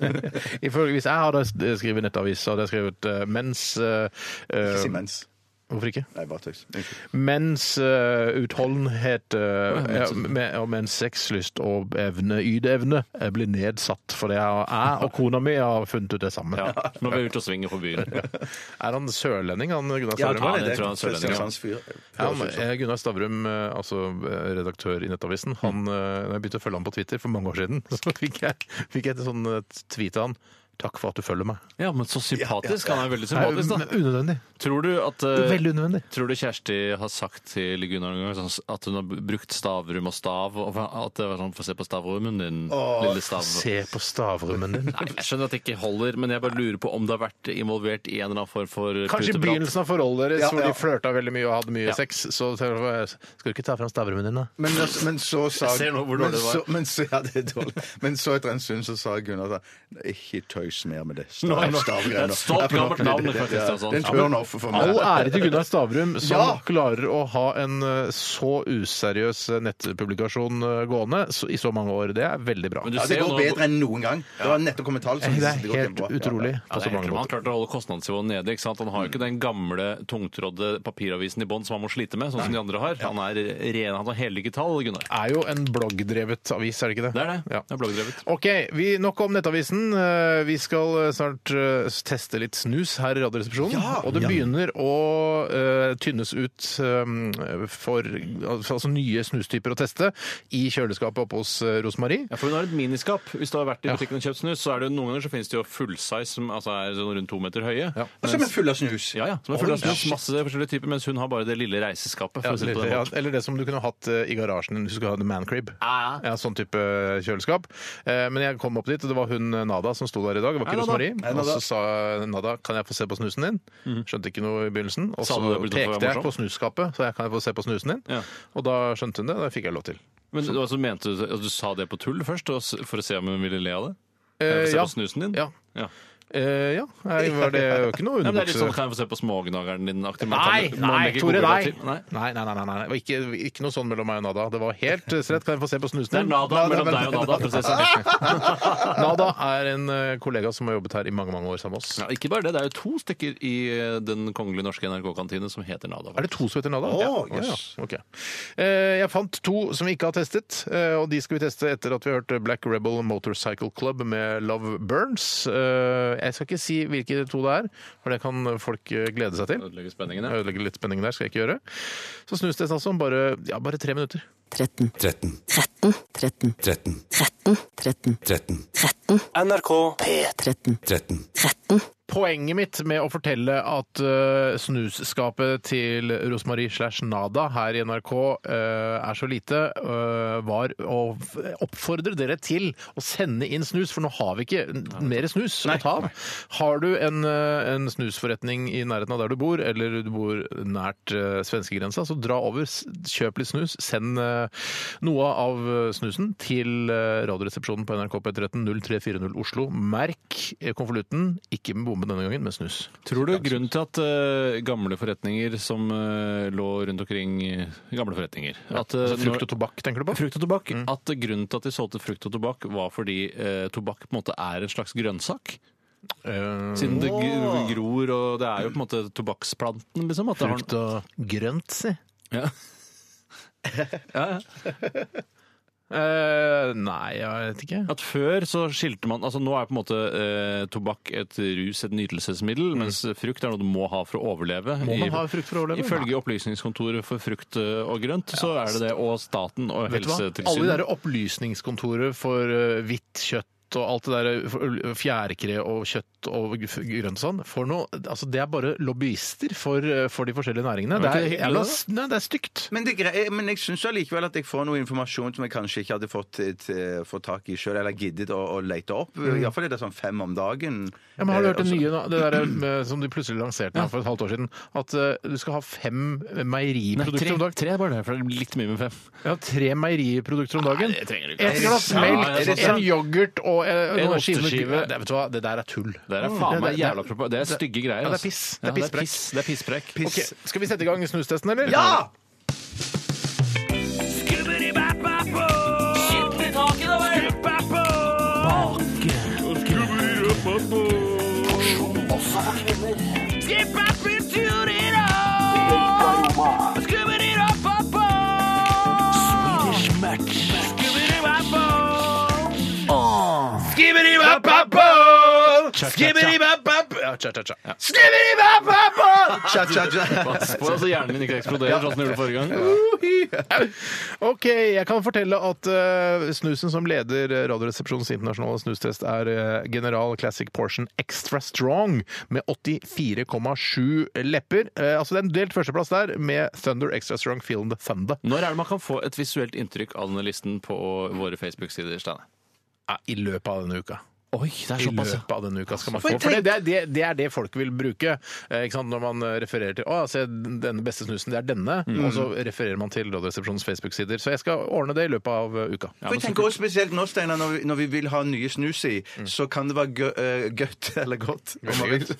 [SPEAKER 7] Ifølge hvis jeg hadde skrevet nettavis, så hadde jeg skrevet eh, mens eh, eh,
[SPEAKER 3] Um,
[SPEAKER 8] Ikke si mens.
[SPEAKER 7] Hvorfor ikke?
[SPEAKER 8] Nei, bare tøys. Unnskyld.
[SPEAKER 7] Mens eh, utholdenhet eh, ja, med- og mens sexlyst og evne, yteevne eh, blir nedsatt fordi jeg, jeg og kona mi har funnet ut det sammen.
[SPEAKER 3] Ja, når vi er ute og svinger på byen.
[SPEAKER 7] Er han sørlending, han Gunnar
[SPEAKER 3] Ja,
[SPEAKER 7] Stavrum?
[SPEAKER 3] han
[SPEAKER 7] eller?
[SPEAKER 3] er det. tror jeg er sørlending, ja.
[SPEAKER 8] Kristiansandsfyr.
[SPEAKER 7] Ja, han, eh, Gunnar Stavrum, eh, altså eh, redaktør i Nettavisen, han, eh, når jeg begynte å følge ham på Twitter for mange år siden, så fikk jeg, fikk jeg et sånn eh, tweet av han. Takk for at du følger meg.
[SPEAKER 3] Ja, men så sympatisk. Han er veldig
[SPEAKER 7] Nei,
[SPEAKER 3] sympatisk, da.
[SPEAKER 7] men sånn. unødvendig.
[SPEAKER 3] Tror du at eh,
[SPEAKER 7] Veldig unødvendig.
[SPEAKER 3] Tror du Kjersti har sagt til Gunnar noen gang sånn at hun har brukt stavrum og stav? Og at det var sånn, Få se på stavrummen din, lille stav.
[SPEAKER 7] Se på stavrummen din.
[SPEAKER 3] Nei, jeg skjønner at det ikke holder, men jeg bare lurer på om det har vært involvert i en eller annen form for
[SPEAKER 7] Kanskje i
[SPEAKER 3] puteprat.
[SPEAKER 7] begynnelsen av forholdet deres,
[SPEAKER 8] Ja,
[SPEAKER 7] hvor
[SPEAKER 8] ja.
[SPEAKER 7] de flørta veldig mye og hadde mye
[SPEAKER 3] Ja.
[SPEAKER 7] sex, så tenkte jeg, skal du ikke ta fram stavrummen din, da?
[SPEAKER 8] Men, da- men så sa
[SPEAKER 3] Jeg ser nå hvor
[SPEAKER 8] men
[SPEAKER 3] dårlig det var.
[SPEAKER 8] så- Men så, ja, det er dårlig. Men så etter en stund så sa Gunnar da, ikke tøys mer med det. stav-
[SPEAKER 3] Nei, nå-
[SPEAKER 8] stavgreiene.
[SPEAKER 3] Det er et stolt
[SPEAKER 8] Ja, for nå-
[SPEAKER 3] gammelt navn,
[SPEAKER 8] det- det-
[SPEAKER 3] faktisk,
[SPEAKER 8] ja,
[SPEAKER 3] altså.
[SPEAKER 8] Det er en turn-off for meg.
[SPEAKER 7] All ære til Gunnar Stavrum, som
[SPEAKER 8] Ja!
[SPEAKER 7] klarer å ha en eh, så useriøs eh, nettpublikasjon eh, gående så, i så mange år. Det er veldig bra.
[SPEAKER 3] Men du
[SPEAKER 8] Ja, det
[SPEAKER 3] ser jo
[SPEAKER 8] går
[SPEAKER 3] nå-
[SPEAKER 8] bedre enn noen gang. Det var nettopp kommet tall. som
[SPEAKER 7] Det
[SPEAKER 8] viser
[SPEAKER 7] er
[SPEAKER 8] at går
[SPEAKER 7] helt
[SPEAKER 8] kjempebra. Ja,
[SPEAKER 7] utrolig
[SPEAKER 8] ja.
[SPEAKER 7] på
[SPEAKER 3] Ja, det
[SPEAKER 7] så
[SPEAKER 3] er helt
[SPEAKER 7] mange
[SPEAKER 3] klart. Han
[SPEAKER 7] måter.
[SPEAKER 3] klarte å holde kostnadsnivået nede. ikke sant? Han har jo ikke den gamle tungtrådde papiravisen i bånn som han må slite med, sånn som de andre har. Han er ren, han har heldigital, Gunnar.
[SPEAKER 7] Er jo en bloggdrevet avis, er det ikke det?
[SPEAKER 3] Det er det.
[SPEAKER 7] Ja.
[SPEAKER 3] Det er bloggdrevet.
[SPEAKER 7] Ok, vi, nok om Nettavisen. Eh, Vi skal eh, snart eh, teste litt snus her i Radioresepsjonen. og det begynner å eh, tynnes ut eh, for altså, nye snustyper å teste i kjøleskapet oppe hos uh, Rosemarie.
[SPEAKER 3] Ja, for hun har et miniskap. Hvis du har vært i butikken og kjøpt snus, så er det jo noen ganger så finnes det jo fullsize som altså er sånn rundt to meter høye. Ja.
[SPEAKER 8] Og Som er full av snus.
[SPEAKER 3] Ja, ja. Som er full av snus, masse forskjellige typer, mens hun har bare det lille reiseskapet. For å si det på den
[SPEAKER 7] Ja,
[SPEAKER 3] måten.
[SPEAKER 7] eller det som du kunne hatt eh, i garasjen hvis du skulle ha en mancrib.
[SPEAKER 3] Ja, ja.
[SPEAKER 7] Ja, sånn type kjøleskap. Eh, Men jeg kom opp dit, og det var hun eh, Nada som sto der i dag. Det var
[SPEAKER 3] Hei,
[SPEAKER 7] ikke
[SPEAKER 3] Nada.
[SPEAKER 7] Rosemarie.
[SPEAKER 8] Hei,
[SPEAKER 7] Og
[SPEAKER 8] Nada.
[SPEAKER 7] så sa eh, Nada kan jeg få se på snusen din? Skjønte ikke noe i begynnelsen. Og
[SPEAKER 3] Mhm. Sa
[SPEAKER 7] så
[SPEAKER 3] du det fordi det var
[SPEAKER 7] pekte jeg
[SPEAKER 3] morsomt?
[SPEAKER 7] på snusskapet, så jeg kan jeg få se på snusen din?
[SPEAKER 3] Ja.
[SPEAKER 7] Og da skjønte hun det, og det fikk jeg lov til.
[SPEAKER 3] Men du, altså, mente du, altså, du sa det på tull først, og s- for å se om hun ville le av det?
[SPEAKER 7] Eh,
[SPEAKER 3] Kan jeg få se
[SPEAKER 7] ja.
[SPEAKER 3] på snusen din?
[SPEAKER 7] Ja.
[SPEAKER 3] Ja.
[SPEAKER 7] Eh, ja, nei, var det jo ikke noe
[SPEAKER 3] Nei, men det er litt
[SPEAKER 7] underbukse?
[SPEAKER 3] sånn, Kan jeg få se på smågnageren din? aktig? Man
[SPEAKER 7] Nei,
[SPEAKER 3] kan- man
[SPEAKER 7] nei,
[SPEAKER 3] legger
[SPEAKER 7] Tore,
[SPEAKER 3] gode råd
[SPEAKER 7] nei.
[SPEAKER 3] til.
[SPEAKER 7] Nei, nei, nei, nei, nei. Det var Ikke, ikke noe sånn mellom meg og Nada. Det var helt eh, strett. Kan jeg få se på snusen
[SPEAKER 3] Det er
[SPEAKER 7] din?
[SPEAKER 3] Nada mellom deg og Nada. for å si det sånn.
[SPEAKER 7] Nada er en eh, kollega som har jobbet her i mange mange år sammen med oss.
[SPEAKER 3] Ja, ikke bare det, det er jo to stykker i eh, den kongelige norske NRK-kantine som heter Nada.
[SPEAKER 7] Er det to som heter Nada?
[SPEAKER 8] Å,
[SPEAKER 7] Ja.
[SPEAKER 8] jøss.
[SPEAKER 7] Ja, ok. Eh, Jeg fant to som vi ikke har testet, eh, og de skal vi teste etter at vi har hørt Black Rebel Motorcycle Club med Love Burns. Eh, Jeg skal ikke si hvilke to det er, for det kan folk eh, glede seg til.
[SPEAKER 3] Ødelegger spenningen, ja.
[SPEAKER 7] Ødelegge litt spenning der, skal jeg ikke gjøre. Så snus det altså om bare, ja, bare tre minutter.
[SPEAKER 9] 13,
[SPEAKER 10] 13.
[SPEAKER 9] 13, 13,
[SPEAKER 10] 13.
[SPEAKER 9] 13, 13,
[SPEAKER 10] 13.
[SPEAKER 9] 13. NRK P13,
[SPEAKER 10] 13.
[SPEAKER 9] 13.
[SPEAKER 7] Poenget mitt med å fortelle at eh, snusskapet til Rosmarie slash Nada her i NRK eh, er så lite, eh, var å f- oppfordre dere til å sende inn snus, for nå har vi ikke n- mer snus å ta av. Har du en, eh, en snusforretning i nærheten av der du bor, eller du bor nært eh, svenskegrensa, så dra over, s- kjøp litt snus, send eh, noe av eh, snusen til eh, Radioresepsjonen på NRK P13 0340 Oslo. Merk eh, konvolutten, ikke med bombe denne gangen, men snus.
[SPEAKER 3] Tror du grunnen til at eh, gamle forretninger som eh, lå rundt omkring eh, Gamle forretninger at, eh,
[SPEAKER 7] Altså frukt og tobakk, tenker du på?
[SPEAKER 3] Frukt og tobakk. At grunnen til at de solgte frukt og tobakk, var fordi eh, tobakk på en måte er en slags grønnsak.
[SPEAKER 7] Eh,
[SPEAKER 3] Siden det gr- gror, og det er jo på en måte tobakksplanten, liksom. At det har,
[SPEAKER 7] frukt og grønt, si.
[SPEAKER 3] ja. Ja, ja.
[SPEAKER 7] Eh, nei, jeg vet ikke.
[SPEAKER 3] At før så skilte man altså Nå er på en måte eh, tobakk et rus, et nytelsesmiddel, mens frukt er noe du må ha for å overleve.
[SPEAKER 7] Mm. Må man ha frukt for å overleve?
[SPEAKER 3] Ifølge Opplysningskontoret for frukt eh, og grønt, så er det det. Og staten og
[SPEAKER 7] Vet du hva? Alle de
[SPEAKER 3] Helsetilsynet.
[SPEAKER 7] der opplysningskontoret for eh, hvitt kjøtt og alt det der eh, for øl- fjærkre og kjøtt og g- f- grønt og sånn, for noe, altså det er bare lobbyister for, eh, for de forskjellige næringene. Det
[SPEAKER 3] ikke
[SPEAKER 7] er,
[SPEAKER 3] det hyggelig,
[SPEAKER 7] jævla
[SPEAKER 3] da?
[SPEAKER 7] s- nei, det er stygt.
[SPEAKER 8] Men, det er grei, men jeg syns allikevel at jeg får noe informasjon som jeg kanskje ikke hadde fått, til- fått tak i sjøl, eller giddet å, å lete opp. Iallfall er det sånn fem om dagen.
[SPEAKER 7] Mm. Ja, men har du hørt det
[SPEAKER 8] Eh,
[SPEAKER 7] nye nå, det der eh, som de plutselig lanserte nå for et halvt år siden? At eh, du skal ha fem meieriprodukter om
[SPEAKER 3] tre,
[SPEAKER 7] dagen?
[SPEAKER 3] tre er bare det, for det er litt mye med fem.
[SPEAKER 7] Ja, tre meieriprodukter om dagen.
[SPEAKER 3] Nei, det trenger du ikke.
[SPEAKER 7] Et glass
[SPEAKER 3] Ja,
[SPEAKER 7] melk,
[SPEAKER 3] det er sånn. sant.
[SPEAKER 7] en yoghurt og eh,
[SPEAKER 3] En
[SPEAKER 7] noen skiver-
[SPEAKER 3] osteskive.
[SPEAKER 7] Det, vet du hva, det der er tull.
[SPEAKER 3] Det er faen meg
[SPEAKER 7] det-
[SPEAKER 3] jævla propa- Det er stygge greier.
[SPEAKER 7] Ja, det er
[SPEAKER 3] altså.
[SPEAKER 7] piss. Det er
[SPEAKER 3] Ja, Det er
[SPEAKER 7] pisspreik.
[SPEAKER 3] piss. Det er pisspreik.
[SPEAKER 7] Ok, Skal vi sette i gang snustesten, eller?
[SPEAKER 8] Ja! Tja, tja, tja.
[SPEAKER 3] Pass på, altså hjernen min ikke eksploderer, sånn som den gjorde forrige gang.
[SPEAKER 7] Ok, jeg kan fortelle at eh, snusen som leder eh, Radioresepsjonens internasjonale snustest, er eh, General Classic Portion Extra Strong med 84,7 lepper. Eh, altså Det er en delt førsteplass der med Thunder Extra Strong Film The Thunder.
[SPEAKER 3] Når er det man kan få et visuelt inntrykk av denne listen på våre Facebook-sider? Steine?
[SPEAKER 7] Ja, I løpet av denne uka.
[SPEAKER 3] Oi, det
[SPEAKER 7] I løpet av denne uka skal man få.
[SPEAKER 3] For
[SPEAKER 7] For det, det, er det, det er det folk vil bruke. eh, Ikke sant? Når man eh, refererer til å, se denne beste snusen, det er denne, og så refererer man til Radioresepsjonens Facebook-sider. Så jeg skal ordne det i løpet av eh, uka.
[SPEAKER 8] For jeg tenker også spesielt nå, Steinar, når, vi- når vi vil ha nye snus i,
[SPEAKER 3] Mm.
[SPEAKER 8] så kan det være gø eh, gøtt eller godt. om man vil.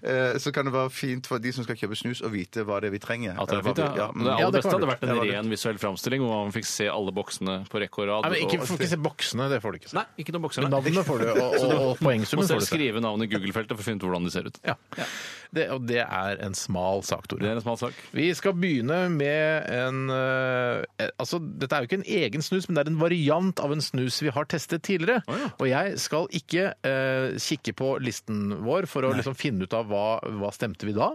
[SPEAKER 8] Eh, så kan det være fint for de som skal kjøpe snus, å vite hva det er vi trenger.
[SPEAKER 3] At det er
[SPEAKER 8] Eller hva
[SPEAKER 3] fint, ja.
[SPEAKER 8] vi-
[SPEAKER 3] Det
[SPEAKER 8] mm.
[SPEAKER 3] aller
[SPEAKER 7] Ja, det
[SPEAKER 3] beste
[SPEAKER 7] kan
[SPEAKER 3] hadde
[SPEAKER 7] du.
[SPEAKER 3] vært en ren visuell framstilling hvor man fikk se alle boksene på rekke og rad.
[SPEAKER 7] Nei, men ikke,
[SPEAKER 3] og...
[SPEAKER 7] får ikke se boksene, det får du ikke se.
[SPEAKER 3] Nei, ikke noen bokser.
[SPEAKER 7] Men
[SPEAKER 3] nei.
[SPEAKER 7] navnet får du, og, og, og
[SPEAKER 3] Må
[SPEAKER 7] poengsummen får du
[SPEAKER 3] selv
[SPEAKER 7] se.
[SPEAKER 3] skrive navnet i Google-feltet for å finne ut hvordan de ser ut.
[SPEAKER 7] Ja. Det, og det er en smal sak,
[SPEAKER 3] Det
[SPEAKER 7] Tore.
[SPEAKER 3] er en smal sak.
[SPEAKER 7] Vi skal begynne med en eh, Altså, dette er jo ikke en egen snus, men det er en variant av en snus vi har testet tidligere. Og jeg skal ikke eh, kikke på listen vår for å liksom finne ut av hva, hva stemte vi da.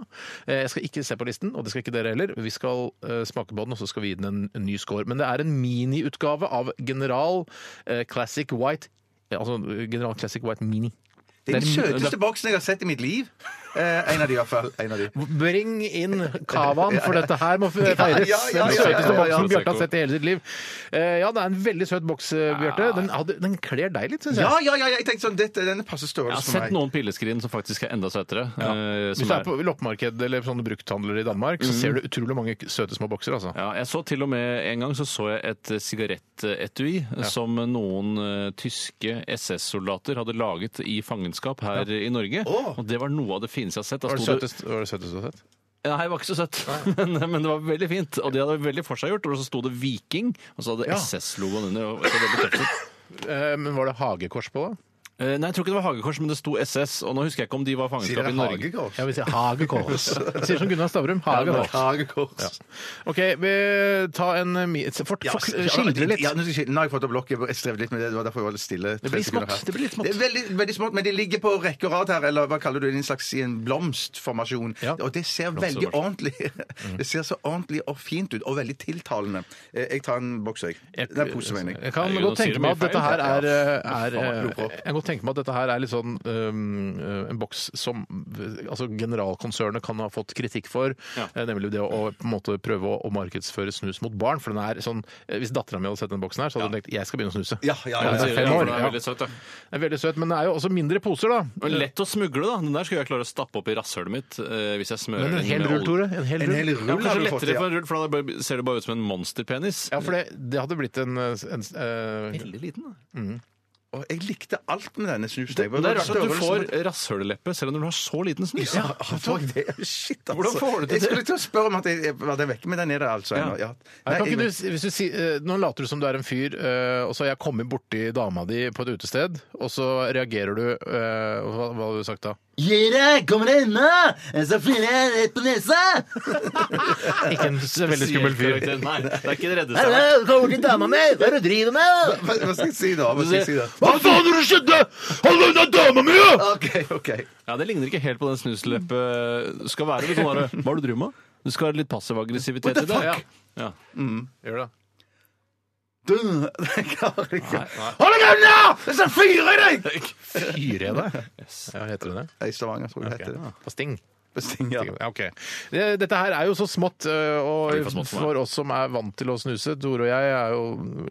[SPEAKER 7] Eh, jeg skal ikke se på listen, og det skal ikke dere heller. Vi skal eh, smake på den, og så skal vi gi den en, en ny score. Men det er en miniutgave av General eh, Classic White eh, Altså General Classic White Mini.
[SPEAKER 8] Det er den
[SPEAKER 7] Det er-
[SPEAKER 8] søteste boksen jeg har sett i mitt liv. Eh, en av de, i hvert fall. En av de.
[SPEAKER 7] Bring inn kavaen, for dette her må feires.
[SPEAKER 8] Ja, ja, ja,
[SPEAKER 7] Den
[SPEAKER 8] ja, ja,
[SPEAKER 7] søteste
[SPEAKER 8] ja, ja.
[SPEAKER 7] boksen Bjarte har sett i hele sitt liv. Eh, Ja, det er en veldig søt boks, eh, Bjarte. Den, hadde- den kler deg litt, syns jeg.
[SPEAKER 8] Ja, ja, ja, jeg tenkte sånn, dette, denne passer
[SPEAKER 3] Jeg
[SPEAKER 8] størrelse
[SPEAKER 3] har
[SPEAKER 8] for
[SPEAKER 3] sett
[SPEAKER 8] meg.
[SPEAKER 3] noen pilleskrin som faktisk er enda søtere. eh,
[SPEAKER 7] Hvis
[SPEAKER 3] som
[SPEAKER 7] du er
[SPEAKER 3] er-
[SPEAKER 7] på loppemarked eller sånne brukthandlere i Danmark,
[SPEAKER 8] Mm.
[SPEAKER 7] så ser du utrolig mange søte små bokser, altså.
[SPEAKER 3] Ja, jeg så til og med En gang så, så jeg et eh, sigarettetui eh, som noen eh, tyske SS-soldater hadde laget i fangenskap her eh, i Norge. Og det var noe av det fineste jeg har sett. Da
[SPEAKER 7] Var det
[SPEAKER 3] sto det-
[SPEAKER 7] søtest var det søteste du har sett?
[SPEAKER 3] Nei, det var ikke så søtt, men, men det var veldig fint. Og de hadde veldig forseggjort. Og så sto det Viking, og så hadde
[SPEAKER 7] Ja.
[SPEAKER 3] SS-logoen under. Og det så veldig tøft ut.
[SPEAKER 7] Eh, Men var det hagekors på, da?
[SPEAKER 3] Eh, Nei, jeg tror ikke det var hagekors, men det sto SS. Og nå husker jeg ikke om de var
[SPEAKER 8] Sier
[SPEAKER 3] fangenskap
[SPEAKER 8] dere
[SPEAKER 3] i Norge.
[SPEAKER 8] hagekors?
[SPEAKER 7] Jeg vil si hagekors. Sier som Gunnar Stavrum. Hagekors.
[SPEAKER 8] Hagekors.
[SPEAKER 7] OK, vi ta en eh, mi- fort-
[SPEAKER 8] Ja, altså,
[SPEAKER 7] fort-
[SPEAKER 8] ja,
[SPEAKER 7] Skildre litt.
[SPEAKER 8] Ja, nå, skal jeg skildre. nå har jeg fått opp lokket. Jeg strevde litt med det. Det var derfor jeg var litt stille.
[SPEAKER 7] Det blir
[SPEAKER 8] tre sekunder
[SPEAKER 7] smått,
[SPEAKER 8] her.
[SPEAKER 7] det blir litt smått.
[SPEAKER 8] Det er veldig, veldig smått, men det ligger på rekke og rad her, eller hva kaller du det, en slags i en blomstformasjon.
[SPEAKER 7] Ja.
[SPEAKER 8] Og det ser veldig ordentlig Det ser så ordentlig og fint ut, og veldig tiltalende. Eh, Jeg tar en boks, jeg. Nei, pose, mener jeg.
[SPEAKER 7] Jeg kan
[SPEAKER 3] Herregud, nå
[SPEAKER 7] godt
[SPEAKER 3] sier
[SPEAKER 7] tenke
[SPEAKER 3] du
[SPEAKER 7] meg
[SPEAKER 3] mye
[SPEAKER 7] at dette her
[SPEAKER 3] feil.
[SPEAKER 7] er, eh, er,
[SPEAKER 8] faen,
[SPEAKER 7] er
[SPEAKER 8] jeg lurer på.
[SPEAKER 7] Jeg kan godt tenke meg at dette her er litt sånn øhm, øh, en boks som øh, altså generalkonsernet kan ha fått kritikk for, eh, nemlig det å å på en måte prøve å, å markedsføre snus mot barn. For den er sånn eh, Hvis dattera mi hadde sett denne boksen her, så hadde hun tenkt jeg skal begynne å snuse.
[SPEAKER 8] Ja, ja, ja, altså,
[SPEAKER 3] Ja,
[SPEAKER 8] ja.
[SPEAKER 3] det
[SPEAKER 7] fem
[SPEAKER 3] er
[SPEAKER 7] år, ja.
[SPEAKER 3] veldig søtt, ja.
[SPEAKER 7] Den er veldig søt, men det er jo også mindre poser, da.
[SPEAKER 3] Men lett å smugle, da. Den der skulle jeg klare å stappe opp i rasshølet mitt eh, hvis jeg smører
[SPEAKER 7] Men en
[SPEAKER 3] den
[SPEAKER 7] hel
[SPEAKER 3] med
[SPEAKER 7] rull,
[SPEAKER 3] olje.
[SPEAKER 7] Tore. En hel
[SPEAKER 8] En
[SPEAKER 7] rull.
[SPEAKER 8] hel
[SPEAKER 3] Ja,
[SPEAKER 8] rull har
[SPEAKER 3] kanskje
[SPEAKER 8] du fått,
[SPEAKER 3] lettere
[SPEAKER 8] ja.
[SPEAKER 3] for en rull, for da bare- ser det bare ut som en monsterpenis.
[SPEAKER 7] Ja, for det, det hadde blitt en, eh, en eh,
[SPEAKER 3] Veldig liten, da.
[SPEAKER 8] Og jeg likte alt med denne snusen. Det,
[SPEAKER 3] Men det er rart at du får rasshøleleppe selv om du har så liten snus.
[SPEAKER 8] Ja, får jeg det? Shit, altså.
[SPEAKER 3] Hvordan får du til
[SPEAKER 8] Jeg
[SPEAKER 3] det?
[SPEAKER 8] skulle til å spørre om at jeg jeg- var det vekke, men den er der altså ennå. Ja.
[SPEAKER 7] Nei, kan
[SPEAKER 8] jeg-
[SPEAKER 7] ikke du, si- hvis du si, eh, nå later du som du er en fyr, eh, og så har jeg kommet borti dama di på et utested, og så reagerer du eh, Hva, hva hadde du sagt da?
[SPEAKER 2] Jere, kommer deg unna! Så fyrer jeg rett på nesa!
[SPEAKER 4] Ikke en s- veldig skummel fyr.
[SPEAKER 3] Nei, det er ikke det reddeste.
[SPEAKER 4] Hallo, kom bort til dama mi! Hva er det du driver med?
[SPEAKER 8] Hva, hva skal jeg si da? Hva skal jeg si da?
[SPEAKER 4] Hva faen er det skjedde?! Hold unna dama mi!
[SPEAKER 8] OK, OK.
[SPEAKER 3] Ja, Det ligner ikke helt på den snusleppe skal være. Det er sånn der, Hva er det du driver med? Du skal ha litt passiv aggressivitet i det. Ja. Ja.
[SPEAKER 7] Gjør det.
[SPEAKER 8] Du, jeg klarer ikke.
[SPEAKER 4] Hold deg unna! Så
[SPEAKER 8] sånn
[SPEAKER 4] fyrer jeg deg! Fyrer jeg deg?
[SPEAKER 7] Ja, heter det det?
[SPEAKER 8] I Stavanger, tror jeg det heter det.
[SPEAKER 7] På Sting?
[SPEAKER 8] På Sting, ja.
[SPEAKER 7] Ja, ok. Det- Dette her er jo så smått, øh,
[SPEAKER 3] Det
[SPEAKER 7] og
[SPEAKER 3] blir for smått for meg.
[SPEAKER 7] for oss som er vant til å snuse, Tore og jeg er jo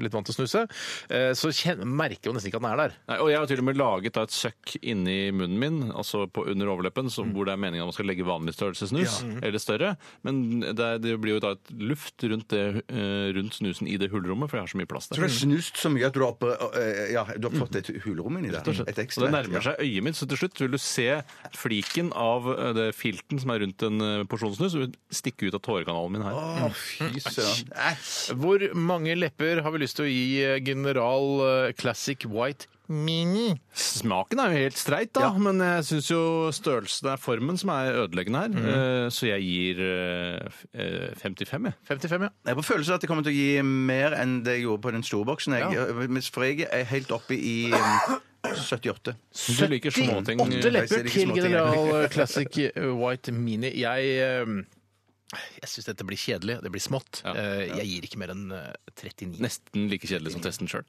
[SPEAKER 7] litt vant til å snuse, eh, så kjen- merker jo nesten ikke at den er der.
[SPEAKER 3] Nei, og jeg har til og med laget da, et søkk inni munnen min, altså på, under overleppen, så, hvor det er meningen at man skal legge vanlig størrelse snus, eller større. Men det, er- det blir jo da et luft rundt, det, eh, rundt snusen i det hullrommet, for jeg har så mye plass
[SPEAKER 8] Du
[SPEAKER 3] der.
[SPEAKER 8] har snust så mye at du har, oppe, eh, ja, du har fått et hulrom inni der. Et
[SPEAKER 3] Og det nærmer seg øyet mitt, så til slutt vil du se fliken av eh, det filten som er rundt en eh, porsjon snus, og stikke ut av tårekanalen min her.
[SPEAKER 8] Å, fy
[SPEAKER 3] Mm.
[SPEAKER 8] søren. Æsj.
[SPEAKER 7] Hvor mange lepper har vi lyst til å gi eh, General eh, Classic White Mini?
[SPEAKER 3] Smaken er jo helt streit, da, men jeg syns jo størrelsen er formen som er ødeleggende her.
[SPEAKER 7] Mhm.
[SPEAKER 3] Eh, Så jeg gir eh, f- eh, 55, jeg.
[SPEAKER 7] 55, ja.
[SPEAKER 8] Jeg har på følelsen at det kommer til å gi mer enn det jeg gjorde på den store boksen. Jeg, mens- For jeg er helt oppe i eh, 78.
[SPEAKER 3] Du liker småting.
[SPEAKER 7] Åtte
[SPEAKER 8] Jeg ser
[SPEAKER 7] lepper
[SPEAKER 8] ikke
[SPEAKER 7] til
[SPEAKER 8] småting, jeg.
[SPEAKER 7] General eh, Classic White Mini. Jeg eh, jeg syns dette blir kjedelig. Det blir smått.
[SPEAKER 3] Ja.
[SPEAKER 7] Eh, Jeg gir ikke mer enn eh, 39.
[SPEAKER 3] Nesten like kjedelig som testen sjøl.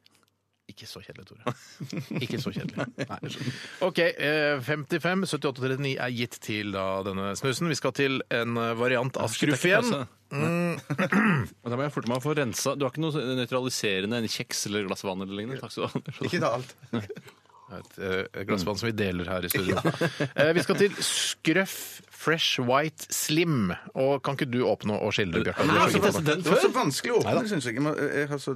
[SPEAKER 7] Ikke så kjedelig, Tore. Ikke så kjedelig. Nei. OK. eh, 55, 78 og 39 er gitt til da, denne snusen. Vi skal til en eh, variant av skruff igjen.
[SPEAKER 3] Mm. Da må jeg forte meg å få rensa. Du har ikke noe nøytraliserende en kjeks eller glass vann eller lignende? Takk skal du ha.
[SPEAKER 8] Ikke ta alt.
[SPEAKER 7] Et eh, glass vann som vi deler her i studio. Eh, Vi skal til Scruff Fresh White Slim. Og kan ikke du åpne og skille det, Bjarte? Du er så god på det.
[SPEAKER 8] Det var så vanskelig å åpne, syns jeg. Jeg må- eh, jeg har så...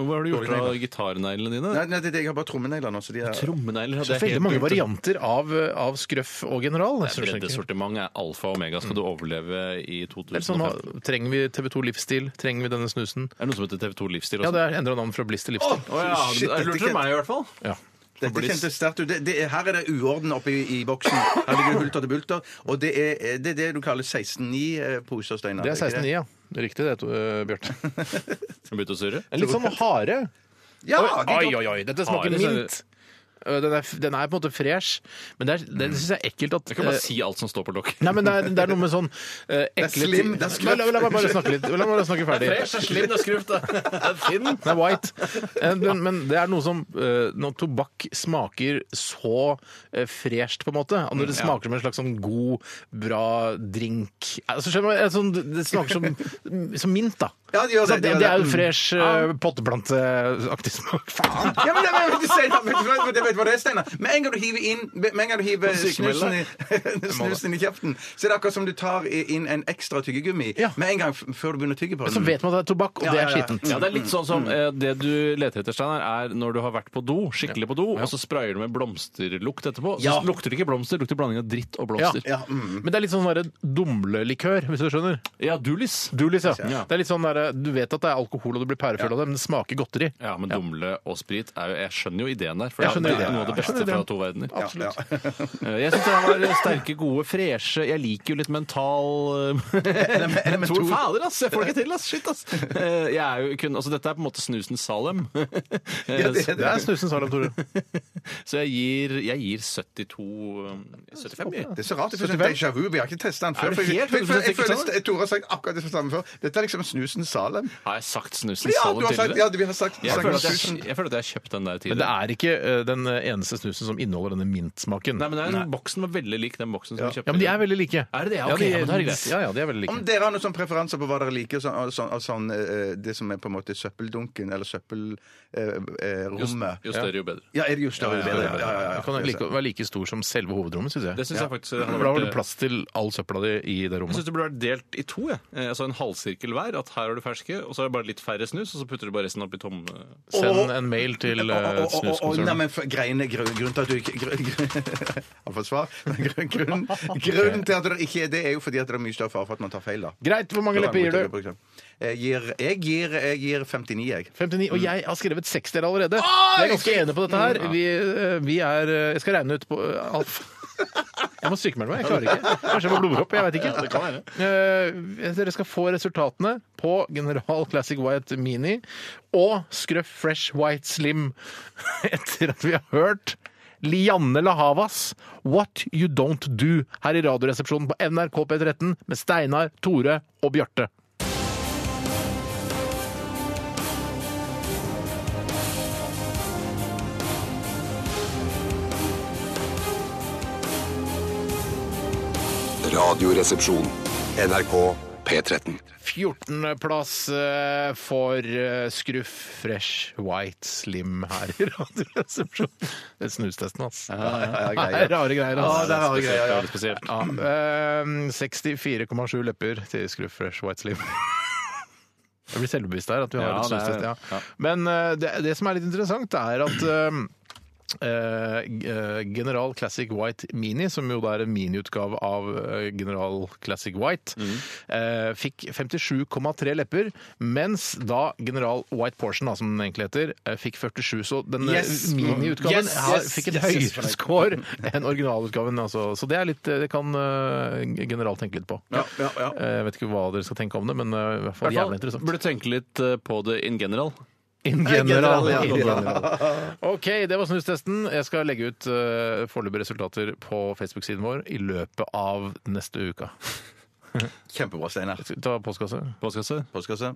[SPEAKER 3] Hva har du gjort av gitarneglene dine?
[SPEAKER 8] Nei, nei, det, jeg har bare trommenegler nå. Så de er...
[SPEAKER 3] Trommenegler
[SPEAKER 7] Det
[SPEAKER 3] hadde
[SPEAKER 7] er veldig mange
[SPEAKER 3] glemt.
[SPEAKER 7] varianter av, eh, av Scruff og General. Jeg skjønner ikke.
[SPEAKER 3] Breddesortiment er alfa og omega. Skal du overleve i
[SPEAKER 7] Eller sånn,
[SPEAKER 3] 2015?
[SPEAKER 7] hva- trenger vi TV2 Livsstil? Trenger vi denne snusen?
[SPEAKER 3] Er det noe som heter TV2 Livsstil?
[SPEAKER 7] Ja,
[SPEAKER 3] Også?
[SPEAKER 7] det er endra navn fra Bliss til Livsstil.
[SPEAKER 3] Å ja,
[SPEAKER 8] Shit,
[SPEAKER 3] det
[SPEAKER 8] dette
[SPEAKER 3] lurte
[SPEAKER 8] kan-
[SPEAKER 3] du meg i hvert fall.
[SPEAKER 7] Ja.
[SPEAKER 8] Dette
[SPEAKER 3] Bliss.
[SPEAKER 8] kjentes sterkt ut. Det, det, her er det uorden oppe i, i boksen. Her ligger det hulter til bulter. Og det er eh, det, er det du kaller 16-9-poser, Steinar.
[SPEAKER 7] Det er
[SPEAKER 8] ikke
[SPEAKER 7] 16,9, ja. Det er Riktig det, to- eh, Bjarte.
[SPEAKER 3] Skal vi begynne å surre?
[SPEAKER 7] Litt sånn hare.
[SPEAKER 8] Ja, det er
[SPEAKER 7] Oi,
[SPEAKER 8] godt.
[SPEAKER 7] oi, oi, dette smaker
[SPEAKER 3] Hare, så-
[SPEAKER 7] mint. Eh, Den er, f- den er på en måte fresh, men det, er, det syns jeg er ekkelt at
[SPEAKER 3] Jeg kan bare
[SPEAKER 7] eh,
[SPEAKER 3] si alt som står på lokk.
[SPEAKER 7] Nei, men det er, det er noe med sånn eh, ekle
[SPEAKER 8] slim,
[SPEAKER 7] ting.
[SPEAKER 8] det er skruff.
[SPEAKER 7] Nei, la, la meg bare snakke litt. La meg bare snakke ferdig.
[SPEAKER 3] slim, det er skruft, det. er Tynn.
[SPEAKER 7] Den er white. Eh, Men, men det er noe som eh, Når tobakk smaker så eh, fresht, på en måte og
[SPEAKER 3] Mm,
[SPEAKER 7] Når det smaker som en slags sånn god, bra drink altså, skjønner du, eh, sånn, Det smaker som, som mint, da.
[SPEAKER 8] Ja, det gjør det,
[SPEAKER 7] Så
[SPEAKER 8] det gjør
[SPEAKER 7] det er
[SPEAKER 8] det. Mm.
[SPEAKER 7] jo en fresh eh, potteplanteaktig smak. Faen!
[SPEAKER 8] Ja, men det, men, vet, du, Steinar, vet, du, vet, du, vet du hva det er, Steinar? Med en gang du hiver inn Med en gang du hiver snusen i, snusen i kjeften, så er det akkurat som du tar i- inn en ekstra tyggegummi
[SPEAKER 7] Ja.
[SPEAKER 8] med en gang f før du begynner å tygge på den.
[SPEAKER 7] Så vet man at det er tobakk, og
[SPEAKER 8] Ja,
[SPEAKER 7] det
[SPEAKER 8] ja,
[SPEAKER 7] er
[SPEAKER 8] ja.
[SPEAKER 7] skittent.
[SPEAKER 3] Ja, det er litt sånn som eh, Det du leter etter, Steinar, er når du har vært på do, skikkelig på do, og så sprayer du med blomsterlukt etterpå. Så
[SPEAKER 7] Ja.
[SPEAKER 3] lukter det ikke blomster, det lukter blanding av dritt og blomster.
[SPEAKER 8] ja,
[SPEAKER 3] Ja,
[SPEAKER 8] mm.
[SPEAKER 7] Men det er litt sånn derre dumlelikør, hvis du skjønner.
[SPEAKER 3] Dulis.
[SPEAKER 7] Dulis, ja.
[SPEAKER 3] Ja.
[SPEAKER 7] Det er litt sånn der, du vet at det er alkohol og du blir pærefull av det, men det smaker godteri.
[SPEAKER 3] Ja, men dumle og sprit er jo Jeg skjønner jo ideen der. For
[SPEAKER 7] Jeg
[SPEAKER 3] det er
[SPEAKER 7] skjønner ideen.
[SPEAKER 3] noe av det
[SPEAKER 7] Jeg skjønner
[SPEAKER 3] beste fra
[SPEAKER 7] ideen.
[SPEAKER 3] to verdener.
[SPEAKER 7] Absolutt.
[SPEAKER 3] Eh, Jeg syns det var sterke, gode, freshe Jeg liker jo litt mental eh,
[SPEAKER 8] element
[SPEAKER 3] Tor
[SPEAKER 8] to.
[SPEAKER 3] fader, ass! Jeg får det ikke til, ass! Shit, ass! Eh, Jeg er jo kun, altså, dette er på en måte snusens Salem. Eh,
[SPEAKER 8] det-
[SPEAKER 7] Det er snusen Salem, Tore.
[SPEAKER 3] Så jeg gir, jeg gir 72 eh, 75, jeg.
[SPEAKER 8] Det er så rart. Det er sånn déjà vu. Vi har ikke testa den før.
[SPEAKER 3] Er det
[SPEAKER 8] for jeg-
[SPEAKER 3] helt
[SPEAKER 8] for- for- jeg
[SPEAKER 3] 100% sikkert
[SPEAKER 8] føler
[SPEAKER 3] sånn?
[SPEAKER 8] at Tore har sagt akkurat det samme før. Dette er liksom snusen Salem.
[SPEAKER 3] Har jeg sagt snusens
[SPEAKER 8] Ja,
[SPEAKER 3] Salem
[SPEAKER 8] du har sagt, ja,
[SPEAKER 3] tidligere?
[SPEAKER 8] vi har sagt,
[SPEAKER 3] Jeg
[SPEAKER 8] sagt
[SPEAKER 3] føler, at
[SPEAKER 8] snusen.
[SPEAKER 3] jeg, jeg føler at jeg har kjøpt den der
[SPEAKER 7] Men det
[SPEAKER 3] tidligere.
[SPEAKER 7] er ikke eh, den eneste snusen som inneholder denne mintsmaken.
[SPEAKER 3] Nei, men det er en boksen var veldig lik den boksen som vi kjøpte.
[SPEAKER 7] Ja, men de er veldig like.
[SPEAKER 3] Er det det? Ja, ok, ja, men da er det greit.
[SPEAKER 7] Ja, ja, de er veldig
[SPEAKER 8] Om
[SPEAKER 7] like.
[SPEAKER 8] dere har noen sånne preferanser på hva dere liker, sånn, av sånn, av sånn, eh, det som er på en måte søppeldunken eller
[SPEAKER 3] Jo,
[SPEAKER 8] søppelrommet
[SPEAKER 3] jo større, jo bedre.
[SPEAKER 8] Ja, er det jo større, jo bedre. Ja, ja, ja,
[SPEAKER 7] Den kan
[SPEAKER 8] ja.
[SPEAKER 7] like, være like stor som selve hovedrommet, syns jeg.
[SPEAKER 3] Det syns jeg faktisk hadde
[SPEAKER 7] For Da har
[SPEAKER 3] vært eh,
[SPEAKER 7] du plass til all søpla di i det
[SPEAKER 3] Jeg
[SPEAKER 7] rommet.
[SPEAKER 3] syns det burde vært delt i to. Jeg. Eh, Altså En halvsirkel hver. At her har du ferske, og så er det bare litt færre snus, og så putter du bare resten opp i eh. tomme
[SPEAKER 7] Send en mail til
[SPEAKER 8] Å, å,
[SPEAKER 7] eh,
[SPEAKER 8] å, å, å, Nei,
[SPEAKER 7] snuskonsernet.
[SPEAKER 8] men for- greiene grunn, grunnen til at du ikke grunn, grunn, Har fått svar? Grunn, grunnen, grunnen til at det ikke er det, er jo fordi at det er mye større fare for at man tar feil, da.
[SPEAKER 7] Greit, hvor mange lepper gir du?
[SPEAKER 8] Jeg gir, jeg gir, jeg gir 59, jeg.
[SPEAKER 7] 59,
[SPEAKER 3] Mm.
[SPEAKER 7] og jeg har skrevet seks dere allerede. jeg er ganske enig på dette her. Vi, eh, vi er eh, Jeg skal regne ut på eh, Alf. Jeg må sykemelde meg. Jeg klarer ikke. Kanskje jeg får blodpropp. Jeg veit ikke.
[SPEAKER 3] Ja, det kan være.
[SPEAKER 7] Eh, dere skal få resultatene på General Classic White Mini og Scruff Fresh White Slim etter at vi har hørt Lianne Lahavas, What You Don't Do, her i Radioresepsjonen på NRK P13 med Steinar, Tore og Bjarte.
[SPEAKER 1] Radioresepsjon. NRK P13.
[SPEAKER 7] 14.-plass eh, for eh, Scruff Fresh White Slim her i Radioresepsjonen. Det er snustesten, ass.
[SPEAKER 8] ja,
[SPEAKER 7] Det
[SPEAKER 8] greier.
[SPEAKER 7] er rare greier, altså. ass.
[SPEAKER 8] det er rare
[SPEAKER 3] Spesielt,
[SPEAKER 8] greier, ja.
[SPEAKER 3] veldig spesielt.
[SPEAKER 7] Ja, ehm, 64,7 lepper til Scruff Fresh White Slim. Jeg blir selvbevisst der. at vi har
[SPEAKER 3] Ja,
[SPEAKER 7] et
[SPEAKER 3] det er-
[SPEAKER 7] snustest, ja.
[SPEAKER 3] ja.
[SPEAKER 7] Men eh, det, det som er litt interessant, er at ehm, eh, eh, General Classic White Mini, som jo da er en miniutgave av eh, General Classic White,
[SPEAKER 8] Mm.
[SPEAKER 7] eh, fikk 57,3 lepper, mens da General White Portion, da, som den egentlig heter, eh, fikk 47. Så den eh,
[SPEAKER 8] Yes!
[SPEAKER 7] miniutgaven
[SPEAKER 8] Yes,
[SPEAKER 7] her
[SPEAKER 8] yes,
[SPEAKER 7] fikk en
[SPEAKER 8] yes, yes,
[SPEAKER 7] høyere score enn originalutgaven. Altså. Så det er litt Det kan eh, General tenke litt på.
[SPEAKER 8] Ja, ja, ja.
[SPEAKER 7] Eh, Jeg vet ikke hva dere skal tenke om det, men eh, i hvert fall
[SPEAKER 3] Hvertfall
[SPEAKER 7] jævlig interessant.
[SPEAKER 3] Burde tenke litt eh, på det in general.
[SPEAKER 7] In general.
[SPEAKER 8] general, ja.
[SPEAKER 7] In general. OK, det var snustesten. Jeg skal legge ut uh, foreløpige resultater på Facebook-siden vår i løpet av neste uke.
[SPEAKER 8] Kjempebra, Steinar.
[SPEAKER 7] Skal vi Ta postkasse.
[SPEAKER 3] Postkasse.
[SPEAKER 8] Postkasse.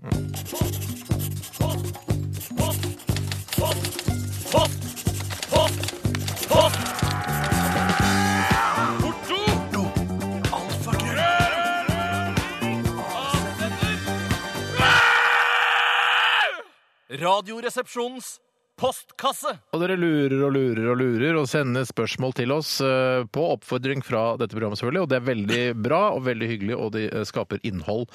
[SPEAKER 9] Radioresepsjonens postkasse.
[SPEAKER 7] Og dere lurer og lurer og lurer og sender spørsmål til oss eh, på oppfordring fra dette programmet, selvfølgelig. Og det er veldig bra og veldig hyggelig, og de eh, skaper innhold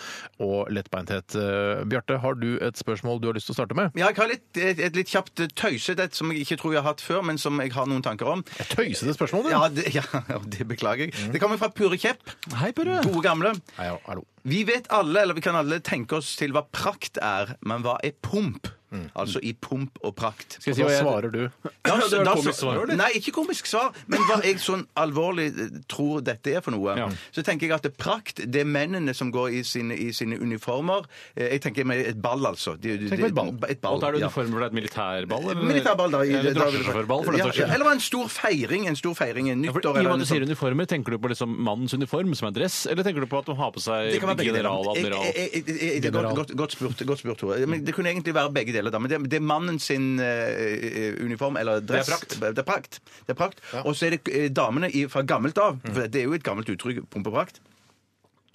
[SPEAKER 7] og lettbeinthet. Eh, Bjarte, har du et spørsmål du har lyst til å starte med?
[SPEAKER 8] Ja, jeg har litt, et, et litt kjapt tøyset et som jeg ikke tror jeg har hatt før, men som jeg har noen tanker om.
[SPEAKER 7] Tøysete spørsmål, du!
[SPEAKER 8] Ja, det, ja, det beklager jeg. Det kommer fra Purre Kjepp.
[SPEAKER 7] Mm. Hei, Purre.
[SPEAKER 8] Gode gamle.
[SPEAKER 7] Hei, ja, hallo.
[SPEAKER 8] Vi vet alle, eller vi kan alle tenke oss til hva prakt er, men hva er pump? Altså i pump og prakt.
[SPEAKER 7] Mm. Skal jeg si hva svarer du?
[SPEAKER 8] Da,
[SPEAKER 3] Det er
[SPEAKER 8] da-
[SPEAKER 3] komisk svar, eller?
[SPEAKER 8] Nei, ikke komisk svar, men hva jeg sånn alvorlig eh, tror dette er for noe. Så tenker jeg at det prakt, det er mennene som går i sine, i sine uniformer. Eh, Jeg tenker med et ball, altså. De- de-
[SPEAKER 7] Tenk på et ball.
[SPEAKER 8] Et
[SPEAKER 3] Og da er det
[SPEAKER 8] ja.
[SPEAKER 3] uniform for det er et militærball? eller?
[SPEAKER 8] Militærball, da. i-
[SPEAKER 3] Eller
[SPEAKER 8] da-
[SPEAKER 3] drosjesjåførball, for den
[SPEAKER 8] Ja,
[SPEAKER 3] saks
[SPEAKER 8] ja,
[SPEAKER 3] skyld.
[SPEAKER 8] Eller en stor feiring. En stor feiring, en
[SPEAKER 3] Ja, for
[SPEAKER 8] nyttår
[SPEAKER 3] I og
[SPEAKER 8] eller
[SPEAKER 3] med at
[SPEAKER 8] noe
[SPEAKER 3] du sier
[SPEAKER 8] sånt.
[SPEAKER 3] uniformer, tenker du på liksom mannens uniform, som er dress, eller tenker du på at de har på seg
[SPEAKER 8] Det kan være begge deler.
[SPEAKER 3] general, admiral?
[SPEAKER 8] Jeg- jeg- jeg- jeg- jeg- Det er godt,
[SPEAKER 7] General.
[SPEAKER 8] godt, godt spurt, godt spurt Tore. Men det kunne egentlig være begge deler. Da. Men det, det er mannen sin eh, eh, uniform eller dress.
[SPEAKER 3] prakt.
[SPEAKER 8] Det er prakt. Det er prakt. Og så er det eh, damene i, fra gammelt av. For det er jo et gammelt uttrykk, pumpeprakt.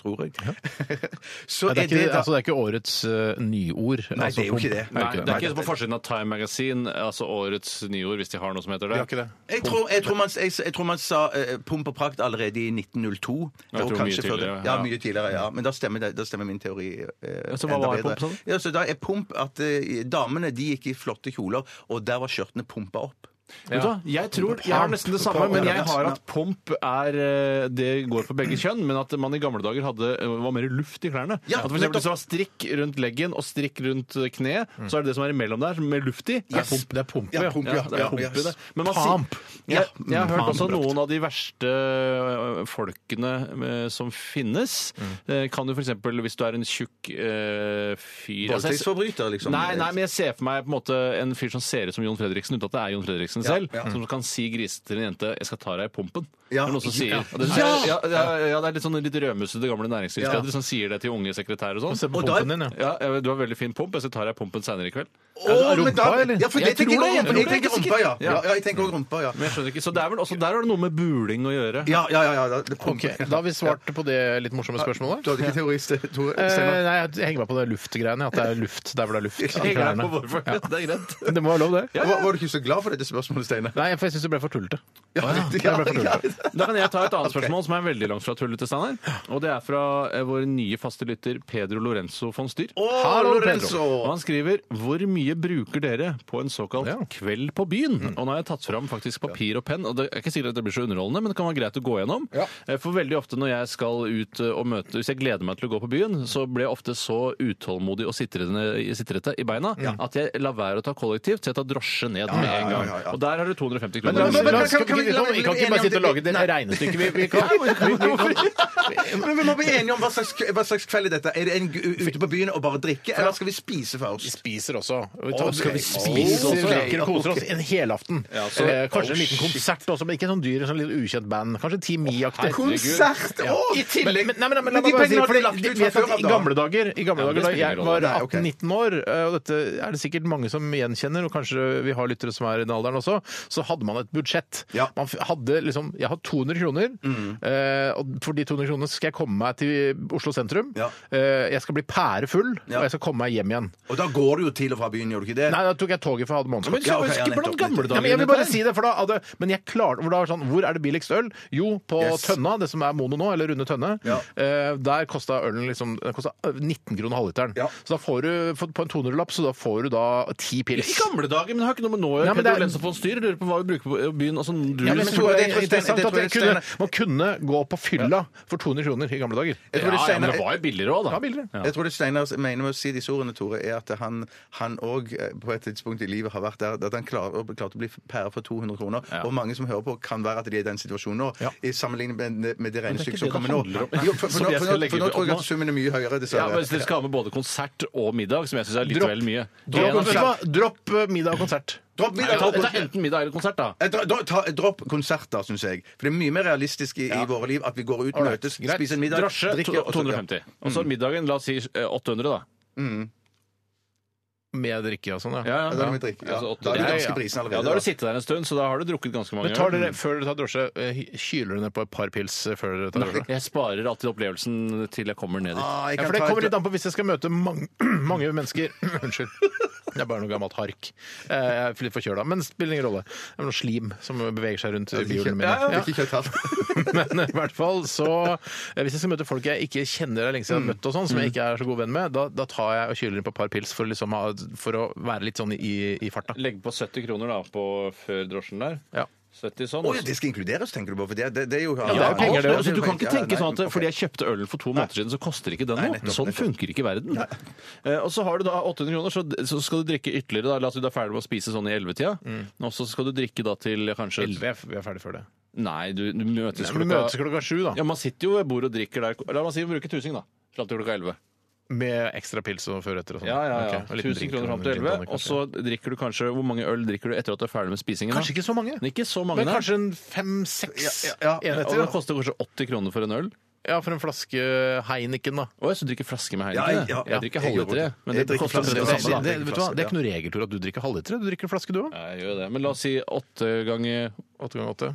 [SPEAKER 8] Tror jeg. så
[SPEAKER 7] Nei, det, er ikke, altså, det er ikke årets eh, nyord.
[SPEAKER 8] Nei,
[SPEAKER 7] altså,
[SPEAKER 8] det er jo ikke
[SPEAKER 7] pump.
[SPEAKER 8] det.
[SPEAKER 3] Nei, det er
[SPEAKER 8] Nei,
[SPEAKER 3] ikke på forsiden av Time Magazine, altså årets nyord, hvis de har noe som heter det.
[SPEAKER 7] Vi har ikke det.
[SPEAKER 8] Jeg tror, jeg, tror man, jeg, jeg tror man sa eh, pump og prakt allerede i 1902.
[SPEAKER 3] Jeg
[SPEAKER 8] og
[SPEAKER 3] tror
[SPEAKER 8] kanskje
[SPEAKER 3] mye
[SPEAKER 8] før det.
[SPEAKER 3] tidligere,
[SPEAKER 8] Ja,
[SPEAKER 3] ja.
[SPEAKER 8] mye tidligere, ja. Men da stemmer, det, da stemmer min teori eh,
[SPEAKER 3] så hva
[SPEAKER 8] enda
[SPEAKER 3] var
[SPEAKER 8] bedre.
[SPEAKER 3] pump, sa du?
[SPEAKER 8] Ja, så da er pump at eh, damene de gikk i flotte kjoler, og der var skjørtene pumpa opp.
[SPEAKER 3] Vet du hva? Jeg tror, jeg har nesten det samme, men jeg har at pomp er eh, Det går for begge kjønn, men at man i gamle dager hadde, eh, var mer luft i klærne.
[SPEAKER 8] Ja,
[SPEAKER 3] at for
[SPEAKER 8] nettopp.
[SPEAKER 3] eksempel, Hvis du har strikk rundt leggen og strikk rundt kneet, så er det det som er imellom der, som er luft i.
[SPEAKER 7] Det er pump. Det er pump,
[SPEAKER 8] Ja,
[SPEAKER 7] ja.
[SPEAKER 8] pump,
[SPEAKER 3] Ja, det er
[SPEAKER 8] Ja,
[SPEAKER 3] pump i
[SPEAKER 8] yes.
[SPEAKER 3] det. Men man sier-
[SPEAKER 7] Pamp.
[SPEAKER 8] Ja,
[SPEAKER 3] Jeg, jeg har hørt
[SPEAKER 7] pamp.
[SPEAKER 3] også noen av de verste ø, folkene ø, som finnes.
[SPEAKER 8] Mm.
[SPEAKER 3] Eh, Kan du f.eks. hvis du er en tjukk ø, fyr Altså, jeg-
[SPEAKER 8] Voldtektsforbryter, liksom.
[SPEAKER 3] Nei, nei, men jeg ser for meg på en måte en fyr som ser ut som Jon Fredriksen, uten at det er Jon Fredriksen selv, som kan si grisete til en jente 'jeg skal ta deg i pumpen'.
[SPEAKER 8] Ja.
[SPEAKER 3] Det er noen som sier.
[SPEAKER 8] Ja.
[SPEAKER 3] Og det, ja! Ja, ja, ja, det er litt sånn litt rødmussete gamle næringslivsledere som sier det til unge sekretærer og
[SPEAKER 7] Se
[SPEAKER 3] sånn.
[SPEAKER 7] på
[SPEAKER 8] Og da-
[SPEAKER 7] pumpen din, ja.
[SPEAKER 3] Ja, jeg- du har veldig fin pump, jeg skal ta deg i pumpen seinere i kveld.
[SPEAKER 8] Å, men da-
[SPEAKER 7] Rumpa, eller?
[SPEAKER 8] Ja, for det tenker jeg
[SPEAKER 3] Jeg tror det, jeg
[SPEAKER 8] rumpa. Jeg tenker
[SPEAKER 3] tror det, jeg er ikke
[SPEAKER 8] rumpa, ja.
[SPEAKER 3] sikker.
[SPEAKER 8] ja. ja, Jeg tenker også rumpa, ja.
[SPEAKER 3] Men jeg skjønner ikke, Så det er vel også der er det noe med buling å gjøre.
[SPEAKER 8] Ja, ja, ja. ja, da- det pump.
[SPEAKER 7] Ok, Da har vi svart på det litt morsomme spørsmålet.
[SPEAKER 8] Du hadde ikke teorist, Tore?
[SPEAKER 7] Eh,
[SPEAKER 8] Steinar?
[SPEAKER 7] nei, jeg henger meg på det luftgreiene. At det er luft der hvor det er luft. i
[SPEAKER 3] Henger deg
[SPEAKER 7] klærne.
[SPEAKER 3] på hvorfor. Det er greit.
[SPEAKER 7] Det må være lov, det.
[SPEAKER 8] Var, var du ikke så glad for dette spørsmålet, Steinar?
[SPEAKER 7] Nei, for jeg syns det ble for tullete.
[SPEAKER 8] Ja, ja, ja.
[SPEAKER 3] Da kan jeg ta et annet spørsmål som er veldig langt fra tullete, Steinar. Og det er fra eh, vår nye faste lytter Pedro Lorenzo von Styr.
[SPEAKER 8] Hallo, Lorenzo!
[SPEAKER 3] Og han skriver 'Hvor mye bruker dere på en såkalt
[SPEAKER 7] Ja.
[SPEAKER 3] kveld på byen?'
[SPEAKER 8] Mm.
[SPEAKER 3] Og nå har jeg tatt fram faktisk papir og penn, og det er ikke sikkert at det blir så underholdende, men det kan være greit å gå gjennom. Eh, For veldig ofte når jeg skal ut eh, og møte Hvis jeg gleder meg til å gå på byen, så blir jeg ofte så utålmodig og sitrende- sitrete i beina at jeg lar være å ta kollektivt, så jeg tar drosje ned med en gang. Og der har du 250
[SPEAKER 7] Men
[SPEAKER 3] kroner.
[SPEAKER 7] la oss-
[SPEAKER 8] men-
[SPEAKER 7] la oss-
[SPEAKER 8] men-
[SPEAKER 7] kan vi
[SPEAKER 8] kan-
[SPEAKER 7] kan- vi kan ikke bare sitte og lage det regnestykket. Vi, vi kan,
[SPEAKER 8] Men vi må bli enige om hva slags, hva slags kveld er dette. Er det en gu- ute på byen og bare drikke, eller skal vi spise
[SPEAKER 7] vi
[SPEAKER 8] først?
[SPEAKER 7] spiser også. Og vi tar,
[SPEAKER 8] skal vi
[SPEAKER 7] spiser
[SPEAKER 8] spise også, ja?
[SPEAKER 7] leker og koser oss en helaften.
[SPEAKER 3] så-
[SPEAKER 7] eh,
[SPEAKER 8] oh,
[SPEAKER 7] kanskje en liten konsert også, men ikke en sånn dyr, en sånn litt ukjent band. Kanskje Team Mi-aktig.
[SPEAKER 8] Konsert! Å!
[SPEAKER 7] I tillegg men,
[SPEAKER 8] Men,
[SPEAKER 7] nei, men, nei, men,
[SPEAKER 8] de
[SPEAKER 7] la meg bare si,
[SPEAKER 8] pengene har
[SPEAKER 7] fordi
[SPEAKER 8] de lagt ut
[SPEAKER 7] vi
[SPEAKER 8] fra
[SPEAKER 7] vet at
[SPEAKER 8] før av,
[SPEAKER 7] I
[SPEAKER 8] da.
[SPEAKER 7] gamle dager, i gamle dager da
[SPEAKER 3] spiller
[SPEAKER 7] jeg
[SPEAKER 3] ingen
[SPEAKER 7] var
[SPEAKER 3] rolle.
[SPEAKER 8] Nei, ok.
[SPEAKER 7] 18-19 år, eh, og dette er det sikkert mange som gjenkjenner, og kanskje vi har lyttere som er i den alderen også, så hadde man et budsjett.
[SPEAKER 8] Ja. Mm.
[SPEAKER 7] Man f- hadde liksom Jeg har 200 kroner, eh, og for de 200 kronene skal jeg komme meg til Oslo sentrum.
[SPEAKER 8] Ja.
[SPEAKER 7] eh, Jeg skal bli pærefull,
[SPEAKER 8] Ja.
[SPEAKER 7] og jeg skal komme meg hjem igjen.
[SPEAKER 8] Og da går du jo til og fra byen, gjør du ikke det?
[SPEAKER 7] Nei, da tok jeg toget for jeg hadde månedskort.
[SPEAKER 3] Men så
[SPEAKER 8] Ja, ok, ja,
[SPEAKER 3] husker hvordan
[SPEAKER 8] nettopp,
[SPEAKER 3] gamle
[SPEAKER 8] nettopp.
[SPEAKER 7] Ja,
[SPEAKER 3] dager
[SPEAKER 7] men jeg vil bare si det, for da hadde, men jeg klarte, hvor det var sånn, hvor er det billigst øl? Jo, på
[SPEAKER 8] Yes.
[SPEAKER 7] Tønna, det som er Mono nå, eller Runde Tønne.
[SPEAKER 8] Ja.
[SPEAKER 7] Eh, der kosta ølen liksom, den kosta 19 kroner halvliteren.
[SPEAKER 8] Ja.
[SPEAKER 7] Så da får du, for- på en 200-lapp, så da får du da 10 pils.
[SPEAKER 3] I gamle dager, men det har ikke noe med nå å gjøre.
[SPEAKER 7] Nei, men det er-
[SPEAKER 3] Pedro Lenzo von Styr lurer på hva vi bruker på byen. Altså, du,
[SPEAKER 7] Ja, men
[SPEAKER 8] men
[SPEAKER 7] jeg
[SPEAKER 8] tror
[SPEAKER 7] tror det
[SPEAKER 8] jeg-
[SPEAKER 7] er
[SPEAKER 8] jeg-
[SPEAKER 7] interessant
[SPEAKER 8] jeg-
[SPEAKER 7] at
[SPEAKER 8] jeg-
[SPEAKER 7] jeg
[SPEAKER 8] jeg-
[SPEAKER 7] kunne, man kunne gå på fylla for 200 kroner i gamle dager.
[SPEAKER 8] Jeg tror det
[SPEAKER 3] ja, ja, men det
[SPEAKER 8] Steinar-
[SPEAKER 3] var jo billigere òg, da.
[SPEAKER 7] Ja, billigere.
[SPEAKER 3] Ja.
[SPEAKER 8] Jeg tror det Steinar mener med å si disse ordene, Tore, er at han han òg på et tidspunkt i livet har vært der at han klarer, klarte å bli pære for 200 kroner. Og mange som hører på, kan være at de er i den situasjonen nå,
[SPEAKER 7] Ja.
[SPEAKER 8] i sammenligning med, med det
[SPEAKER 3] det
[SPEAKER 8] regnestykket
[SPEAKER 3] det
[SPEAKER 8] som kommer nå.
[SPEAKER 3] handler om.
[SPEAKER 8] Jo, for, for,
[SPEAKER 3] Som
[SPEAKER 8] nå,
[SPEAKER 3] jeg
[SPEAKER 8] for,
[SPEAKER 3] skal
[SPEAKER 8] nå,
[SPEAKER 3] legge
[SPEAKER 8] for nå
[SPEAKER 3] ut.
[SPEAKER 8] tror jeg
[SPEAKER 3] Nå-
[SPEAKER 8] at summen er mye høyere,
[SPEAKER 3] Ja, men
[SPEAKER 8] dessverre.
[SPEAKER 3] hvis dere skal ha med både konsert og middag, som jeg syns er litt
[SPEAKER 7] Dropp.
[SPEAKER 3] vel mye.
[SPEAKER 7] Dropp,
[SPEAKER 3] Det er en av-
[SPEAKER 7] vet du hva? Dropp eh, middag og konsert.
[SPEAKER 8] Dropp
[SPEAKER 3] Nei,
[SPEAKER 8] middag!
[SPEAKER 3] ta,
[SPEAKER 8] dropp-
[SPEAKER 3] ta enten middag eller konsert, da.
[SPEAKER 8] Eh, dro- dro- ta- Dropp konserter, syns jeg. For det er mye mer realistisk i, i våre liv at vi går ut,
[SPEAKER 7] Alright,
[SPEAKER 8] møtes,
[SPEAKER 7] greit.
[SPEAKER 8] spiser en middag,
[SPEAKER 3] Drosje
[SPEAKER 8] drikker og så-
[SPEAKER 3] 250. Og så middagen, la oss si eh, 800, da.
[SPEAKER 7] Med drikke og sånn, ja.
[SPEAKER 8] Ja, da er vi drikke, ja.
[SPEAKER 3] Altså,
[SPEAKER 8] Da er
[SPEAKER 7] Ja,
[SPEAKER 8] vi
[SPEAKER 3] 800.
[SPEAKER 7] ja,
[SPEAKER 8] ganske
[SPEAKER 7] ja.
[SPEAKER 8] prisen allerede.
[SPEAKER 3] Ja, da har du
[SPEAKER 8] da.
[SPEAKER 3] sittet der en stund, så da har du drukket ganske mange
[SPEAKER 7] Men tar dere, før dere tar drosje, eh, hy- kyler dere ned på et par pils eh, før dere tar drosje?
[SPEAKER 3] Jeg sparer alltid opplevelsen til jeg kommer ned dit.
[SPEAKER 8] Ah, jeg
[SPEAKER 7] Ja,
[SPEAKER 8] kan
[SPEAKER 7] for det
[SPEAKER 8] ta et-
[SPEAKER 7] kommer litt an på hvis jeg skal møte mange, mange mennesker. Unnskyld. Det er bare noe gammelt hark. Eh, Jeg er litt forkjøla, men det spiller ingen rolle. Det er noe slim som beveger seg rundt hjulene mine.
[SPEAKER 8] Ja, ja.
[SPEAKER 7] Ja.
[SPEAKER 8] Ikke kjøtthatt.
[SPEAKER 7] Men i hvert fall så eh, Hvis jeg skal møte folk jeg ikke kjenner eller lenge siden jeg har møtt, og sånn, som jeg ikke er så god venn med, da, da tar jeg og kyler inn på et par pils for, liksom, å ha- for å være litt sånn i, i farta.
[SPEAKER 3] Legg på 70 kroner da på før drosjen der.
[SPEAKER 7] Ja.
[SPEAKER 3] 70 sånn.
[SPEAKER 8] Å ja, det skal inkluderes, tenker du på? For det, det, det er jo
[SPEAKER 7] det er jo penger, det er jo-
[SPEAKER 3] altså, du kan ikke tenke sånn at
[SPEAKER 8] Ja, nei,
[SPEAKER 3] fordi jeg kjøpte ølen for to måneder siden, så koster ikke den
[SPEAKER 8] Nei,
[SPEAKER 3] noe.
[SPEAKER 8] nettopp,
[SPEAKER 3] Sånn
[SPEAKER 8] nettopp.
[SPEAKER 3] funker ikke verden. Eh, og så har du da 800 kroner, så, så skal du drikke ytterligere. Da. La oss si du er ferdig med å spise sånn i 11-tida.
[SPEAKER 7] Mm.
[SPEAKER 3] Og så skal du drikke da til kanskje
[SPEAKER 7] Vi er, vi er ferdig før det.
[SPEAKER 3] Nei, du, du møtes
[SPEAKER 7] Vi møtes klokka sju, da.
[SPEAKER 3] Ja, man sitter jo ved bordet og drikker der. La oss si vi bruker tusing, da. Fram til klokka 11.
[SPEAKER 7] Med ekstra pils og før og etter og sånn.
[SPEAKER 3] Ja, ja, ja.
[SPEAKER 7] Ok, en liten
[SPEAKER 3] 1000
[SPEAKER 7] drink og
[SPEAKER 3] kroner fram
[SPEAKER 7] en
[SPEAKER 3] til
[SPEAKER 7] gin
[SPEAKER 3] 11.
[SPEAKER 7] tonic,
[SPEAKER 3] Og så drikker du kanskje Hvor mange øl drikker du etter at du er ferdig med spisingen? da?
[SPEAKER 7] Kanskje ikke så mange.
[SPEAKER 3] Men ikke så mange.
[SPEAKER 7] Men
[SPEAKER 3] nei.
[SPEAKER 7] kanskje en fem-seks
[SPEAKER 8] Ja, ja, ja.
[SPEAKER 3] Og
[SPEAKER 7] enheter.
[SPEAKER 3] det
[SPEAKER 7] da.
[SPEAKER 3] koster kanskje 80 kroner for en øl.
[SPEAKER 7] Ja, for en flaske Heineken, da.
[SPEAKER 3] Å, jeg skal drikke flaske med
[SPEAKER 8] Ja,
[SPEAKER 3] Heineken. jeg.
[SPEAKER 8] ja,
[SPEAKER 3] jeg drikker
[SPEAKER 8] jeg gjør
[SPEAKER 3] halvliter, jeg.
[SPEAKER 8] det. Jeg
[SPEAKER 3] Men det
[SPEAKER 8] drikker
[SPEAKER 3] koster
[SPEAKER 8] flaske.
[SPEAKER 3] omtrent
[SPEAKER 7] Det,
[SPEAKER 3] det samme, da.
[SPEAKER 7] det, vet du hva? det er ikke noe regeltur at du drikker halvlitere. Du drikker en flaske, du òg.
[SPEAKER 3] Ja, jeg gjør det. Men la oss si åtte ganger
[SPEAKER 7] Åtte ganger åtte.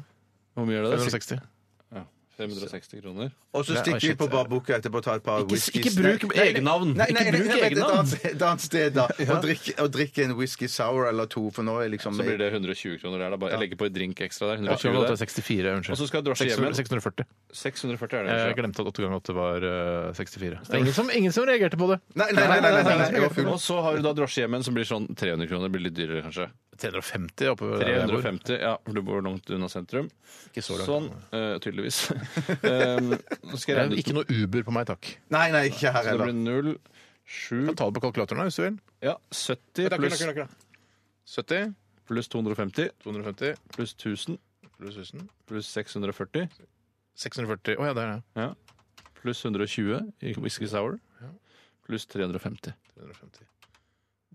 [SPEAKER 3] Hvor mye gjør det? da?
[SPEAKER 7] 160.
[SPEAKER 3] Ja, 560 kroner.
[SPEAKER 8] Og så
[SPEAKER 7] Nei,
[SPEAKER 8] stikker vi
[SPEAKER 7] shit.
[SPEAKER 8] på barbukka etterpå og tar et par
[SPEAKER 3] Ikke-
[SPEAKER 8] whiskys.
[SPEAKER 3] ikke bruk
[SPEAKER 8] Nei, nei,
[SPEAKER 3] egennavn.
[SPEAKER 8] Nei, nei,
[SPEAKER 3] Ikke
[SPEAKER 8] nei,
[SPEAKER 3] bruk
[SPEAKER 8] nei, vent, Et
[SPEAKER 3] egennavn.
[SPEAKER 8] annet- et annet sted, da. Og drikke drikk en whisky sour eller to, for nå er liksom
[SPEAKER 3] Så blir det 120 kroner der. Da. Bare, jeg legger på et drink ekstra der.
[SPEAKER 7] Ja,
[SPEAKER 3] 120
[SPEAKER 7] åtte er
[SPEAKER 3] der.
[SPEAKER 7] 64, unnskyld.
[SPEAKER 3] Og så skal jeg drosje hjem igjen.
[SPEAKER 7] 640.
[SPEAKER 3] 640 er det.
[SPEAKER 7] Jeg
[SPEAKER 3] kanskje.
[SPEAKER 7] glemte at åtte ganger åtte var eh, 64. Det er ingen som, ingen som reagerte på det.
[SPEAKER 8] Nei, nei, nei, nei, nei, nei, nei, jeg var full.
[SPEAKER 3] Og så har du da drosjehjemmen som blir sånn 300 kroner. Blir litt dyrere, kanskje.
[SPEAKER 7] 350 oppe ved der jeg bor.
[SPEAKER 3] 350, ja, for du bor langt unna sentrum.
[SPEAKER 7] Ikke så langt.
[SPEAKER 3] Sånn, eh, tydeligvis. um, nå skal
[SPEAKER 7] Det
[SPEAKER 3] jeg
[SPEAKER 7] er
[SPEAKER 3] regne ut
[SPEAKER 7] Ikke noe Uber på meg, takk.
[SPEAKER 8] Nei, nei, ikke her
[SPEAKER 3] Så det
[SPEAKER 8] heller.
[SPEAKER 3] blir 0, 7,
[SPEAKER 7] Kan ta det på kalkulatoren da, hvis du vil.
[SPEAKER 3] ja, 70 pluss,
[SPEAKER 7] 70
[SPEAKER 3] pluss 250
[SPEAKER 7] 250
[SPEAKER 3] pluss 1000
[SPEAKER 7] pluss 1000
[SPEAKER 3] pluss 640
[SPEAKER 7] 640. Å ja, det er det.
[SPEAKER 3] ja, pluss 120 i whisky sour pluss 350.
[SPEAKER 7] 350.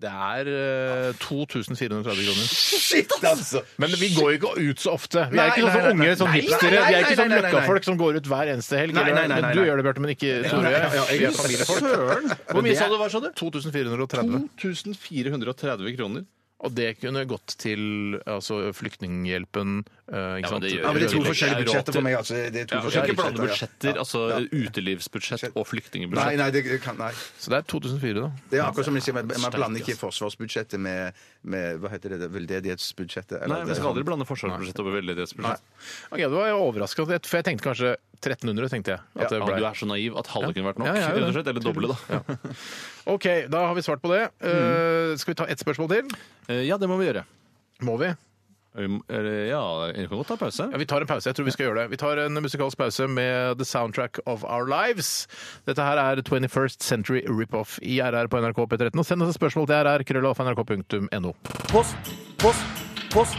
[SPEAKER 7] Det er eh, 2430 kroner.
[SPEAKER 8] Shit, altså!
[SPEAKER 7] Men vi går jo ikke ut så ofte. Vi
[SPEAKER 8] Nei,
[SPEAKER 7] er ikke sånn som
[SPEAKER 8] nei, nei,
[SPEAKER 7] unge
[SPEAKER 8] nei.
[SPEAKER 7] sånn
[SPEAKER 8] Nei,
[SPEAKER 7] hipstere.
[SPEAKER 8] nei,
[SPEAKER 7] Vi er
[SPEAKER 8] nei,
[SPEAKER 7] ikke sånn
[SPEAKER 8] nei, nei, nei.
[SPEAKER 7] løkkafolk som går ut hver eneste helg.
[SPEAKER 8] Nei, nei,
[SPEAKER 7] eller-
[SPEAKER 8] nei, nei,
[SPEAKER 7] men du
[SPEAKER 8] nei.
[SPEAKER 7] gjør det, Bjarte, men ikke Tore.
[SPEAKER 8] nei, ja,
[SPEAKER 7] Vi
[SPEAKER 8] jeg
[SPEAKER 7] er
[SPEAKER 8] er
[SPEAKER 7] familiefolk. Hvor mye sa du var, sa du? 2430.
[SPEAKER 3] 2430 kroner.
[SPEAKER 7] Og det kunne gått til altså, Flyktninghjelpen. eh, ikke
[SPEAKER 3] Ja, men
[SPEAKER 7] sant?
[SPEAKER 3] det gjør-
[SPEAKER 8] Ja, men det er to
[SPEAKER 3] Jeg-
[SPEAKER 8] forskjellige
[SPEAKER 3] jeg-
[SPEAKER 8] budsjetter for meg, altså. Det er to
[SPEAKER 3] Ja, vi skal
[SPEAKER 8] forskjellige
[SPEAKER 3] ikke blande
[SPEAKER 8] budsjetter, ja.
[SPEAKER 3] budsjetter, altså
[SPEAKER 8] Ja.
[SPEAKER 3] utelivsbudsjett og
[SPEAKER 8] Nei,
[SPEAKER 3] flyktningbudsjett.
[SPEAKER 8] nei, det kan Nei.
[SPEAKER 7] Så det er 2004, da.
[SPEAKER 8] Det er akkurat som de sier, man, man blander ikke forsvarsbudsjettet med, med Hva heter det? det- Veldedighetsbudsjettet? eller-
[SPEAKER 3] Nei, vi skal aldri blande forsvarsbudsjett og veldedighetsbudsjett.
[SPEAKER 7] Ok, Det var jeg overraska, for jeg tenkte kanskje 1300. tenkte jeg. At det
[SPEAKER 3] Ja,
[SPEAKER 7] ble.
[SPEAKER 3] eh, du er så naiv at halve kunne vært nok.
[SPEAKER 7] Ja, jeg er jo
[SPEAKER 3] rett og
[SPEAKER 7] det.
[SPEAKER 3] slett, eller doble, da.
[SPEAKER 7] OK, da har vi svart på det.
[SPEAKER 8] Mm.
[SPEAKER 7] Eh, skal vi ta ett spørsmål til?
[SPEAKER 3] Eh, Ja, det må vi gjøre.
[SPEAKER 7] Må vi?
[SPEAKER 3] Um, eller, Ja, vi kan godt ta pause.
[SPEAKER 7] Ja, Vi tar en pause. jeg tror Vi skal gjøre det. Vi tar en musikalsk pause med The Soundtrack of Our Lives. Dette her er 21st Century Rip-Off i RR på NRK P13. Og Send oss et spørsmål til rr.krøllalf.nrk.no.
[SPEAKER 9] Post, post, post,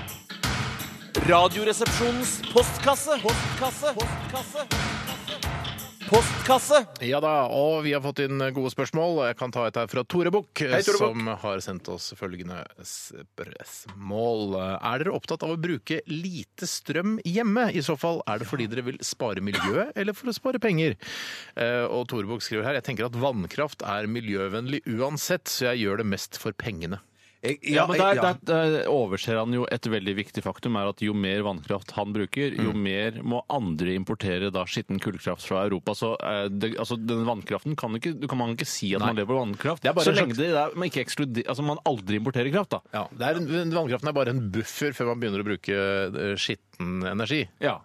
[SPEAKER 9] Radioresepsjonens postkasse. Postkasse. Postkasse. Postkasse.
[SPEAKER 7] Ja da, og vi har fått inn gode spørsmål. Jeg kan ta et her fra Tore Bukk,
[SPEAKER 8] Tore Bukk.
[SPEAKER 7] som har sendt oss følgende spørsmål. Er dere opptatt av å bruke lite strøm hjemme? I så fall, er det fordi dere vil spare miljøet, eller for å spare penger? Eh, Og Tore Bukk skriver her jeg tenker at vannkraft er miljøvennlig uansett, så jeg gjør det mest for pengene.
[SPEAKER 8] Jeg,
[SPEAKER 3] Ja, men der,
[SPEAKER 8] jeg-
[SPEAKER 3] der, der eh, overser han jo et veldig viktig faktum, er at jo mer vannkraft han bruker, jo mer må andre importere da skitten kullkraft fra Europa. Så eh, det, altså, den vannkraften kan, ikke, du kan man ikke si at man lever på vannkraft.
[SPEAKER 7] Det er bare
[SPEAKER 3] så
[SPEAKER 7] en
[SPEAKER 3] lenge det er, man, ikke ekskluder, altså, man aldri importerer kraft, da.
[SPEAKER 7] Ja, det er en, Vannkraften er bare en buffer før man begynner å bruke eh, skitten energi.
[SPEAKER 3] Ja.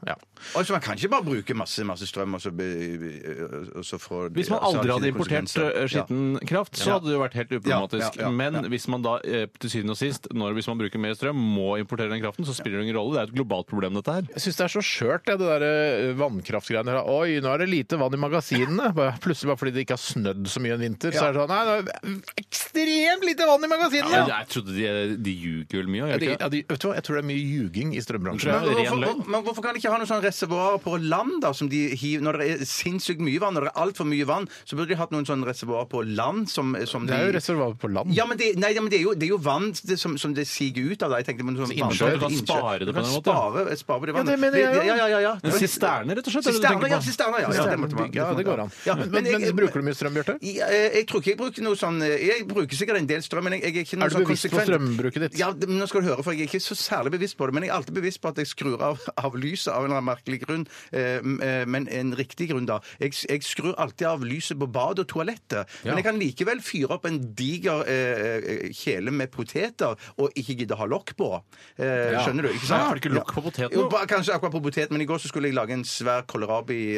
[SPEAKER 8] Altså, man kan ikke bare bruke masse, masse strøm og så, be- be- og så få
[SPEAKER 3] Hvis man
[SPEAKER 8] altså,
[SPEAKER 3] aldri
[SPEAKER 8] har
[SPEAKER 3] hadde
[SPEAKER 8] det
[SPEAKER 3] importert
[SPEAKER 8] konsekvenser.
[SPEAKER 3] eh, skitten kraft, så hadde det jo vært helt uproblematisk.
[SPEAKER 8] Ja, ja, ja,
[SPEAKER 3] Men hvis man da eh, til syvende og sist, når, hvis man bruker mer strøm, må importere den kraften, så spiller det ingen rolle. Det er et globalt problem, dette her.
[SPEAKER 7] Jeg syns det er så skjørt, det, det der eh, vannkraftgreiene. her. Oi, nå er det lite vann i magasinene. Bare- Plutselig bare fordi det ikke har snødd så mye en vinter, så er det sånn Nei, det er ekstremt lite vann i magasinene!
[SPEAKER 3] Jeg trodde de, de ljuger vel mye. gjør
[SPEAKER 7] Ja,
[SPEAKER 3] de
[SPEAKER 7] de,
[SPEAKER 3] ikke det?
[SPEAKER 7] ja, de, vet du hva, jeg tror det er mye ljuging i strømbransjen.
[SPEAKER 8] Men
[SPEAKER 3] Ja,
[SPEAKER 8] hvorfor,
[SPEAKER 3] ren løgn.
[SPEAKER 8] men hvorfor kan de ikke ha noen sånne reservoarer på land, da, som de hiver Når det er sinnssykt mye vann, når det er altfor mye vann, så burde de hatt noen sånne reservoarer på land som, som
[SPEAKER 7] Det er jo
[SPEAKER 8] de
[SPEAKER 7] reservoar på land.
[SPEAKER 8] ja, men det, nei, ja, men det, er jo, det er jo vann det, som, som det siger ut av. da. Jeg tenkte, men, sånn,
[SPEAKER 3] innsjø, du kan
[SPEAKER 8] innsjø.
[SPEAKER 3] spare det
[SPEAKER 8] Du
[SPEAKER 3] på
[SPEAKER 8] kan
[SPEAKER 3] en måte, ja.
[SPEAKER 8] Spare, spare det vannet.
[SPEAKER 7] det mener jeg jo.
[SPEAKER 8] Ja, ja, ja, ja.
[SPEAKER 3] Men Sisterner, rett og slett? er det du
[SPEAKER 8] Sisterner,
[SPEAKER 3] tenker på?
[SPEAKER 8] ja, sisterner, ja, ja, det måtte man-
[SPEAKER 7] Ja, det går an.
[SPEAKER 8] Ja,
[SPEAKER 7] men,
[SPEAKER 8] men
[SPEAKER 7] men,
[SPEAKER 8] jeg-
[SPEAKER 7] bruker du mye strøm, Bjarte?
[SPEAKER 8] Ja, eh, jeg tror ikke jeg bruker noe sånn eh, Jeg bruker sikkert en del strøm, men jeg, jeg er ikke noe
[SPEAKER 7] Er du
[SPEAKER 8] sånn
[SPEAKER 7] bevisst på
[SPEAKER 8] konsekvent.
[SPEAKER 7] strømbruket ditt?
[SPEAKER 8] Ja, det- men nå skal du høre, for jeg er ikke så særlig bevisst på det. Men jeg er alltid bevisst på at jeg skrur av, av lyset av en eller annen merkelig grunn. eh, m- eh, men en riktig grunn, da. Jeg, jeg skrur alltid av lyset på badet og toalettet. Men jeg kan likevel fyre opp en diger eh, eh, kjele med poteter og ikke gidde ha lokk på. Eh, Skjønner du? Ikke sant?
[SPEAKER 3] Nei, har du ikke lokk på poteten?
[SPEAKER 8] Jo, ba, kanskje akkurat på potet, men i går så skulle jeg lage en svær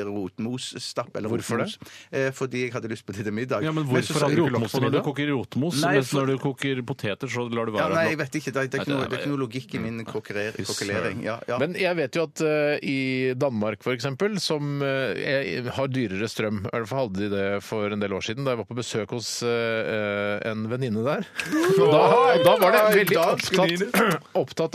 [SPEAKER 8] kålrabi-rotmos-stapp. eller
[SPEAKER 7] Hvorfor det?
[SPEAKER 8] rotmos. Eh, fordi jeg hadde lyst på det til middag.
[SPEAKER 3] Ja, men
[SPEAKER 8] Men så
[SPEAKER 3] hvorfor
[SPEAKER 8] sa
[SPEAKER 3] er
[SPEAKER 8] jeg-
[SPEAKER 3] rotmos når du koker rotmos?
[SPEAKER 8] Nei,
[SPEAKER 3] mens
[SPEAKER 8] for-
[SPEAKER 3] når du koker poteter, så lar du
[SPEAKER 8] Ja,
[SPEAKER 3] være
[SPEAKER 8] nei, jeg
[SPEAKER 3] lokk?
[SPEAKER 8] vet ikke. Det er, det er, ikke, noe, det er ikke noe logikk i min kokkerer- kokkelering. Ja, ja.
[SPEAKER 7] Men jeg vet jo at eh, i Danmark f.eks., som eh, er- har dyrere strøm, i hvert fall hadde de det for en del år siden, da jeg var på besøk hos eh, en venninne der. Da, da var det veldig opptatt,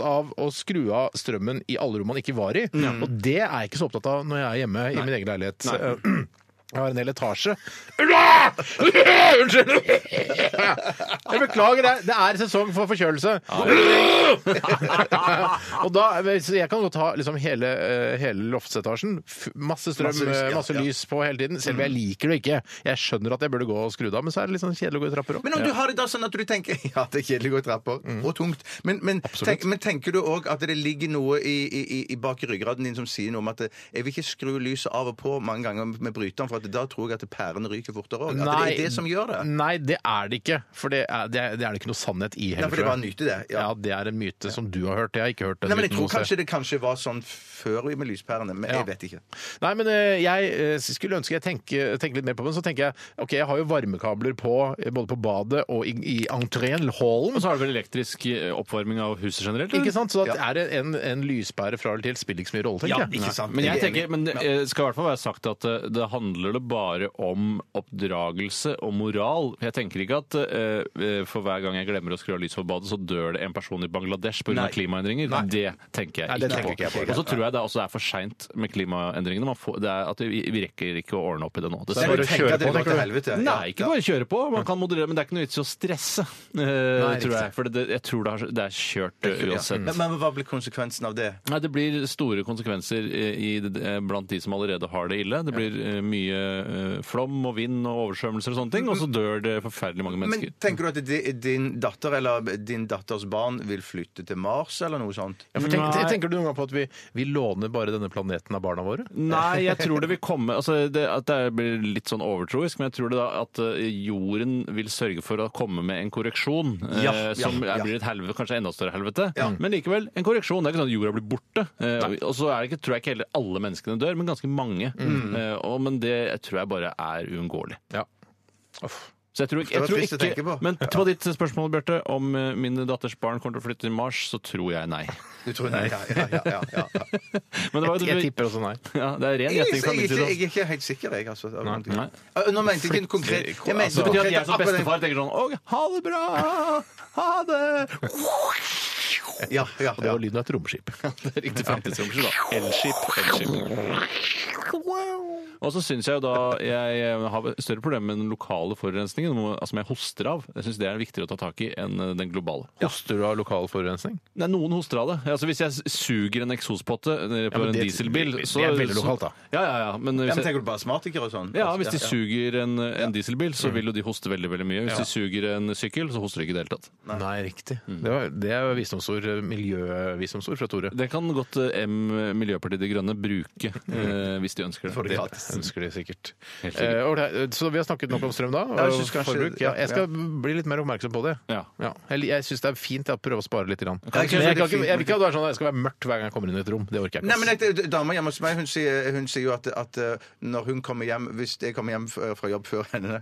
[SPEAKER 7] opptatt av å skru av strømmen i alle rom man ikke var i. Og det er jeg ikke så opptatt av når jeg er hjemme i min egen leilighet. Eh, Jeg har en hel etasje. Unnskyld! Jeg beklager, det, det er sesong for forkjølelse. og da, så jeg kan godt ha liksom hele, eh, hele loftsetasjen. f- Masse strøm, eh,
[SPEAKER 8] Masse
[SPEAKER 7] masse lys,
[SPEAKER 8] lys, ja, ja. Mm.
[SPEAKER 7] på hele tiden. Selv om jeg liker det ikke. Jeg skjønner at jeg burde gå og skru det av, men så er det litt sånn kjedelig å gå i trapper opp.
[SPEAKER 8] Men om du har det da sånn at du tenker Ja, det er kjedelig å gå i trapper, og tungt. Men, men, tenk, men tenker du òg at det ligger noe i, i, i- i bak i ryggraden din som sier noe om at eh, jeg vil ikke skru lyset av og på mange ganger med bryteren, for at da tror jeg at pærene ryker fortere òg. At det er det som gjør det.
[SPEAKER 7] Nei, det er det ikke. For det er det, er, det er det ikke noe sannhet i
[SPEAKER 8] Nei,
[SPEAKER 7] heller.
[SPEAKER 8] for
[SPEAKER 7] tror
[SPEAKER 8] det er bare å
[SPEAKER 7] jeg.
[SPEAKER 8] nyte det.
[SPEAKER 7] ja.
[SPEAKER 8] Ja.
[SPEAKER 7] det er en myte som du har hørt. Jeg har ikke hørt den.
[SPEAKER 8] Nei, men jeg
[SPEAKER 7] myten
[SPEAKER 8] tror
[SPEAKER 7] noe sted.
[SPEAKER 8] kanskje det kanskje var sånn før med lyspærene, men jeg vet ikke.
[SPEAKER 7] Nei, men eh, jeg eh, skulle ønske jeg tenker, tenker litt mer på det, men så tenker jeg OK, jeg har jo varmekabler på eh, både på badet og i, i entreen, eller hallen.
[SPEAKER 3] Og så har du vel elektrisk eh, oppvarming av huset generelt? eller?
[SPEAKER 7] Ikke sant? Så at er det en, en lyspære fra eller til spiller ikke så mye rolle, tenker jeg.
[SPEAKER 8] ikke sant.
[SPEAKER 3] Men
[SPEAKER 8] Jeg er
[SPEAKER 3] jeg
[SPEAKER 8] enig.
[SPEAKER 3] tenker, men det eh, skal i hvert fall være sagt at eh, det handler det bare om oppdragelse og moral. Jeg tenker ikke at eh, eh, for hver gang jeg glemmer å skru av lyset på badet, så dør det en person i Bangladesh pga.
[SPEAKER 8] Nei.
[SPEAKER 3] klimaendringer. Det tenker jeg
[SPEAKER 7] Nei, det
[SPEAKER 3] ikke
[SPEAKER 7] tenker
[SPEAKER 3] på.
[SPEAKER 7] ikke jeg på.
[SPEAKER 3] Og så tror jeg det også er for seint med klimaendringene. Man får, det er at vi, vi rekker ikke å ordne opp i det nå.
[SPEAKER 7] er bare
[SPEAKER 3] Dessverre.
[SPEAKER 7] å
[SPEAKER 8] Men tenk
[SPEAKER 7] kjøre
[SPEAKER 8] at det
[SPEAKER 7] på,
[SPEAKER 8] går
[SPEAKER 7] tenker
[SPEAKER 8] til
[SPEAKER 7] du?
[SPEAKER 8] helvete. Ja.
[SPEAKER 3] Nei, ikke bare kjøre på. Man kan moderere, men det er ikke noe vits i å stresse. eh, tror jeg, for det, jeg tror det, har, det er kjørt eh, uansett.
[SPEAKER 8] Men, men hva blir konsekvensen av det?
[SPEAKER 3] Nei, Det blir store konsekvenser eh, i, eh, blant de som allerede har det ille. Det blir eh, mye eh, flom og vind og oversvømmelser og sånne ting, og så dør det forferdelig mange
[SPEAKER 8] Men
[SPEAKER 3] mennesker.
[SPEAKER 8] tenker du at di- din datter eller din datters barn vil flytte til Mars eller noe sånt?
[SPEAKER 7] Ja, for tenk,
[SPEAKER 3] Nei.
[SPEAKER 7] tenker du noen gang på at vi, vi låner bare denne planeten av barna våre?
[SPEAKER 3] Nei, jeg tror det vil komme altså det, At det blir litt sånn overtroisk, men jeg tror det da at eh, jorden vil sørge for å komme med en korreksjon eh,
[SPEAKER 8] Ja, ja,
[SPEAKER 3] som er-
[SPEAKER 8] ja.
[SPEAKER 3] blir et helvete, kanskje enda større helvete. Men likevel, en korreksjon. Det er ikke sånn at jorda blir borte. Eh, og så er det ikke, tror jeg ikke heller alle menneskene dør, men ganske mange.
[SPEAKER 8] Mm.
[SPEAKER 3] Eh, og, men det tror jeg bare er uunngåelig.
[SPEAKER 7] Ja.
[SPEAKER 3] Så jeg tror,
[SPEAKER 8] Det
[SPEAKER 3] jeg
[SPEAKER 8] var
[SPEAKER 3] tror
[SPEAKER 8] trist å
[SPEAKER 3] ikke,
[SPEAKER 8] tenke på.
[SPEAKER 3] Men på ditt spørsmål, Bjarte, om eh, min datters barn kommer til å flytte til Mars, så tror jeg nei.
[SPEAKER 8] Du tror nei, ja, ja, ja, ja, ja.
[SPEAKER 3] Men det var jo
[SPEAKER 7] Jeg tipper også nei.
[SPEAKER 3] ja, det er ren
[SPEAKER 8] Jeg, jeg,
[SPEAKER 3] gjetning fra
[SPEAKER 8] er
[SPEAKER 3] min
[SPEAKER 8] ikke- jeg
[SPEAKER 3] side. altså.
[SPEAKER 8] er ikke helt sikker, jeg. Altså.
[SPEAKER 3] Nei.
[SPEAKER 8] Eh, Nå mente jeg ikke konkret jeg mente
[SPEAKER 3] Det betyr at
[SPEAKER 8] konkret
[SPEAKER 3] jeg som
[SPEAKER 8] akkurat den-
[SPEAKER 3] bestefar tenker sånn Å, ha det bra! Ha det!
[SPEAKER 8] Ja, ja,
[SPEAKER 7] Og det
[SPEAKER 8] ja.
[SPEAKER 7] var lyden av et romskip.
[SPEAKER 3] Det er riktig fremtidsromskip, da. Elskip. Elskip. Og så syns jeg jo da jeg har større problemer med den lokale forurensningen, noe- altså som jeg hoster av. Jeg syns det er viktigere å ta tak i enn eh, den globale.
[SPEAKER 7] Hoster du av lokal forurensning?
[SPEAKER 3] Nei, noen hoster av det. Altså, hvis jeg suger en eksospotte eh, på
[SPEAKER 7] men
[SPEAKER 3] en
[SPEAKER 7] det-
[SPEAKER 3] dieselbil,
[SPEAKER 7] det- det
[SPEAKER 3] så
[SPEAKER 7] er veldig lokalt, da.
[SPEAKER 3] Ja, ja, ja. Men
[SPEAKER 8] Ja,
[SPEAKER 3] hvis
[SPEAKER 8] men
[SPEAKER 3] jeg
[SPEAKER 8] Tenker du på astmatikere og sånn?
[SPEAKER 3] ja, hvis de
[SPEAKER 8] ja.
[SPEAKER 3] suger en, eh, en dieselbil, så vil jo de hoste veldig veldig mye. Hvis de suger en sykkel, så hoster de ikke i det hele tatt.
[SPEAKER 7] Nei, riktig. Det, var, det er visdomsord, eh, miljøvisdomsord fra Tore.
[SPEAKER 3] Det kan godt eh, M, Miljøpartiet De Grønne, bruke eh, hvis de ønsker det.
[SPEAKER 8] Får det gratis.
[SPEAKER 7] ønsker de sikkert.
[SPEAKER 3] Helt sikkert.
[SPEAKER 7] Eh, ålreit, så vi har snakket nok om strøm da?
[SPEAKER 8] jeg
[SPEAKER 7] og
[SPEAKER 8] synes kanskje-
[SPEAKER 7] forbruk. Ja,
[SPEAKER 8] ja,
[SPEAKER 7] jeg skal bli litt mer oppmerksom på det.
[SPEAKER 3] Ja.
[SPEAKER 7] Jeg, jeg syns det er fint å prøve å spare litt. Grann. Men
[SPEAKER 8] jeg synes
[SPEAKER 7] jeg,
[SPEAKER 8] det er
[SPEAKER 7] kan ikke,
[SPEAKER 8] fint,
[SPEAKER 7] jeg vil ikke at det er sånn at jeg skal være mørkt hver gang jeg kommer inn i et rom. Det orker jeg
[SPEAKER 8] Nei,
[SPEAKER 7] ikke.
[SPEAKER 8] men et- et- Dama hjemme hos meg hun sier, hun sier jo at, at eh, når hun kommer hjem Hvis jeg kommer hjem f- fra jobb før henne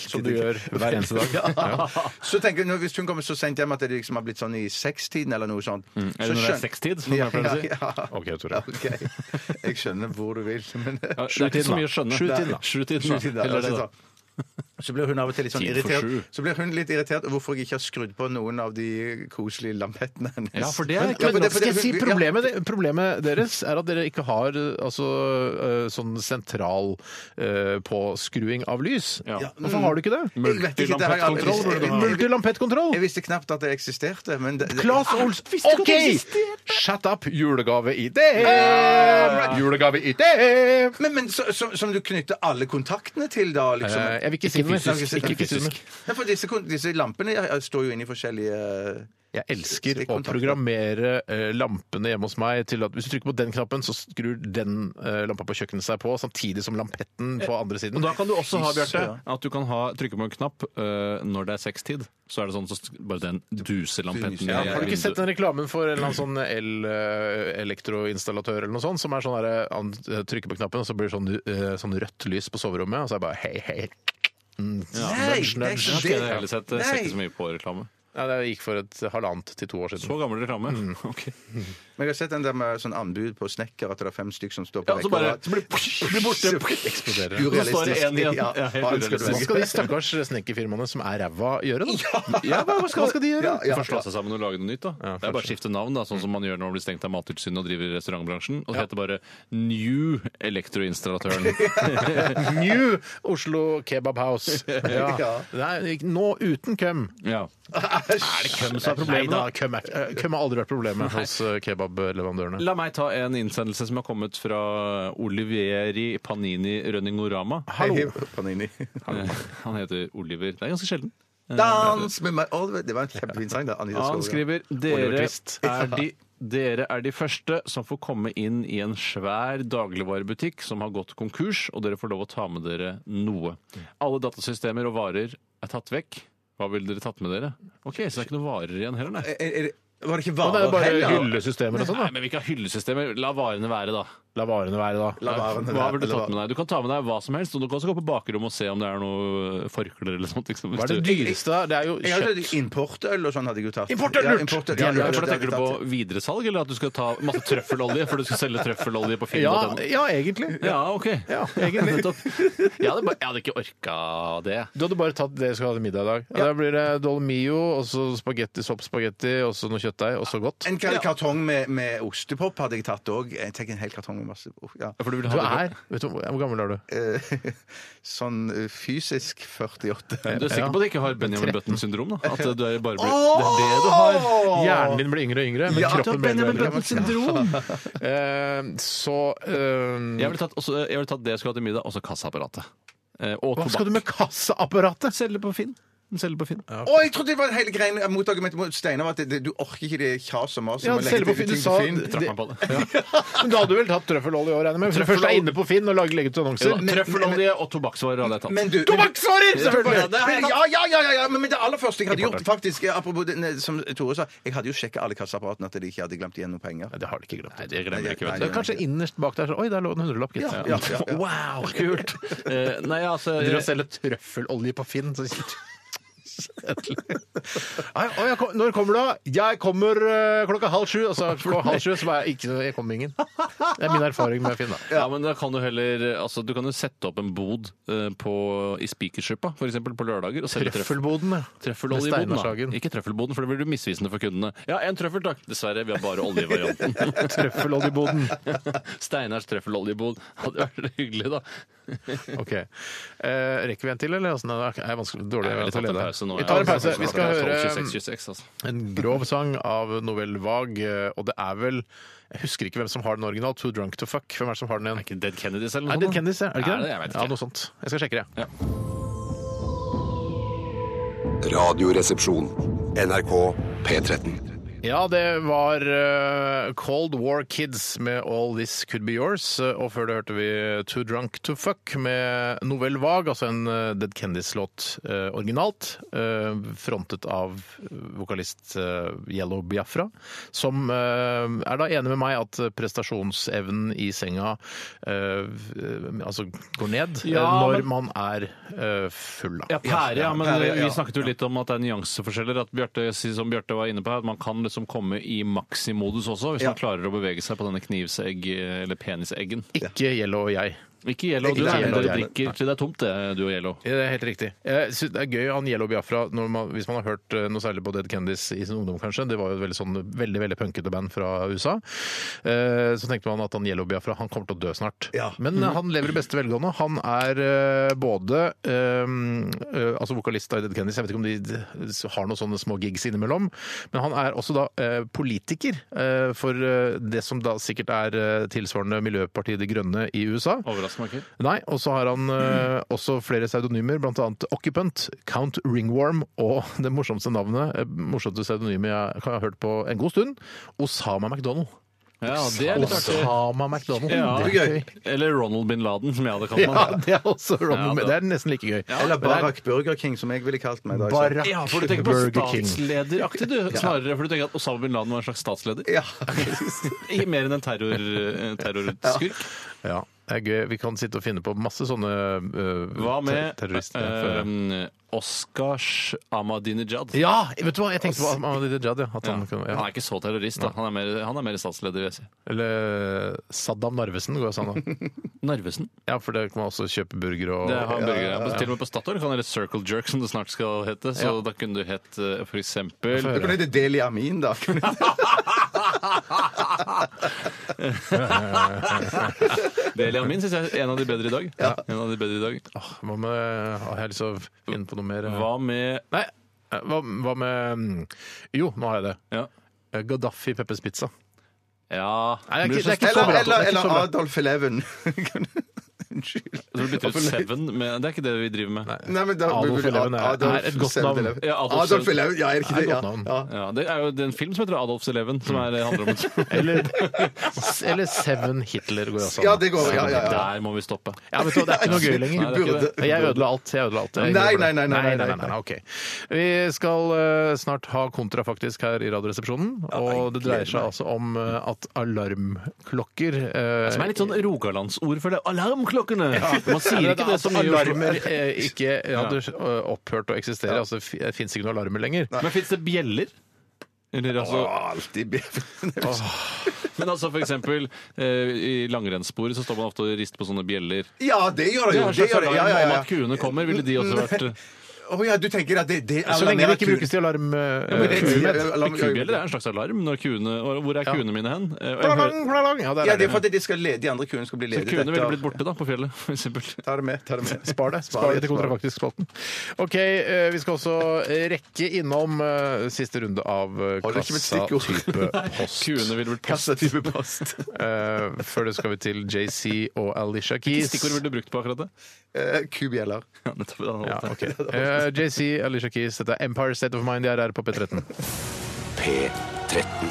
[SPEAKER 7] Som du gjør hver eneste dag.
[SPEAKER 8] ja. Så tenker hun, Hvis hun kommer så sent hjem at det liksom har blitt sånn i sekstiden eller noe sånt
[SPEAKER 3] Eller når det Mm. er sekstid, som
[SPEAKER 8] ja,
[SPEAKER 3] jeg pleier å si.
[SPEAKER 8] ja, ja.
[SPEAKER 7] OK, Tore.
[SPEAKER 8] Ok. Jeg skjønner hvor du vil, men
[SPEAKER 3] Ja, det er ikke så mye å skjønne.
[SPEAKER 7] Sjutiden, da.
[SPEAKER 3] Sjutiden, da.
[SPEAKER 8] Skyt inn der,
[SPEAKER 3] Heller det,
[SPEAKER 8] altså,
[SPEAKER 3] da.
[SPEAKER 8] sånn. Så blir hun av og til litt sånn
[SPEAKER 3] Ti for
[SPEAKER 8] irritert
[SPEAKER 3] sju.
[SPEAKER 8] Så blir hun litt irritert over hvorfor jeg ikke har skrudd på noen av de koselige lampettene hennes.
[SPEAKER 3] Ja, for det er ikke-
[SPEAKER 8] Ja, for det- for
[SPEAKER 7] Skal
[SPEAKER 8] det-
[SPEAKER 7] jeg si
[SPEAKER 8] ja.
[SPEAKER 7] problemet, problemet deres er at dere ikke har eh, altså, eh, sånn sentral eh, påskruing av lys.
[SPEAKER 3] Ja.
[SPEAKER 7] Hvorfor har du ikke det?
[SPEAKER 8] Jeg vet ikke, det har jeg aldri-
[SPEAKER 3] Multilampettkontroll burde du ha.
[SPEAKER 7] Multilampettkontroll!
[SPEAKER 8] Jeg visste knapt at det eksisterte, men det, det,
[SPEAKER 7] Claes Ols Ah, OK! Shut up! Julegave i DM! Ah, Julegave i DM!
[SPEAKER 8] Men, men så, så, som du knytter alle kontaktene til, da? liksom?
[SPEAKER 7] Eh, jeg vil ikke si noe.
[SPEAKER 8] fysisk.
[SPEAKER 7] Ikke fysisk.
[SPEAKER 8] Ja, for disse, kon- disse lampene ja, ja, står jo inne i forskjellige
[SPEAKER 7] Jeg elsker å
[SPEAKER 8] Stikkontakter.
[SPEAKER 7] programmere eh, lampene hjemme hos meg til at hvis du trykker på den knappen, så skrur den eh, lampa på kjøkkenet seg på, samtidig som lampetten på andre siden.
[SPEAKER 3] Og da kan du også ha,
[SPEAKER 8] Fy
[SPEAKER 3] Bjarte,
[SPEAKER 8] søren.
[SPEAKER 3] at du kan ha, trykke på en knapp eh, når det er sekstid. Så er det sånn så st- bare den duselampetten
[SPEAKER 8] Ja,
[SPEAKER 3] i
[SPEAKER 7] Har du ikke
[SPEAKER 3] vinduet.
[SPEAKER 7] sett den reklamen for en eller annen sånn el, eh, elektroinstallatør eller noe sånt, som er sånn derre han eh, trykker på knappen, og så blir det sånn, eh, sånn rødt lys på soverommet, og så er det bare hei, hei. Mm,
[SPEAKER 8] Nei,
[SPEAKER 7] nudge,
[SPEAKER 8] det er
[SPEAKER 7] nudge.
[SPEAKER 8] ikke
[SPEAKER 3] Jeg har heller sett, eh, ser
[SPEAKER 8] Nei.
[SPEAKER 3] ikke så mye på reklame.
[SPEAKER 7] Ja, det gikk for et halvannet til to år siden.
[SPEAKER 3] Så gammel reklame. Ok.
[SPEAKER 8] Men jeg har sett den der med sånn anbud på snekker, at det er fem stykk som står på
[SPEAKER 3] Ja, så bare så blir det borte.
[SPEAKER 7] eksploderer
[SPEAKER 3] Så står det en igjen.
[SPEAKER 8] Ja,
[SPEAKER 3] Ja, helt
[SPEAKER 8] hva ønsker du?
[SPEAKER 7] Hva
[SPEAKER 3] urealistisk.
[SPEAKER 7] skal de stakkars snekkerfirmaene som er ræva, gjøre, da? Ja, hva, hva, skal, hva skal de gjøre?
[SPEAKER 3] De får slå seg sammen og lage noe nytt. da.
[SPEAKER 7] Ja,
[SPEAKER 3] det er bare å
[SPEAKER 7] kanskje.
[SPEAKER 3] skifte navn, da, sånn som man gjør når man blir stengt av Mattilsynet og driver i restaurantbransjen. Og det heter bare New Elektroinstallatøren.
[SPEAKER 7] New Oslo Kebab House. Ja.
[SPEAKER 8] Ja.
[SPEAKER 7] Nei, nå uten køm.
[SPEAKER 3] Ja.
[SPEAKER 8] Er det
[SPEAKER 3] Hvem som
[SPEAKER 7] Nei
[SPEAKER 3] er problemet?
[SPEAKER 7] da,
[SPEAKER 3] da?
[SPEAKER 7] køm, er, eh, køm har aldri vært problemet hos eh, kebableverandørene.
[SPEAKER 3] La meg ta en innsendelse som har kommet fra Oliveri Panini Rønningorama.
[SPEAKER 7] Hallo.
[SPEAKER 8] Panini.
[SPEAKER 3] Eh, Han heter Oliver. Det er ganske sjelden.
[SPEAKER 8] Dans med meg Å, Det var en kjempefin sang, da. Anita
[SPEAKER 3] Han
[SPEAKER 8] Skog, ja.
[SPEAKER 3] skriver
[SPEAKER 7] Oliver
[SPEAKER 3] dere
[SPEAKER 7] Twist.
[SPEAKER 3] er, de, dere er de første som får komme inn i en svær dagligvarebutikk som har gått konkurs, og dere får lov å ta med dere noe. Alle datasystemer og varer er tatt vekk. Hva ville dere tatt med dere? Ok, Så det er ikke noen varer igjen heller, nei.
[SPEAKER 8] Er- er det- Var det ikke
[SPEAKER 7] Og det er
[SPEAKER 8] varer
[SPEAKER 7] bare
[SPEAKER 8] heller?
[SPEAKER 7] hyllesystemer og sånn,
[SPEAKER 3] Nei,
[SPEAKER 7] da.
[SPEAKER 3] men vi kan ha hyllesystemer. La varene være, da.
[SPEAKER 7] La varene være, da.
[SPEAKER 8] La varene
[SPEAKER 3] Hva
[SPEAKER 8] være-
[SPEAKER 3] vil du
[SPEAKER 8] eller
[SPEAKER 3] tatt med deg? Du kan ta med deg hva som helst. Og du kan også gå på bakrommet og se om det er noe forklær eller sånt. Liksom, hvis
[SPEAKER 7] Hva er det
[SPEAKER 3] du-
[SPEAKER 7] dyreste, da? Det er jo
[SPEAKER 8] Jeg
[SPEAKER 7] kjøtt.
[SPEAKER 8] hadde tatt Importøl og sånn hadde jeg jo tatt.
[SPEAKER 7] Importøl,
[SPEAKER 8] Ja,
[SPEAKER 7] lurt!
[SPEAKER 8] importøl,
[SPEAKER 3] Ja,
[SPEAKER 8] ja, ja,
[SPEAKER 3] for da
[SPEAKER 8] det hadde
[SPEAKER 3] tenker du
[SPEAKER 8] jeg
[SPEAKER 3] på
[SPEAKER 8] tatt.
[SPEAKER 3] videresalg, eller at du skal ta masse trøffelolje for du skal selge trøffelolje på
[SPEAKER 7] Ja,
[SPEAKER 3] Finn.no?
[SPEAKER 7] ja, egentlig.
[SPEAKER 3] Ja, OK.
[SPEAKER 7] Ja, egentlig.
[SPEAKER 3] Nettopp. Jeg hadde, bare, jeg hadde ikke orka det.
[SPEAKER 7] Du hadde bare tatt det du skal ha til middag i dag. Ja. Da blir det dolmio, og så spagetti, soppspagetti, og så noe kjøttdeig, og så godt.
[SPEAKER 8] En kar- kartong med, med ostepop hadde jeg tatt òg. Jeg tenker en hel kartong med masse ja.
[SPEAKER 3] For du ville
[SPEAKER 7] Du
[SPEAKER 3] ha det.
[SPEAKER 7] er vet du, Hvor gammel er du?
[SPEAKER 8] Eh, Sånn eh, fysisk 48.
[SPEAKER 3] Du er sikker
[SPEAKER 7] Ja.
[SPEAKER 3] på at du ikke har Benjamin Button-syndrom? da? At du er bare blir, det er det du har?
[SPEAKER 7] Hjernen din blir yngre og yngre, men
[SPEAKER 8] Ja,
[SPEAKER 7] kroppen blir eldre og eldre.
[SPEAKER 3] Button-syndrom!
[SPEAKER 7] Eh, så eh,
[SPEAKER 3] Jeg ville tatt, også- jeg ville tatt det jeg skulle ha til middag, også kassaapparatet. Eh, og
[SPEAKER 7] Hva skal
[SPEAKER 3] tobakk.
[SPEAKER 7] du med kassaapparatet?
[SPEAKER 3] Selge på Finn. Selge på Finn.
[SPEAKER 8] Å, jeg trodde det var hele greien motargumentet mot Steinar. var At det, det, du orker ikke det kjaset om oss.
[SPEAKER 7] Ja, selve Finn, du sa-
[SPEAKER 3] Trakk meg på det.
[SPEAKER 7] Men da hadde du vel tatt trøffelolje i år, regner jeg med? Hvis du først er inne på Finn og lager legger ut annonser.
[SPEAKER 3] Trøffelolje og tobakksvarer hadde jeg tatt.
[SPEAKER 8] Men du
[SPEAKER 7] Tobakksvarer!
[SPEAKER 8] Ja,
[SPEAKER 7] selvfølgelig!
[SPEAKER 8] ja, ja, ja, ja, men, men det aller første jeg hadde gjort, faktisk eh, Apropos det ne- som Tore sa, jeg hadde jo sjekka alle kassaapparatene at de ikke hadde glemt igjen noen penger.
[SPEAKER 7] Nei, Det har du ikke glemt.
[SPEAKER 3] Nei, det glemmer jeg ikke, vet
[SPEAKER 7] Så
[SPEAKER 3] du.
[SPEAKER 7] kanskje innerst bak der så Oi, der lå det en hundrelapp, gitt.
[SPEAKER 8] Ja, ja, ja, ja.
[SPEAKER 7] Wow, kult!
[SPEAKER 3] Eh, Nei, altså
[SPEAKER 7] Dere
[SPEAKER 3] jeg-
[SPEAKER 7] selger trøffelolje på Finn, så Nei, og jeg kom, når kommer du, da? Jeg kommer eh, klokka halv sju. Og så klokka halv sju så var jeg ikke Jeg kom ingen. Det er min erfaring med Finn, da.
[SPEAKER 3] Ja, men da kan du heller altså, Du kan jo sette opp en bod eh, på, i Spikersuppa, f.eks. på lørdager. Og selge trøffel.
[SPEAKER 7] Trøffelboden, ja.
[SPEAKER 3] Trøffelolje i
[SPEAKER 7] Med
[SPEAKER 3] boden,
[SPEAKER 7] Steinar Sagen.
[SPEAKER 3] da. Ikke trøffelboden, for det blir du misvisende for kundene. Ja, en trøffel, takk. Dessverre, vi har bare oljevarianten.
[SPEAKER 7] Trøffeloljeboden.
[SPEAKER 3] Steinars trøffeloljebod. Hadde vært hyggelig, da.
[SPEAKER 7] Ok. Eh, rekker vi en til, eller? Åssen er det Det er vanskelig, dårlig
[SPEAKER 3] Jeg ville
[SPEAKER 7] å
[SPEAKER 3] tatt en
[SPEAKER 7] lede.
[SPEAKER 3] pause nå.
[SPEAKER 7] Vi
[SPEAKER 3] jeg.
[SPEAKER 7] tar en pause. Vi skal
[SPEAKER 3] Jeg
[SPEAKER 7] høre eh,
[SPEAKER 3] er 26, 26, altså.
[SPEAKER 7] en grov sang av Novelle Vague, eh, og det er vel Jeg husker ikke hvem som har den original. Too Drunk to Fuck. Hvem er det som har den igjen?
[SPEAKER 3] Ikke Dead Kennedys
[SPEAKER 7] Er
[SPEAKER 3] eller noe
[SPEAKER 7] det
[SPEAKER 3] sånt?
[SPEAKER 7] Kendis, ja? Er det
[SPEAKER 3] Er
[SPEAKER 7] ikke
[SPEAKER 3] det?
[SPEAKER 7] det?
[SPEAKER 3] Jeg vet ikke.
[SPEAKER 7] Ja, noe sånt. Jeg skal sjekke det.
[SPEAKER 1] Radioresepsjon. NRK P13.
[SPEAKER 7] Ja, det var eh, Cold War Kids med All This Could Be Yours. eh, Og før det hørte vi Too Drunk To Fuck med Novelle Vague, altså en eh, Dead Kendis-låt eh, originalt. eh, frontet av vokalist eh, Yellow Biafra, som eh, er da enig med meg at prestasjonsevnen i senga eh, altså går ned eh,
[SPEAKER 3] Ja,
[SPEAKER 7] når
[SPEAKER 3] men-
[SPEAKER 7] man er eh, full. da.
[SPEAKER 3] Ja, pære, ja, men
[SPEAKER 8] pære, ja.
[SPEAKER 3] vi snakket jo litt om at det er nyanseforskjeller. At Bjarte, som Bjarte var inne på her, at man kan liksom komme i maksimodus også, hvis man klarer å bevege seg på denne knivsegg- eller peniseggen.
[SPEAKER 7] Ikke Yellow og jeg.
[SPEAKER 3] Ikke Yellow,
[SPEAKER 8] Ikke
[SPEAKER 3] du er
[SPEAKER 8] Yellow,
[SPEAKER 3] dere
[SPEAKER 8] Yellow.
[SPEAKER 3] drikker til det er tomt, det, du og Yellow.
[SPEAKER 7] Ja, Det er helt riktig. Jeg synes det er gøy han Yellow Biafra, når man, hvis man har hørt eh, noe særlig på Dead Kennedys i sin ungdom, kanskje. Det var jo et veldig, sånn, veldig veldig punkete band fra USA. Eh, Så tenkte man at han Yellow Biafra han kommer til å dø snart.
[SPEAKER 8] Ja.
[SPEAKER 7] Men eh, han lever i beste velgående. Han er eh, både eh, eh, altså vokalist da i Dead Kennedys, jeg vet ikke om de d- har noen sånne små gigs innimellom, men han er også da eh, politiker eh, for eh, det som da sikkert er eh, tilsvarende Miljøpartiet De Grønne i USA.
[SPEAKER 3] Overrasker meg ikke.
[SPEAKER 7] Nei, og så har han eh, også flere pseudonymer, bl.a. Occupant, Count Ringworm og det morsomste navnet, eh, morsomste pseudonymet jeg har hørt på en god stund, Osama McDonald.
[SPEAKER 3] Ja, det er litt artig.
[SPEAKER 7] Osama McDonald.
[SPEAKER 3] Ja.
[SPEAKER 7] Det er gøy.
[SPEAKER 3] Eller Ronald bin Laden, som jeg hadde kalt
[SPEAKER 7] Ja,
[SPEAKER 3] meg.
[SPEAKER 7] det er også Ronald
[SPEAKER 3] Ja,
[SPEAKER 7] Det er nesten like gøy.
[SPEAKER 8] Eller Barack Burger King, som jeg ville kalt meg. da. jeg sa-
[SPEAKER 7] Barack
[SPEAKER 3] Ja, for du tenker på
[SPEAKER 7] Burger King.
[SPEAKER 3] statslederaktig, du. Snarere for du tenker at Osama bin Laden var en slags statsleder.
[SPEAKER 8] Ja.
[SPEAKER 3] I- Mer enn en terror, eh, terrorskurk.
[SPEAKER 7] Ja, det er gøy. Vi kan sitte og finne på masse sånne eh,
[SPEAKER 3] Hva med
[SPEAKER 7] ter- terrorister. for-
[SPEAKER 3] eh, Oscars Ahmadinejad?
[SPEAKER 7] ja, vet du hva? Jeg tenkte på Ahmadinejad. Ja, at han,
[SPEAKER 3] Ja.
[SPEAKER 7] kunne-
[SPEAKER 3] Han
[SPEAKER 7] ja.
[SPEAKER 3] er ikke så terrorist, da. Han er mer, han er mer statsleder, vil jeg si.
[SPEAKER 7] Eller Saddam Narvesen går jo sånn. da.
[SPEAKER 3] Narvesen.
[SPEAKER 7] Ja, for der kan man også kjøpe burger og
[SPEAKER 3] Det er hamburger. Ja, Til og med på Statoil kan det hete Circle Jerk, som det snart skal hete. Så
[SPEAKER 7] Ja.
[SPEAKER 3] da kunne du hett eh, for eksempel
[SPEAKER 8] Du kunne hete Deli Amin, da. Kunne du-
[SPEAKER 3] Delia min syns jeg er en av de bedre i dag. En av de bedre i dag.
[SPEAKER 7] Åh, Hva med Har jeg lyst til å finne på noe mer?
[SPEAKER 3] Hva med
[SPEAKER 7] Nei, hva, hva med mm, Jo, nå har jeg det. Eh,
[SPEAKER 3] Ja.
[SPEAKER 7] Gaddafi Peppers Pizza.
[SPEAKER 3] Ja
[SPEAKER 7] Nei, det er ikke-
[SPEAKER 3] Blir
[SPEAKER 7] det er
[SPEAKER 3] så-
[SPEAKER 7] ikke så
[SPEAKER 8] Eller,
[SPEAKER 7] bra.
[SPEAKER 8] eller,
[SPEAKER 7] Det er ikke
[SPEAKER 8] eller
[SPEAKER 7] så bra.
[SPEAKER 8] Adolf Eleven. Unnskyld.
[SPEAKER 3] Jeg tror du bytter ut Seven med Det er ikke det vi driver med.
[SPEAKER 8] Nei, men da,
[SPEAKER 7] Adolf Eleven er- er et godt navn.
[SPEAKER 8] 7-Eleven.
[SPEAKER 3] Ja, Adolf
[SPEAKER 8] Adolf
[SPEAKER 3] 7-Eleven.
[SPEAKER 8] Eleven, ja, er det ikke
[SPEAKER 7] Er et
[SPEAKER 8] det? Ja.
[SPEAKER 7] godt navn.
[SPEAKER 8] Ja.
[SPEAKER 3] Ja, det er jo det er en film som heter Adolfs Eleven, som er, handler om et
[SPEAKER 7] Eller, eller Seven Hitler går jo også an.
[SPEAKER 8] ja, det går. Ja, ja, ja.
[SPEAKER 3] Der må vi stoppe.
[SPEAKER 7] Ja, vet du, hva, Det er ikke noe gøy lenger.
[SPEAKER 3] Nei, det er ikke det.
[SPEAKER 7] Jeg ødela alt. jeg ødela alt. Jeg
[SPEAKER 8] Nei,
[SPEAKER 7] gjorde det.
[SPEAKER 8] nei, nei, nei,
[SPEAKER 7] nei, nei,
[SPEAKER 8] nei,
[SPEAKER 7] nei, ok. Vi skal eh, snart ha kontra faktisk her i Radioresepsjonen. Og det dreier seg altså om eh, at alarmklokker eh,
[SPEAKER 3] Som er litt sånn rogalandsord for det. Alarmklokkene! Man sier ikke det så mye. i Oslo.
[SPEAKER 7] Alarmer eh, ikke hadde eh, opphørt å eksistere. Altså, det fins ikke noen alarmer lenger.
[SPEAKER 3] Men fins det bjeller? Eller altså
[SPEAKER 8] Å, Alltid bedre.
[SPEAKER 3] Men altså for eksempel eh, i langrennssporet så står man ofte og rister på sånne bjeller.
[SPEAKER 8] Ja, det gjør det
[SPEAKER 3] Det
[SPEAKER 8] jo.
[SPEAKER 3] er en
[SPEAKER 8] Det
[SPEAKER 3] slags
[SPEAKER 8] gjør det. Ja, ja,
[SPEAKER 3] alarm om
[SPEAKER 8] ja.
[SPEAKER 3] at kuene kommer, ville de også vært
[SPEAKER 8] Å ja, du tenker at det, det
[SPEAKER 7] Så lenge det ikke brukes til alarm... eh,
[SPEAKER 8] men det-
[SPEAKER 7] kumet.
[SPEAKER 8] alarm-
[SPEAKER 3] Kubjeller er en slags alarm. Når kuene, og hvor er kuene mine hen? Eh, og jeg hører-
[SPEAKER 7] Plalang, plalang. Ja, der
[SPEAKER 8] Ja,
[SPEAKER 7] er
[SPEAKER 8] det er
[SPEAKER 7] det.
[SPEAKER 8] for at de, skal lede, de andre kuene skal bli
[SPEAKER 3] Så
[SPEAKER 8] ledet.
[SPEAKER 3] kuene ville
[SPEAKER 8] etter-
[SPEAKER 3] blitt borte da, på fjellet, for eksempel.
[SPEAKER 8] Ta det med. ta det med.
[SPEAKER 7] Spar det. Spar det til kontrafaktisk-spalten. OK, eh, vi skal også rekke innom eh, siste runde av eh,
[SPEAKER 8] Holder ikke med stikkord.
[SPEAKER 7] kassa-type post.
[SPEAKER 3] Kuene ville blitt post.
[SPEAKER 8] Kassatype post.
[SPEAKER 7] Eh, Før det skal vi til JC og Alicia Keys.
[SPEAKER 3] Stikkord ville du brukt på akkurat det?
[SPEAKER 8] Eh, Kubjeller.
[SPEAKER 3] Ja, nettopp. det hadde
[SPEAKER 7] Ja,
[SPEAKER 3] holdt det.
[SPEAKER 7] ok. Eh, JC, Alicia Keys, dette er Empire State of Mind. De er her på P13.
[SPEAKER 1] P13.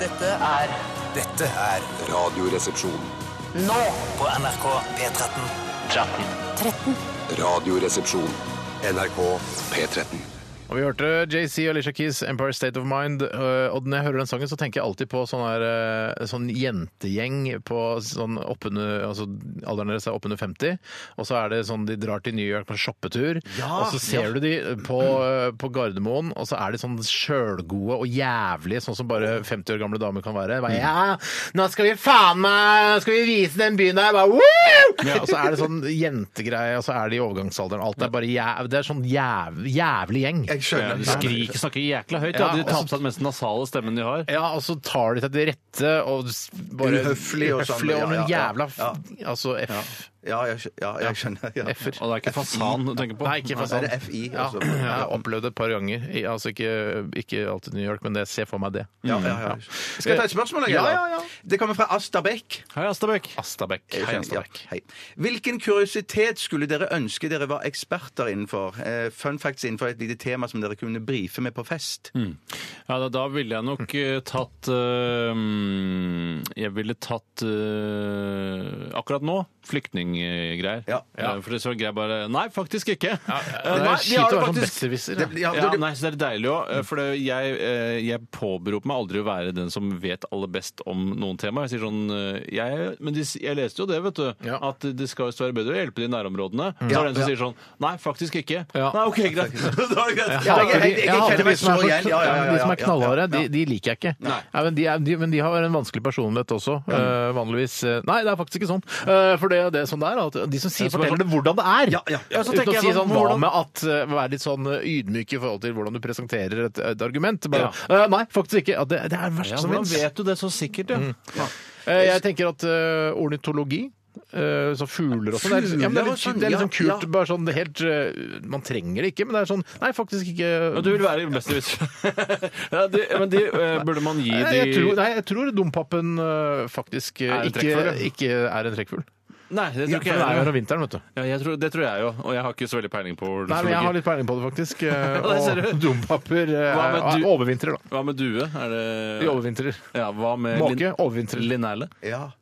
[SPEAKER 9] Dette er
[SPEAKER 6] Dette er
[SPEAKER 1] Radioresepsjon.
[SPEAKER 5] Nå.
[SPEAKER 9] på NRK P13.
[SPEAKER 5] 13.
[SPEAKER 1] Radioresepsjon. NRK P13.
[SPEAKER 7] Og vi hørte JC og Alicia Keys' 'Empire State of Mind'. øh, Og når jeg hører den sangen, så tenker jeg alltid på sånn, her, øh, sånn jentegjeng på sånn oppunder altså, Alderen deres er oppunder 50, og så er det sånn de drar til New York på shoppetur, og så ser du de på, øh, på Gardermoen, og så er de sånn sjølgode og jævlige, sånn som bare 50 år gamle damer kan være. Bare, ja, nå skal vi faen meg Skal vi vise den byen der! Bare, Woo! Ja, og så er det sånn jentegreie, og så er det i overgangsalderen. Alt er bare jæv, Det er sånn jæv, jævlig gjeng.
[SPEAKER 8] Jeg
[SPEAKER 3] Ja,
[SPEAKER 8] skjønner.
[SPEAKER 3] de skriker, snakker jækla høyt.
[SPEAKER 7] Ja, altså-
[SPEAKER 3] Ja, de tar
[SPEAKER 7] og
[SPEAKER 3] på seg den mest nasale stemmen de har.
[SPEAKER 7] Ja, og så tar de seg til rette og s- bare
[SPEAKER 8] Uhøflig og sånn.
[SPEAKER 7] uhøflig og
[SPEAKER 8] Ja, ja,
[SPEAKER 7] noen
[SPEAKER 8] ja.
[SPEAKER 7] jævla f Altså F.
[SPEAKER 8] Ja, jeg, skj- ja, jeg skjønner. Ja.
[SPEAKER 7] F-er.
[SPEAKER 3] Og det er ikke fasan du tenker på.
[SPEAKER 7] Nei, ikke
[SPEAKER 8] Er
[SPEAKER 7] fasan.
[SPEAKER 8] det FI?
[SPEAKER 7] Ja,
[SPEAKER 8] altså?
[SPEAKER 7] jeg har opplevd det et par ganger. I- Altså ikke, ikke alltid New York, men det, jeg ser for meg det.
[SPEAKER 8] Ja, ja, ja. Skal jeg ta et spørsmål? jeg,
[SPEAKER 7] Ja,
[SPEAKER 8] eller?
[SPEAKER 7] ja, ja.
[SPEAKER 8] Det kommer fra Asta Bech.
[SPEAKER 3] Hei, Astabøk.
[SPEAKER 7] Astabekk.
[SPEAKER 8] Ja,
[SPEAKER 7] Hei, Astabekk.
[SPEAKER 8] hei. Hvilken kuriositet skulle dere ønske dere var eksperter innenfor? Eh, Fun facts innenfor et lite tema som dere kunne brife med på fest.
[SPEAKER 3] Mm. Ja, da, da ville jeg nok eh, tatt eh, mm, Jeg ville tatt eh, akkurat nå flyktninggreier.
[SPEAKER 8] Ja.
[SPEAKER 3] Eh, For det så greier bare Nei, faktisk ikke! Eh,
[SPEAKER 7] Det
[SPEAKER 3] nei,
[SPEAKER 7] er
[SPEAKER 3] de
[SPEAKER 7] kjipt
[SPEAKER 3] har
[SPEAKER 7] å
[SPEAKER 3] det
[SPEAKER 7] være sånn
[SPEAKER 3] faktisk-
[SPEAKER 7] besserwisser.
[SPEAKER 8] Det,
[SPEAKER 7] da.
[SPEAKER 8] ja,
[SPEAKER 3] Ja,
[SPEAKER 8] det,
[SPEAKER 3] nei, så det er deilig òg. For det, jeg, eh, jeg påberoper meg aldri å være den som vet aller best om noen tema. Jeg sier sånn eh, jeg, Men de, s- jeg leste jo det, vet du.
[SPEAKER 7] Ja. Mm.
[SPEAKER 3] At det skal jo stå her bedre å hjelpe de i nærområdene. Så er det en som
[SPEAKER 8] ja.
[SPEAKER 3] sier sånn Nei, faktisk ikke.
[SPEAKER 7] Ja.
[SPEAKER 3] Nei, OK, greit. Da er det greit.
[SPEAKER 8] Ja,
[SPEAKER 7] Jeg hater
[SPEAKER 8] jeg- jeg-
[SPEAKER 7] de-
[SPEAKER 8] jeg
[SPEAKER 7] jeg hater
[SPEAKER 8] kjenner
[SPEAKER 7] de
[SPEAKER 8] meg
[SPEAKER 7] som er
[SPEAKER 8] så
[SPEAKER 7] så-
[SPEAKER 8] igjen. Ja, ja, ja,
[SPEAKER 7] liksom De som er
[SPEAKER 8] ja, ja.
[SPEAKER 7] knallharde, de, de liker jeg ikke.
[SPEAKER 8] Nei.
[SPEAKER 7] Ja, men, de er, de, men de har en vanskelig personlighet også, øh, vanligvis. Øh, Nei, det er faktisk ikke sånn. Øh, for det, det er sånn det er. At de som sier,
[SPEAKER 3] som er
[SPEAKER 7] forteller
[SPEAKER 3] sånn-
[SPEAKER 7] det hvordan det er.
[SPEAKER 8] Ja, ja.
[SPEAKER 3] Ja, så
[SPEAKER 7] Uten å
[SPEAKER 3] tenker jeg
[SPEAKER 7] si
[SPEAKER 3] sånn,
[SPEAKER 7] sånn, hva
[SPEAKER 3] hvordan-
[SPEAKER 7] med at øh, Være litt sånn øh, ydmyk i forhold til hvordan du presenterer et, et argument. Bare,
[SPEAKER 3] Ja.
[SPEAKER 7] «Øh, nei, faktisk ikke. Ja, det, det er det verste
[SPEAKER 3] Ja,
[SPEAKER 7] som
[SPEAKER 3] hvordan
[SPEAKER 7] fins.
[SPEAKER 3] vet du det så sikkert, ja?
[SPEAKER 7] Eh, Jeg tenker at eh, ornitologi eh, så fugler og sånn. Det, er- ja, men det, er
[SPEAKER 8] Fugler og
[SPEAKER 7] litt-
[SPEAKER 8] sånn,
[SPEAKER 7] det er litt
[SPEAKER 8] ja,
[SPEAKER 7] sånn kult.
[SPEAKER 8] ja.
[SPEAKER 7] Bare sånn helt eh, Man trenger det ikke, men det er sånn Nei, faktisk ikke
[SPEAKER 3] Ja, Du vil være besserwisser. ja, de, men de eh, burde man gi
[SPEAKER 7] Nei,
[SPEAKER 3] de
[SPEAKER 7] jeg, tror, nei, jeg tror dompapen eh, faktisk eh,
[SPEAKER 3] Er en
[SPEAKER 7] ikke,
[SPEAKER 3] trekkfugl, ja.
[SPEAKER 7] ikke er en trekkfugl.
[SPEAKER 3] Nei, det
[SPEAKER 7] For
[SPEAKER 3] tror ikke
[SPEAKER 7] Den er jo
[SPEAKER 3] jeg.
[SPEAKER 7] her om vinteren, vet du.
[SPEAKER 3] Ja, jeg tror, det tror jeg jo, og jeg har ikke så veldig peiling på
[SPEAKER 7] Nei, men Jeg har
[SPEAKER 3] ornitologi.
[SPEAKER 7] litt peiling på det, faktisk. eh,
[SPEAKER 3] der ser
[SPEAKER 7] Og
[SPEAKER 3] du.
[SPEAKER 7] dompaper øh,
[SPEAKER 3] Hva med du-
[SPEAKER 7] overvintrer, da.
[SPEAKER 3] Hva med due? Er det
[SPEAKER 7] De overvintrer.
[SPEAKER 3] Ja, hva med
[SPEAKER 7] Måke overvintrer.
[SPEAKER 3] linerle?
[SPEAKER 8] ja.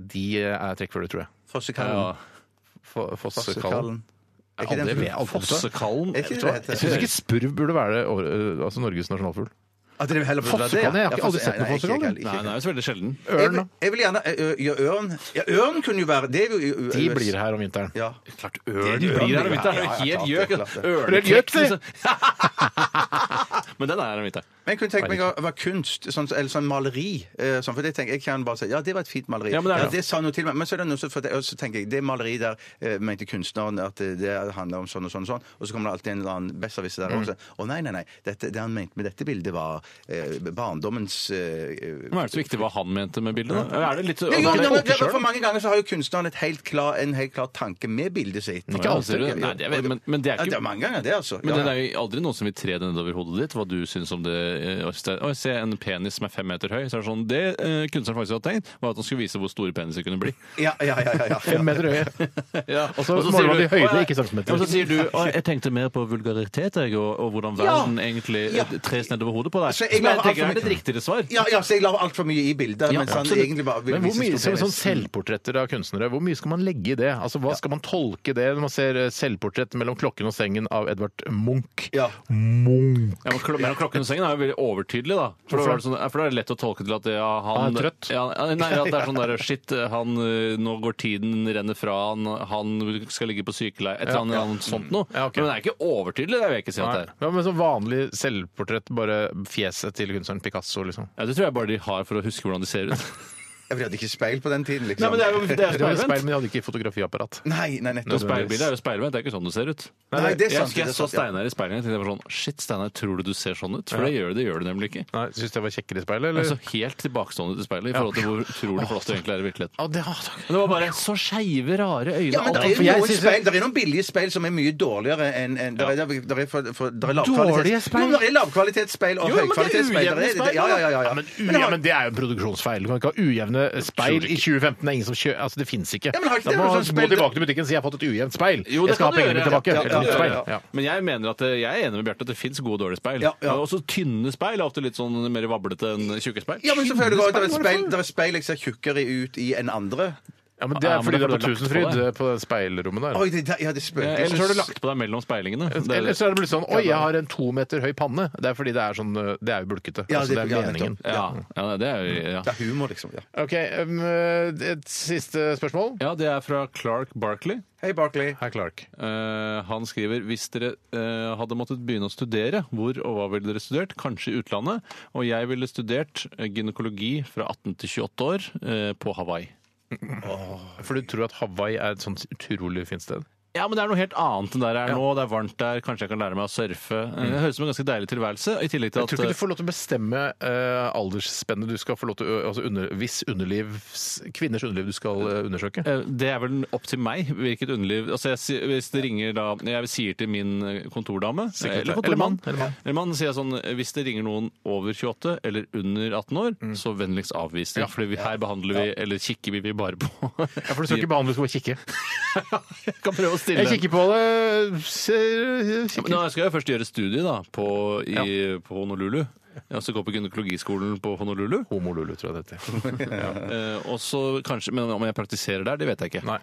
[SPEAKER 7] De eh, er trekkfugler, tror jeg.
[SPEAKER 8] Fossekallen.
[SPEAKER 7] Fo- Fossekallen.
[SPEAKER 8] Fossekallen. Er ikke den-
[SPEAKER 7] vet jeg aldri.
[SPEAKER 3] Fossekallen?
[SPEAKER 8] Er ikke det det heter?
[SPEAKER 7] Jeg syns ikke spurv burde være over, eh, altså Norges nasjonalfugl.
[SPEAKER 8] At dere heller burde være det,
[SPEAKER 7] Fossekallen, jeg har
[SPEAKER 8] Ja,
[SPEAKER 7] ikke aldri
[SPEAKER 8] fosse-
[SPEAKER 7] sett noe
[SPEAKER 8] nei, ikke-
[SPEAKER 7] fossekall,
[SPEAKER 8] ikke-
[SPEAKER 3] Nei,
[SPEAKER 8] ikke-
[SPEAKER 3] den er jo så veldig sjelden.
[SPEAKER 8] Jeg
[SPEAKER 7] Ørn,
[SPEAKER 8] vil,
[SPEAKER 7] da.
[SPEAKER 8] jeg vil gjerne ø, ø, ja, Ørn Ja, ørn kunne jo være Det er jo i- i-
[SPEAKER 7] De blir her om vinteren.
[SPEAKER 8] Ja.
[SPEAKER 3] Klart ørn blir her om vinteren.
[SPEAKER 8] Ja, ja,
[SPEAKER 3] Helt
[SPEAKER 8] klart
[SPEAKER 3] gjøk.
[SPEAKER 8] det, klart det.
[SPEAKER 3] Ørnekjeks, liksom. Men den er her om vinteren.
[SPEAKER 8] Men jeg kunne tenke meg å være kunst, sånn, eller sånn maleri. eh, Sånn, for det tenker, jeg kan bare si ja, det var et fint maleri.
[SPEAKER 3] Ja, men det er det.
[SPEAKER 8] sa noe til meg. Men så, er det noe, som- for det, og så tenker jeg det maleriet der eh, mente kunstneren at det, det handler om sånn og sånn og sånn. Og så kommer det alltid en eller annen besserwisser
[SPEAKER 3] Mm.
[SPEAKER 8] der og sier å nei, nei, nei. Dette, det han mente med dette bildet, var eh, barndommens eh,
[SPEAKER 3] Hva er det så viktig hva han mente med bildet? da? Er det litt
[SPEAKER 8] Ja, jo,
[SPEAKER 3] det-
[SPEAKER 8] men, men, for mange ganger så har jo kunstneren et helt klar, en helt klar tanke med bildet sitt.
[SPEAKER 3] Ikke alltid, sier du det? Nei, det er- men- men det er
[SPEAKER 8] Ja,
[SPEAKER 3] ikke-
[SPEAKER 8] det er mange ganger, det, altså.
[SPEAKER 3] Men
[SPEAKER 8] Ja,
[SPEAKER 3] det
[SPEAKER 8] ja.
[SPEAKER 3] er jo aldri noen som vil tre det nedover hodet ditt, hva du syns om det. eh, Øystein. Oi, se en penis som er fem meter høy. Så er det sånn, det eh, kunstneren faktisk hadde tenkt, var at han skulle vise hvor store peniser kunne bli.
[SPEAKER 8] Ja, ja, ja, ja, ja.
[SPEAKER 7] Fem meter høye.
[SPEAKER 3] Ja.
[SPEAKER 7] Og så måler man i høyde, ikke centimeter.
[SPEAKER 3] Og så sier du «Å, jeg tenkte mer på vulgaritet jeg, og, og hvordan verden egentlig eh, tres nedover hodet på deg.
[SPEAKER 8] Så
[SPEAKER 3] Som
[SPEAKER 8] jeg
[SPEAKER 3] jeg,
[SPEAKER 8] var alt
[SPEAKER 3] tenker
[SPEAKER 8] for
[SPEAKER 3] er det riktigere svar.
[SPEAKER 8] Ja, ja, så jeg la altfor mye i bildet. mens han
[SPEAKER 3] absolutt.
[SPEAKER 8] egentlig bare ville
[SPEAKER 7] Men hvor
[SPEAKER 8] vise
[SPEAKER 7] mye
[SPEAKER 8] stor
[SPEAKER 7] som sånn
[SPEAKER 8] penis.
[SPEAKER 7] selvportretter av kunstnere, hvor mye skal man legge i det? Altså, Hva skal man tolke det når man ser eh, selvportrett mellom klokken og sengen av Edvard Munch?
[SPEAKER 8] Ja.
[SPEAKER 7] Munch.
[SPEAKER 3] Ja, men klo- mellom klokken og sengen er jo veldig overtydelig, da. For, da, er det sånn, for da er det lett å tolke til at ja, han
[SPEAKER 7] Han er trøtt.
[SPEAKER 3] Ja, ja, nei, at det er sånn der Shit, han, eh, nå går tiden, renner fra han, han skal ligge på sykeleie Et eller annet annet sånt noe.
[SPEAKER 7] Ja, ok.
[SPEAKER 3] Men det er ikke overtydelig, det vil jeg ikke si at det er.
[SPEAKER 7] Ja, men sånn vanlig selvportrett, bare fjeset til kunstneren Picasso, liksom.
[SPEAKER 3] Ja, det tror jeg bare de har for å huske hvordan de ser ut.
[SPEAKER 8] Ja, for de hadde ikke speil på den tiden, liksom.
[SPEAKER 3] Nei, men det er jo det er
[SPEAKER 7] De hadde speil, men de hadde ikke fotografiapparat.
[SPEAKER 8] Nei, nei, nettopp.
[SPEAKER 3] Speilbildet er jo speilvendt, det er ikke sånn du ser ut.
[SPEAKER 8] Nei, det er
[SPEAKER 3] Jeg
[SPEAKER 8] sant.
[SPEAKER 3] husker
[SPEAKER 8] det
[SPEAKER 3] jeg
[SPEAKER 8] er
[SPEAKER 3] så
[SPEAKER 8] sant, ja.
[SPEAKER 3] Steinar i speilet og tenkte jeg bare sånn Shit, Steinar, tror du du ser sånn ut? For det gjør du, det gjør du nemlig ikke.
[SPEAKER 7] Nei, Syns du jeg var kjekkere i speilet,
[SPEAKER 3] Du er så
[SPEAKER 7] eller?
[SPEAKER 3] helt tilbakestående til speilet i forhold til hvor utrolig flott du egentlig er i virkeligheten.
[SPEAKER 7] Ja, det har
[SPEAKER 3] Men det var bare så skeive, rare øyne.
[SPEAKER 8] Ja, men det
[SPEAKER 3] alt-
[SPEAKER 8] er,
[SPEAKER 7] for
[SPEAKER 8] jo
[SPEAKER 7] jeg
[SPEAKER 8] noen
[SPEAKER 7] synes-
[SPEAKER 8] speil, det er noen billige speil som er mye dårligere enn enn- der er- der er for- for- der er
[SPEAKER 7] Dårlige
[SPEAKER 8] lavkvalitets-
[SPEAKER 7] speil?
[SPEAKER 8] Jo, der er lavkvalitetsspeil og
[SPEAKER 3] Jo, men det er
[SPEAKER 8] høykvalitetsspeil. Der er
[SPEAKER 3] ujevne
[SPEAKER 8] det- Ja, ja, ja. ja, ja.
[SPEAKER 7] men,
[SPEAKER 8] Men jeg har-
[SPEAKER 7] det er jo en produksjonsfeil. Du kan ikke ha ujevne speil i 2015. Det er ingen som kjø... Altså, det fins ikke.
[SPEAKER 8] Ja, men har
[SPEAKER 7] da
[SPEAKER 8] ikke det
[SPEAKER 7] må
[SPEAKER 8] vært
[SPEAKER 7] man
[SPEAKER 8] sånn
[SPEAKER 7] gå
[SPEAKER 8] speil-
[SPEAKER 7] tilbake til butikken og si 'jeg har fått et ujevnt speil'.
[SPEAKER 3] Jo, det
[SPEAKER 7] jeg skal
[SPEAKER 3] kan
[SPEAKER 7] ha
[SPEAKER 3] du
[SPEAKER 7] pengene mine
[SPEAKER 3] gjøre,
[SPEAKER 7] tilbake.
[SPEAKER 3] ja.
[SPEAKER 7] Eller nytt
[SPEAKER 8] Ja, ja,
[SPEAKER 7] speil.
[SPEAKER 8] ja,
[SPEAKER 7] Ja.
[SPEAKER 3] Men jeg mener at det- jeg er enig med Bjarte at det fins gode og dårlige speil.
[SPEAKER 8] Ja, ja.
[SPEAKER 3] Men Også tynne speil er ofte litt sånn mer vablete enn tjukke speil.
[SPEAKER 8] ja, men selvfølgelig går det at det er speil, der er speil jeg ser tjukkere ut i enn andre.
[SPEAKER 7] Ja, men Det er
[SPEAKER 3] Ja, men
[SPEAKER 7] fordi
[SPEAKER 3] da
[SPEAKER 7] du er på
[SPEAKER 3] får du lagt på
[SPEAKER 7] Tusenfryd,
[SPEAKER 3] deg.
[SPEAKER 7] eh, på det speilrommet der.
[SPEAKER 8] Oi, det, det, ja, det spøker.
[SPEAKER 3] Ellers har du lagt på deg mellom speilingene. Det er-
[SPEAKER 7] Eller så er det blitt sånn Oi, jeg har en to meter høy panne. Det er fordi det er sånn eh, Det er jo bulkete.
[SPEAKER 8] Ja,
[SPEAKER 7] altså, det er
[SPEAKER 8] ja,
[SPEAKER 7] meningen.
[SPEAKER 8] nettopp.
[SPEAKER 3] ja, ja, det er jo ja.
[SPEAKER 8] Det er humor, liksom. ja.
[SPEAKER 7] OK, um, eh, et siste spørsmål.
[SPEAKER 3] ja, det er fra Clark Barkley.
[SPEAKER 8] Hei, Barkley.
[SPEAKER 7] Herr Clark.
[SPEAKER 3] Eh, han skriver hvis dere eh, hadde måttet begynne å studere, hvor og hva ville dere studert? Kanskje i utlandet. Og jeg ville studert eh, gynekologi fra 18 til 28 år eh, på Hawaii.
[SPEAKER 7] For du tror at Hawaii er et sånt utrolig fint sted?
[SPEAKER 3] Ja, men det er noe helt annet enn der jeg er nå. Det er varmt der, kanskje jeg kan lære meg å surfe. Eh, Det høres ut som en ganske deilig tilværelse. I tillegg til
[SPEAKER 7] Jeg
[SPEAKER 3] at
[SPEAKER 7] tror ikke du får lov til å bestemme eh, aldersspennet du skal få lov til å altså under, Hvis underlivs, kvinners underliv du skal eh, undersøke.
[SPEAKER 3] Eh, Det er vel opp til meg hvilket underliv altså jeg, si- Hvis det ringer da Jeg sier til min eh, kontordame
[SPEAKER 7] Sekretær.
[SPEAKER 3] Eller
[SPEAKER 7] Eller mann,
[SPEAKER 3] kontormann
[SPEAKER 7] eller mann.
[SPEAKER 3] Eller mann sier jeg sånn eh, Hvis det ringer noen over 28 eller under 18 år
[SPEAKER 7] Mm.
[SPEAKER 3] Så vennligst avvis det Fordi vi, her behandler vi Eller kikker vi, vi bare på
[SPEAKER 7] Ja, for du skal ikke behandle, du skal bare kikke.
[SPEAKER 3] Jeg kan prøve å stille
[SPEAKER 7] Jeg kikker på det. Ser,
[SPEAKER 3] Ja, men
[SPEAKER 7] kikker.
[SPEAKER 3] Nå skal jeg først gjøre studie da På, i, på Honolulu Jeg skal gå på gynekologiskolen på Honolulu
[SPEAKER 7] Homolulu, tror jeg det heter.
[SPEAKER 3] eh, Og så kanskje Men om jeg praktiserer der, det vet jeg ikke
[SPEAKER 7] Nei.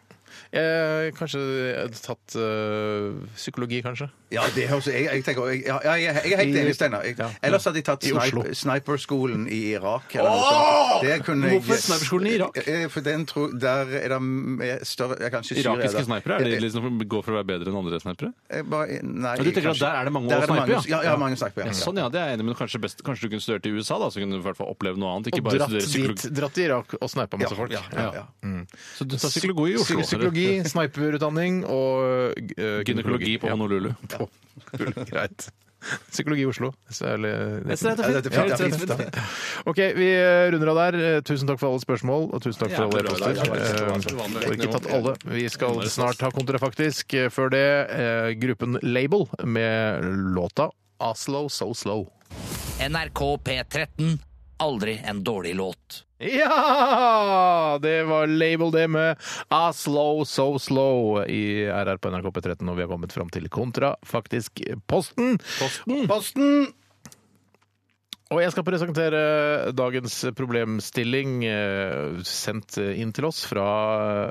[SPEAKER 7] Eh, kanskje jeg hadde tatt eh, psykologi, kanskje.
[SPEAKER 8] Ja, det høres jeg, jeg, tenker, jeg, ja, jeg, jeg er helt enig, Steinar. Jeg- Ellers hadde jeg tatt
[SPEAKER 7] I Oslo.
[SPEAKER 8] sniper, sniperskolen i Irak. Eller noe sånt. Det kunne jeg-
[SPEAKER 3] Hvorfor sniperskolen i Irak?
[SPEAKER 8] Eh, For den tror, der er det mer større ja, kanskje Syria, da.
[SPEAKER 3] Irakiske snipere, er
[SPEAKER 8] Eh,
[SPEAKER 3] de liksom går for å være bedre enn andre snipere?
[SPEAKER 8] eh, bare, nei,
[SPEAKER 3] Ja, du tenker at
[SPEAKER 8] kanskje-
[SPEAKER 3] der er det mange å
[SPEAKER 8] er
[SPEAKER 3] snipe,
[SPEAKER 8] mange-
[SPEAKER 3] ja?
[SPEAKER 8] Ja, ja, mange snipere. Ja.
[SPEAKER 3] Sånn, ja, det er jeg enig i, men kanskje, best, kanskje du kunne studert i USA, da, så kunne du i hvert fall oppleve noe annet. Ikke
[SPEAKER 7] Og
[SPEAKER 3] bare
[SPEAKER 7] dratt,
[SPEAKER 3] studere
[SPEAKER 7] dit,
[SPEAKER 3] psykologi.
[SPEAKER 7] dratt til Irak og sneipa masse folk.
[SPEAKER 8] Ja, ja, ja.
[SPEAKER 3] Så du tar psykologi i Oslo.
[SPEAKER 7] Psy- Psykologi, sniperutdanning og eh,
[SPEAKER 3] eller Gynekologi på Honolulu.
[SPEAKER 7] Ja. Greit. Psykologi i Oslo. Særlig
[SPEAKER 8] Ja, dette er fint, det er fint.
[SPEAKER 7] OK, vi eh, runder av der. Eh, Tusen takk for alle spørsmål, og tusen takk for alle
[SPEAKER 3] bra, det er bra.
[SPEAKER 7] e-poster. Eh, Får ikke tatt alle. Vi skal snart ha kontrafaktisk. Eh, Før det, eh, gruppen Label med låta Oslo So Slow.
[SPEAKER 9] NRK P13. Aldri en dårlig låt.
[SPEAKER 7] Ja! Det var label det med A Slow So Slow i RR på NRK P13, og vi har kommet fram til kontra, faktisk Posten. Posten! Og jeg skal presentere dagens problemstilling eh, sendt inn til oss fra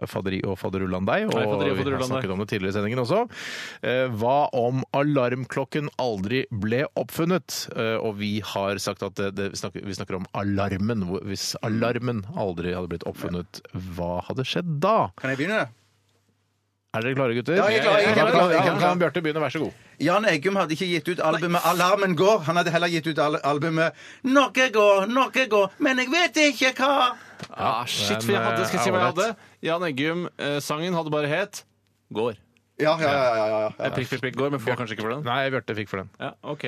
[SPEAKER 7] Faderi og Faderullandei. Og
[SPEAKER 3] Hei, Faderi og
[SPEAKER 7] vi har
[SPEAKER 3] Faderullandei.
[SPEAKER 7] snakket om det tidligere i sendingen også. Eh, Hva om alarmklokken aldri ble oppfunnet? Eh, Og vi har sagt at eh, det, det, vi, snakker, vi snakker om alarmen. Hvor- Hvis alarmen aldri hadde blitt oppfunnet, hva hadde skjedd da?
[SPEAKER 8] Kan jeg begynne?
[SPEAKER 7] Er dere klare, gutter?
[SPEAKER 8] Ja, jeg er klar, jeg er
[SPEAKER 7] Da kan-
[SPEAKER 8] klar, jeg er klar.
[SPEAKER 7] kan- Kan Bjarte begynne, vær så god.
[SPEAKER 8] Jan Eggum hadde ikke gitt ut albumet 'Alarmen går'. Han hadde heller gitt ut al- albumet 'Norge går, Norge går, men jeg vet ikke hva'.
[SPEAKER 3] Ah, shit, for jeg hadde, skal jeg si hva
[SPEAKER 7] eh,
[SPEAKER 3] jeg hadde? Jan Eggum, eh, sangen hadde bare het Går.
[SPEAKER 8] Ja, ja, ja. ja, ja, ja.
[SPEAKER 3] Eh, Prikk, prikk, prikk, går, men får kanskje ikke for den.
[SPEAKER 7] Nei, Bjarte fikk for den.
[SPEAKER 3] Ja, ok.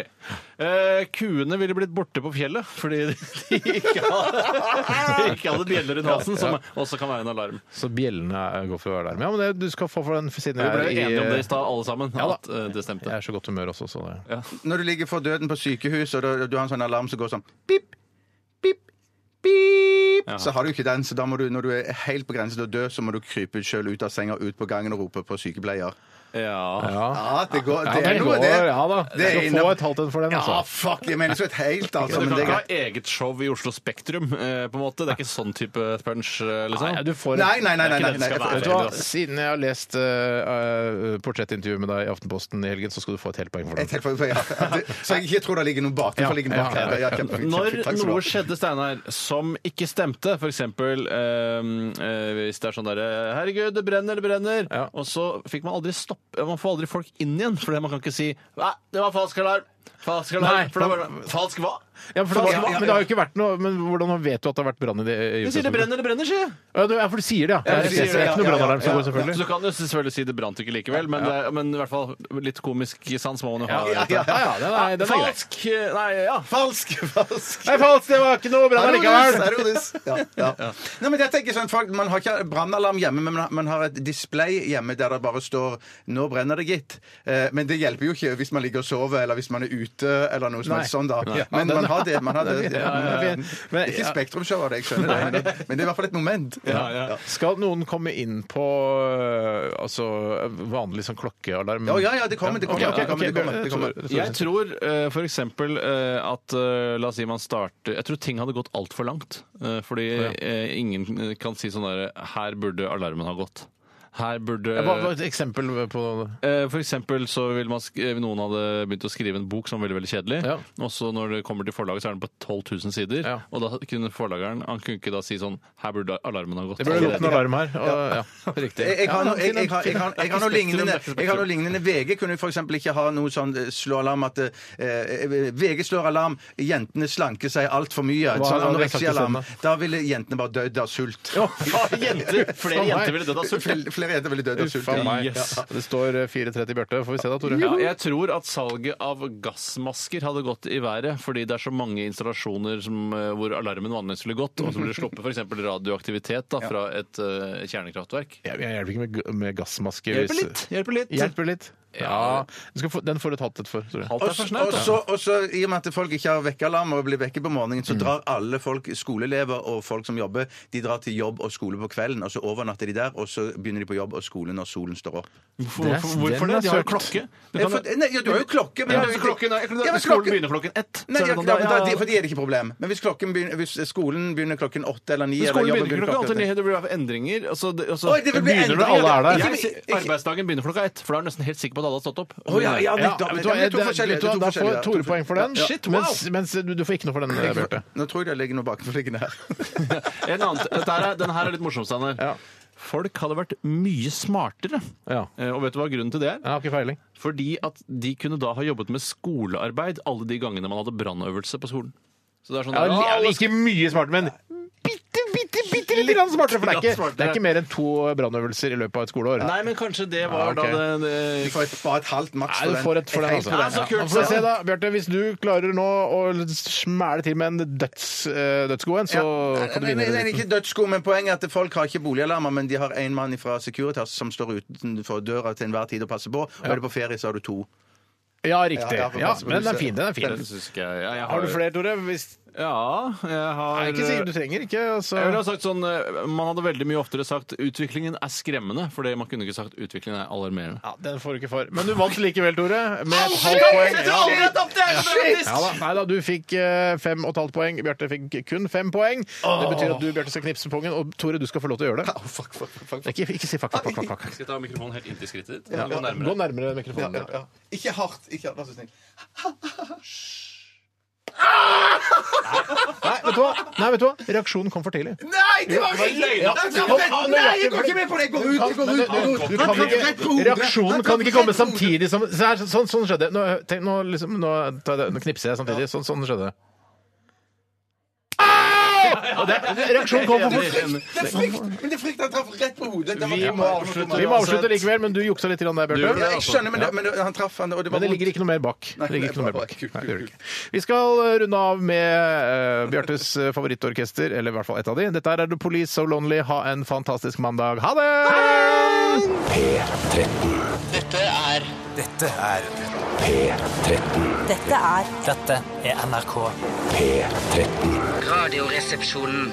[SPEAKER 3] Eh, kuene ville blitt borte på fjellet fordi de ikke hadde, de ikke hadde bjeller rundt halsen, som også kan være en alarm.
[SPEAKER 7] Så bjellene går for å være der. Men Ja, men det, du skal få for den siden
[SPEAKER 3] Vi
[SPEAKER 7] jeg
[SPEAKER 3] ble
[SPEAKER 7] er Eh, i-
[SPEAKER 3] enige om det i stad, alle sammen,
[SPEAKER 7] Ja da.
[SPEAKER 3] at eh, det
[SPEAKER 7] Jeg
[SPEAKER 3] stemte.
[SPEAKER 7] er så godt humør også, så det
[SPEAKER 8] Når du ligger for døden på sykehus, og du, du har en sånn alarm som går sånn pip, pip, pip, så har du ikke den. Så da må du, når du er helt på grensen til å dø, så må du krype sjøl ut av senga, ut på gangen og rope på sykepleier.
[SPEAKER 3] Ja.
[SPEAKER 8] Ja, det går.
[SPEAKER 7] Ja,
[SPEAKER 8] Det
[SPEAKER 7] det
[SPEAKER 8] er noe,
[SPEAKER 7] går,
[SPEAKER 8] det.
[SPEAKER 7] ja da. Du
[SPEAKER 8] det er
[SPEAKER 7] skal
[SPEAKER 8] inne-
[SPEAKER 7] få et halvt en for den,
[SPEAKER 8] Ja,
[SPEAKER 7] altså.
[SPEAKER 8] fuck! Jeg mener så et helt, altså.
[SPEAKER 3] Så du
[SPEAKER 8] Men
[SPEAKER 3] kan
[SPEAKER 8] det er
[SPEAKER 3] ikke ha
[SPEAKER 8] greit.
[SPEAKER 3] eget show i Oslo Spektrum, eh, på en måte? Det er ikke sånn type punch? eh, Liksom.
[SPEAKER 7] Nei, du får et-
[SPEAKER 8] Nei, nei, nei. nei, nei,
[SPEAKER 3] Det er ikke det
[SPEAKER 8] nei,
[SPEAKER 3] det skal
[SPEAKER 7] Vet
[SPEAKER 3] være.
[SPEAKER 7] du hva? altså. Siden jeg har lest eh, eh, portrettintervjuet med deg i Aftenposten i helgen, så skal du få et helt poeng for den.
[SPEAKER 8] Et helt for, ja. At det- Så jeg ikke tror det ligger noe bak. Derfor ligger det bak
[SPEAKER 7] Ja, ja,
[SPEAKER 8] her. Ja, kjempefint,
[SPEAKER 3] Når
[SPEAKER 8] kjempefint. Takk skal du ha.
[SPEAKER 3] noe skjedde, Steinar, som ikke stemte, f.eks. Eh, hvis det er sånn derre Herregud, det brenner, det brenner.
[SPEAKER 7] Ja.
[SPEAKER 3] Og så fikk man aldri stopp Man får aldri folk inn igjen, fordi man kan ikke si Nei, det var falsk alarm! Falsk alarm!
[SPEAKER 7] Nei,
[SPEAKER 3] for det var, falsk hva?
[SPEAKER 7] Ja, for det var,
[SPEAKER 3] Falsk hva?
[SPEAKER 7] Men det har jo ikke vært noe Men hvordan vet du at det har vært brann i det? i
[SPEAKER 3] Jeg sier det
[SPEAKER 7] utgangspunktet?
[SPEAKER 3] brenner, det brenner, sier jeg.
[SPEAKER 7] Ja, du, ja, for du sier det, ja.
[SPEAKER 3] Ja,
[SPEAKER 7] Det er,
[SPEAKER 3] du sier
[SPEAKER 7] det er
[SPEAKER 3] det,
[SPEAKER 7] ikke noe
[SPEAKER 3] ja,
[SPEAKER 7] brannalarm som
[SPEAKER 8] ja,
[SPEAKER 7] går, selvfølgelig.
[SPEAKER 3] Så du kan jo selvfølgelig si det brant ikke likevel, men, det er, men i hvert fall litt komisk sans må man jo ha.
[SPEAKER 8] Ja, ja, ja, ja,
[SPEAKER 7] den er- den er grei.
[SPEAKER 3] falsk! eh, Nei, ja.
[SPEAKER 8] Falsk! Falsk!
[SPEAKER 7] Nei, falsk! Det var ikke noe brann allikevel!
[SPEAKER 8] Er det Odis? Ja, ja. Nei, men jeg tenker sånn, folk, Man har ikke brannalarm hjemme, men man har- man har et display hjemme der det bare står 'Nå brenner det, gitt'. Eh, Men det hjelper jo ikke hvis man ligger og sover, eller hvis man er ute, eller noe som
[SPEAKER 7] Nei.
[SPEAKER 8] helst sånn, da.
[SPEAKER 7] Nei. Ja,
[SPEAKER 8] Men
[SPEAKER 7] den
[SPEAKER 8] man man har det. Man har det. Eh,
[SPEAKER 7] ja, ja.
[SPEAKER 8] Det er ikke Spektrum-show av det, jeg skjønner det, men det, men det er i hvert fall et moment.
[SPEAKER 7] Skal noen komme inn på øh, altså, vanlig sånn klokkealarm?
[SPEAKER 8] Ja, ja, ja, det kommer, det kommer.
[SPEAKER 7] Ok, ok,
[SPEAKER 8] det kommer,
[SPEAKER 7] ok,
[SPEAKER 8] det kommer, det kommer.
[SPEAKER 3] Jeg tror eh, for eksempel eh, at eh, La oss si man starter Jeg tror ting hadde gått altfor langt. eh, Fordi eh, ingen eh, kan si sånn derre Her burde alarmen ha gått. Her burde
[SPEAKER 7] Ja, Bare bare et eksempel på
[SPEAKER 3] Eh, For eksempel så vil man sk- eh, noen hadde begynt å skrive en bok som var veldig veldig kjedelig.
[SPEAKER 7] Ja.
[SPEAKER 3] Og så når det kommer til forlaget, så er den på 12 000 sider.
[SPEAKER 7] Ja.
[SPEAKER 3] Og da kunne forlageren han kunne ikke da si sånn Her burde alarmen ha gått.
[SPEAKER 7] Det burde gått Eh, en alarm her. Og, ja.
[SPEAKER 3] Riktig.
[SPEAKER 8] Jeg, jeg, har noe, jeg, jeg, har- jeg, har- jeg har noe
[SPEAKER 3] Det er ikke
[SPEAKER 8] lignende
[SPEAKER 3] spektrum, det er ikke
[SPEAKER 8] Jeg har noe lignende VG kunne for eksempel ikke ha noe sånn eh, slå alarm at eh, eh, VG slår alarm, jentene slanker seg altfor
[SPEAKER 7] Hva
[SPEAKER 8] mye. Et sånn
[SPEAKER 7] hadde jeg sagt
[SPEAKER 8] anoreksialarm.
[SPEAKER 7] isteden,
[SPEAKER 8] Da ville jentene bare dødd av sult.
[SPEAKER 3] jenter, flere jenter ville dødd av sult.
[SPEAKER 8] Fl- Flere jenter ville dødd av sult.
[SPEAKER 7] Uff a
[SPEAKER 8] ja.
[SPEAKER 7] meg.
[SPEAKER 3] Yes.
[SPEAKER 7] Det står eh, 4.30 Bjarte. Får vi se da, Tore.
[SPEAKER 3] Ja, jeg tror at salget av gassmasker hadde gått i været, fordi det er så mange installasjoner som, eh, hvor alarmen vanligvis ville gått, og så blir det sluppet f.eks. radioaktivitet da, fra et eh, kjernekraftverk.
[SPEAKER 7] Jeg, jeg hjelper ikke med, g- med gassmaske.
[SPEAKER 3] Hjelper
[SPEAKER 7] hvis-
[SPEAKER 3] litt! Hjelper litt.
[SPEAKER 7] Hjelper litt.
[SPEAKER 3] Ja.
[SPEAKER 7] Ja. Du skal få, den får du et halvt et for. Tore.
[SPEAKER 3] Alt
[SPEAKER 8] Og
[SPEAKER 3] er for snaut.
[SPEAKER 8] så, og så, I og med at folk ikke har vekkealarm og blir vekke på morgenen,
[SPEAKER 7] Mm.
[SPEAKER 8] så drar alle folk, skoleelever og folk som jobber, de drar til jobb og skole på kvelden, og så overnatter de der, og så begynner de på jobb og skole når solen står opp.
[SPEAKER 3] Hvorfor,
[SPEAKER 7] Det er-
[SPEAKER 3] hvorfor, hvorfor
[SPEAKER 7] den
[SPEAKER 3] det?
[SPEAKER 7] er
[SPEAKER 3] De har jo
[SPEAKER 7] søkt.
[SPEAKER 3] klokke. Du
[SPEAKER 8] Eh,
[SPEAKER 3] kan,
[SPEAKER 8] For, nei, ja, du har jo klokke, men
[SPEAKER 3] altså, ja,
[SPEAKER 8] det er
[SPEAKER 3] så
[SPEAKER 8] jo-
[SPEAKER 3] klokken er,
[SPEAKER 8] Ja, men
[SPEAKER 3] Skolen
[SPEAKER 8] klokken-
[SPEAKER 3] begynner klokken ett.
[SPEAKER 8] Nei, de
[SPEAKER 3] så er
[SPEAKER 8] har,
[SPEAKER 3] det
[SPEAKER 8] ja,
[SPEAKER 3] noe-
[SPEAKER 8] men da,
[SPEAKER 3] ja.
[SPEAKER 8] de, for de er det ikke problem. Men hvis, klokken begynner, hvis skolen begynner klokken åtte eller ni
[SPEAKER 3] Men
[SPEAKER 8] eller
[SPEAKER 3] Skolen
[SPEAKER 8] jobben
[SPEAKER 3] begynner klokka
[SPEAKER 8] åtte-
[SPEAKER 3] alltid ni. Det blir endringer. Altså, det, altså,
[SPEAKER 8] Oi, det vil bli
[SPEAKER 3] begynner når
[SPEAKER 8] endringer,
[SPEAKER 3] alle er
[SPEAKER 8] ja.
[SPEAKER 3] der.
[SPEAKER 8] Ikke-
[SPEAKER 3] Jeg- Arbeidsdagen begynner klokka ett, for da er du nesten helt sikker på at alle har stått opp.
[SPEAKER 8] Å, ja, ja,
[SPEAKER 7] Ja, vet
[SPEAKER 8] nettopp.
[SPEAKER 7] du
[SPEAKER 8] Ja,
[SPEAKER 7] hva,
[SPEAKER 8] men
[SPEAKER 7] det-
[SPEAKER 8] det er to forskjellige-
[SPEAKER 7] vet du
[SPEAKER 8] det
[SPEAKER 7] hva,
[SPEAKER 8] er
[SPEAKER 7] Da
[SPEAKER 8] to forskjellige-
[SPEAKER 7] får Tore poeng for den.
[SPEAKER 3] Ja. Shit, wow.
[SPEAKER 7] Mens, mens du, du får ikke noe for den, eh, Bjarte.
[SPEAKER 8] Nå tror jeg det ligger noe bakenforliggende her.
[SPEAKER 3] En annen, dette her er, den her er litt morsom, Steinar.
[SPEAKER 7] Ja.
[SPEAKER 3] Folk hadde vært mye smartere.
[SPEAKER 7] Ja.
[SPEAKER 3] Eh, Og vet du hva grunnen til det er?
[SPEAKER 7] Jeg har ikke feiling.
[SPEAKER 3] Fordi at de kunne da ha jobbet med skolearbeid alle de gangene man hadde brannøvelse på skolen. Så det er sånn
[SPEAKER 7] Ja,
[SPEAKER 3] der,
[SPEAKER 7] li-
[SPEAKER 3] «Å,
[SPEAKER 7] ja,
[SPEAKER 3] alle
[SPEAKER 7] ikke mye smart, men bitte, bitte, bitte lite grann smartere. For det er,
[SPEAKER 3] Litt
[SPEAKER 7] ikke, det er ikke mer enn to brannøvelser i løpet av et skoleår.
[SPEAKER 3] Nei, men kanskje det
[SPEAKER 7] Ja,
[SPEAKER 3] var
[SPEAKER 7] ok.
[SPEAKER 3] da det,
[SPEAKER 8] Du
[SPEAKER 3] det
[SPEAKER 8] får et, bare et halvt maks
[SPEAKER 7] Nei, du får et for den,
[SPEAKER 8] helt
[SPEAKER 7] altså.
[SPEAKER 8] for
[SPEAKER 3] Ja, så
[SPEAKER 7] Ja,
[SPEAKER 3] kult,
[SPEAKER 7] får vi
[SPEAKER 3] så-
[SPEAKER 7] se da, Bjarte, hvis du klarer nå å smæle til med en døds, eh, dødsgod en, så
[SPEAKER 8] Nei,
[SPEAKER 7] kan du
[SPEAKER 8] nei,
[SPEAKER 7] vinne.
[SPEAKER 8] nei, nei,
[SPEAKER 7] den.
[SPEAKER 8] ikke dødssko, men poenget er at folk har ikke boligalarmer, men de har en mann fra Securitas som står utenfor døra til enhver tid og passer på. Og er du på ferie, så har du to.
[SPEAKER 7] Ja, riktig.
[SPEAKER 8] Ja, ja,
[SPEAKER 7] Ja,
[SPEAKER 8] for-
[SPEAKER 7] men den er fin. Den er
[SPEAKER 3] Den
[SPEAKER 7] fin.
[SPEAKER 3] syns ikke jeg, ja, jeg
[SPEAKER 7] Har du flere, Tore? Hvis,
[SPEAKER 3] Ja, jeg har
[SPEAKER 7] nei, ikke sikkert du trenger ikke. Altså.
[SPEAKER 3] Jeg ville ha sagt sånn, eh, Man hadde veldig mye oftere sagt 'utviklingen er skremmende', fordi man kunne ikke sagt 'utviklingen er alarmerende'.
[SPEAKER 7] Ja, den får du ikke for. Men du vant likevel, Tore. Med et halvt poeng. Ja. Ja da, nei da, du fikk eh, fem og et halvt poeng. Bjarte fikk kun fem poeng. Det betyr at du Bjarte, skal knipse pongen, og Tore, du skal få lov til å gjøre det. Ikke, ikke si fuck, fuck, fuck. fuck, fuck.
[SPEAKER 3] Skal jeg ta mikrofonen helt inntil skrittet ditt?
[SPEAKER 7] Gå nærmere, mikrofonen. Bjarte.
[SPEAKER 8] Ikke hardt. ikke hardt, Vær så snill.
[SPEAKER 7] Nei, vet du hva? Nei, vet du hva? Reaksjonen kom for tidlig.
[SPEAKER 8] Nei, det var ikke løgn! Nei, jeg går ikke med på det! Jeg går ut! jeg går ut, jeg går ut.
[SPEAKER 7] Du kan ikke, reaksjonen kan ikke komme samtidig som så her, sånn, sånn skjedde. Nå, tenk, nå, liksom, nå, tar jeg det, nå knipser jeg samtidig. Sånn, sånn skjedde. Au! Og det. Reaksjonen kom for fort.
[SPEAKER 8] Ah! Det er frykt! Men det er frykt han traff rett på hodet. Det var-
[SPEAKER 3] Vi må avslutte.
[SPEAKER 7] Vi må avslutte likevel, men du juksa litt, grann der,
[SPEAKER 3] Du altså. gjorde
[SPEAKER 7] Bjarte.
[SPEAKER 8] Ja, jeg skjønner, men, det, men det, han traff han, og det var
[SPEAKER 7] Men det ligger ikke noe mer bak.
[SPEAKER 8] Nei,
[SPEAKER 7] Det ligger ikke noe mer bak.
[SPEAKER 8] kult,
[SPEAKER 7] Nei, det gjør det
[SPEAKER 8] kult,
[SPEAKER 7] ikke. Vi skal eh, runde av med eh, Bjartes eh, favorittorkester, eller i hvert fall ett av de. Dette her er The Police So Lonely. Ha en fantastisk mandag. Ha det!
[SPEAKER 6] Dette er
[SPEAKER 5] Dette er
[SPEAKER 9] Dette er NRK.
[SPEAKER 1] P13.
[SPEAKER 5] Radioresepsjonen.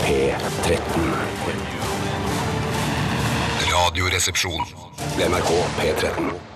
[SPEAKER 1] P13.
[SPEAKER 6] Radioresepsjon.
[SPEAKER 1] NRK P13.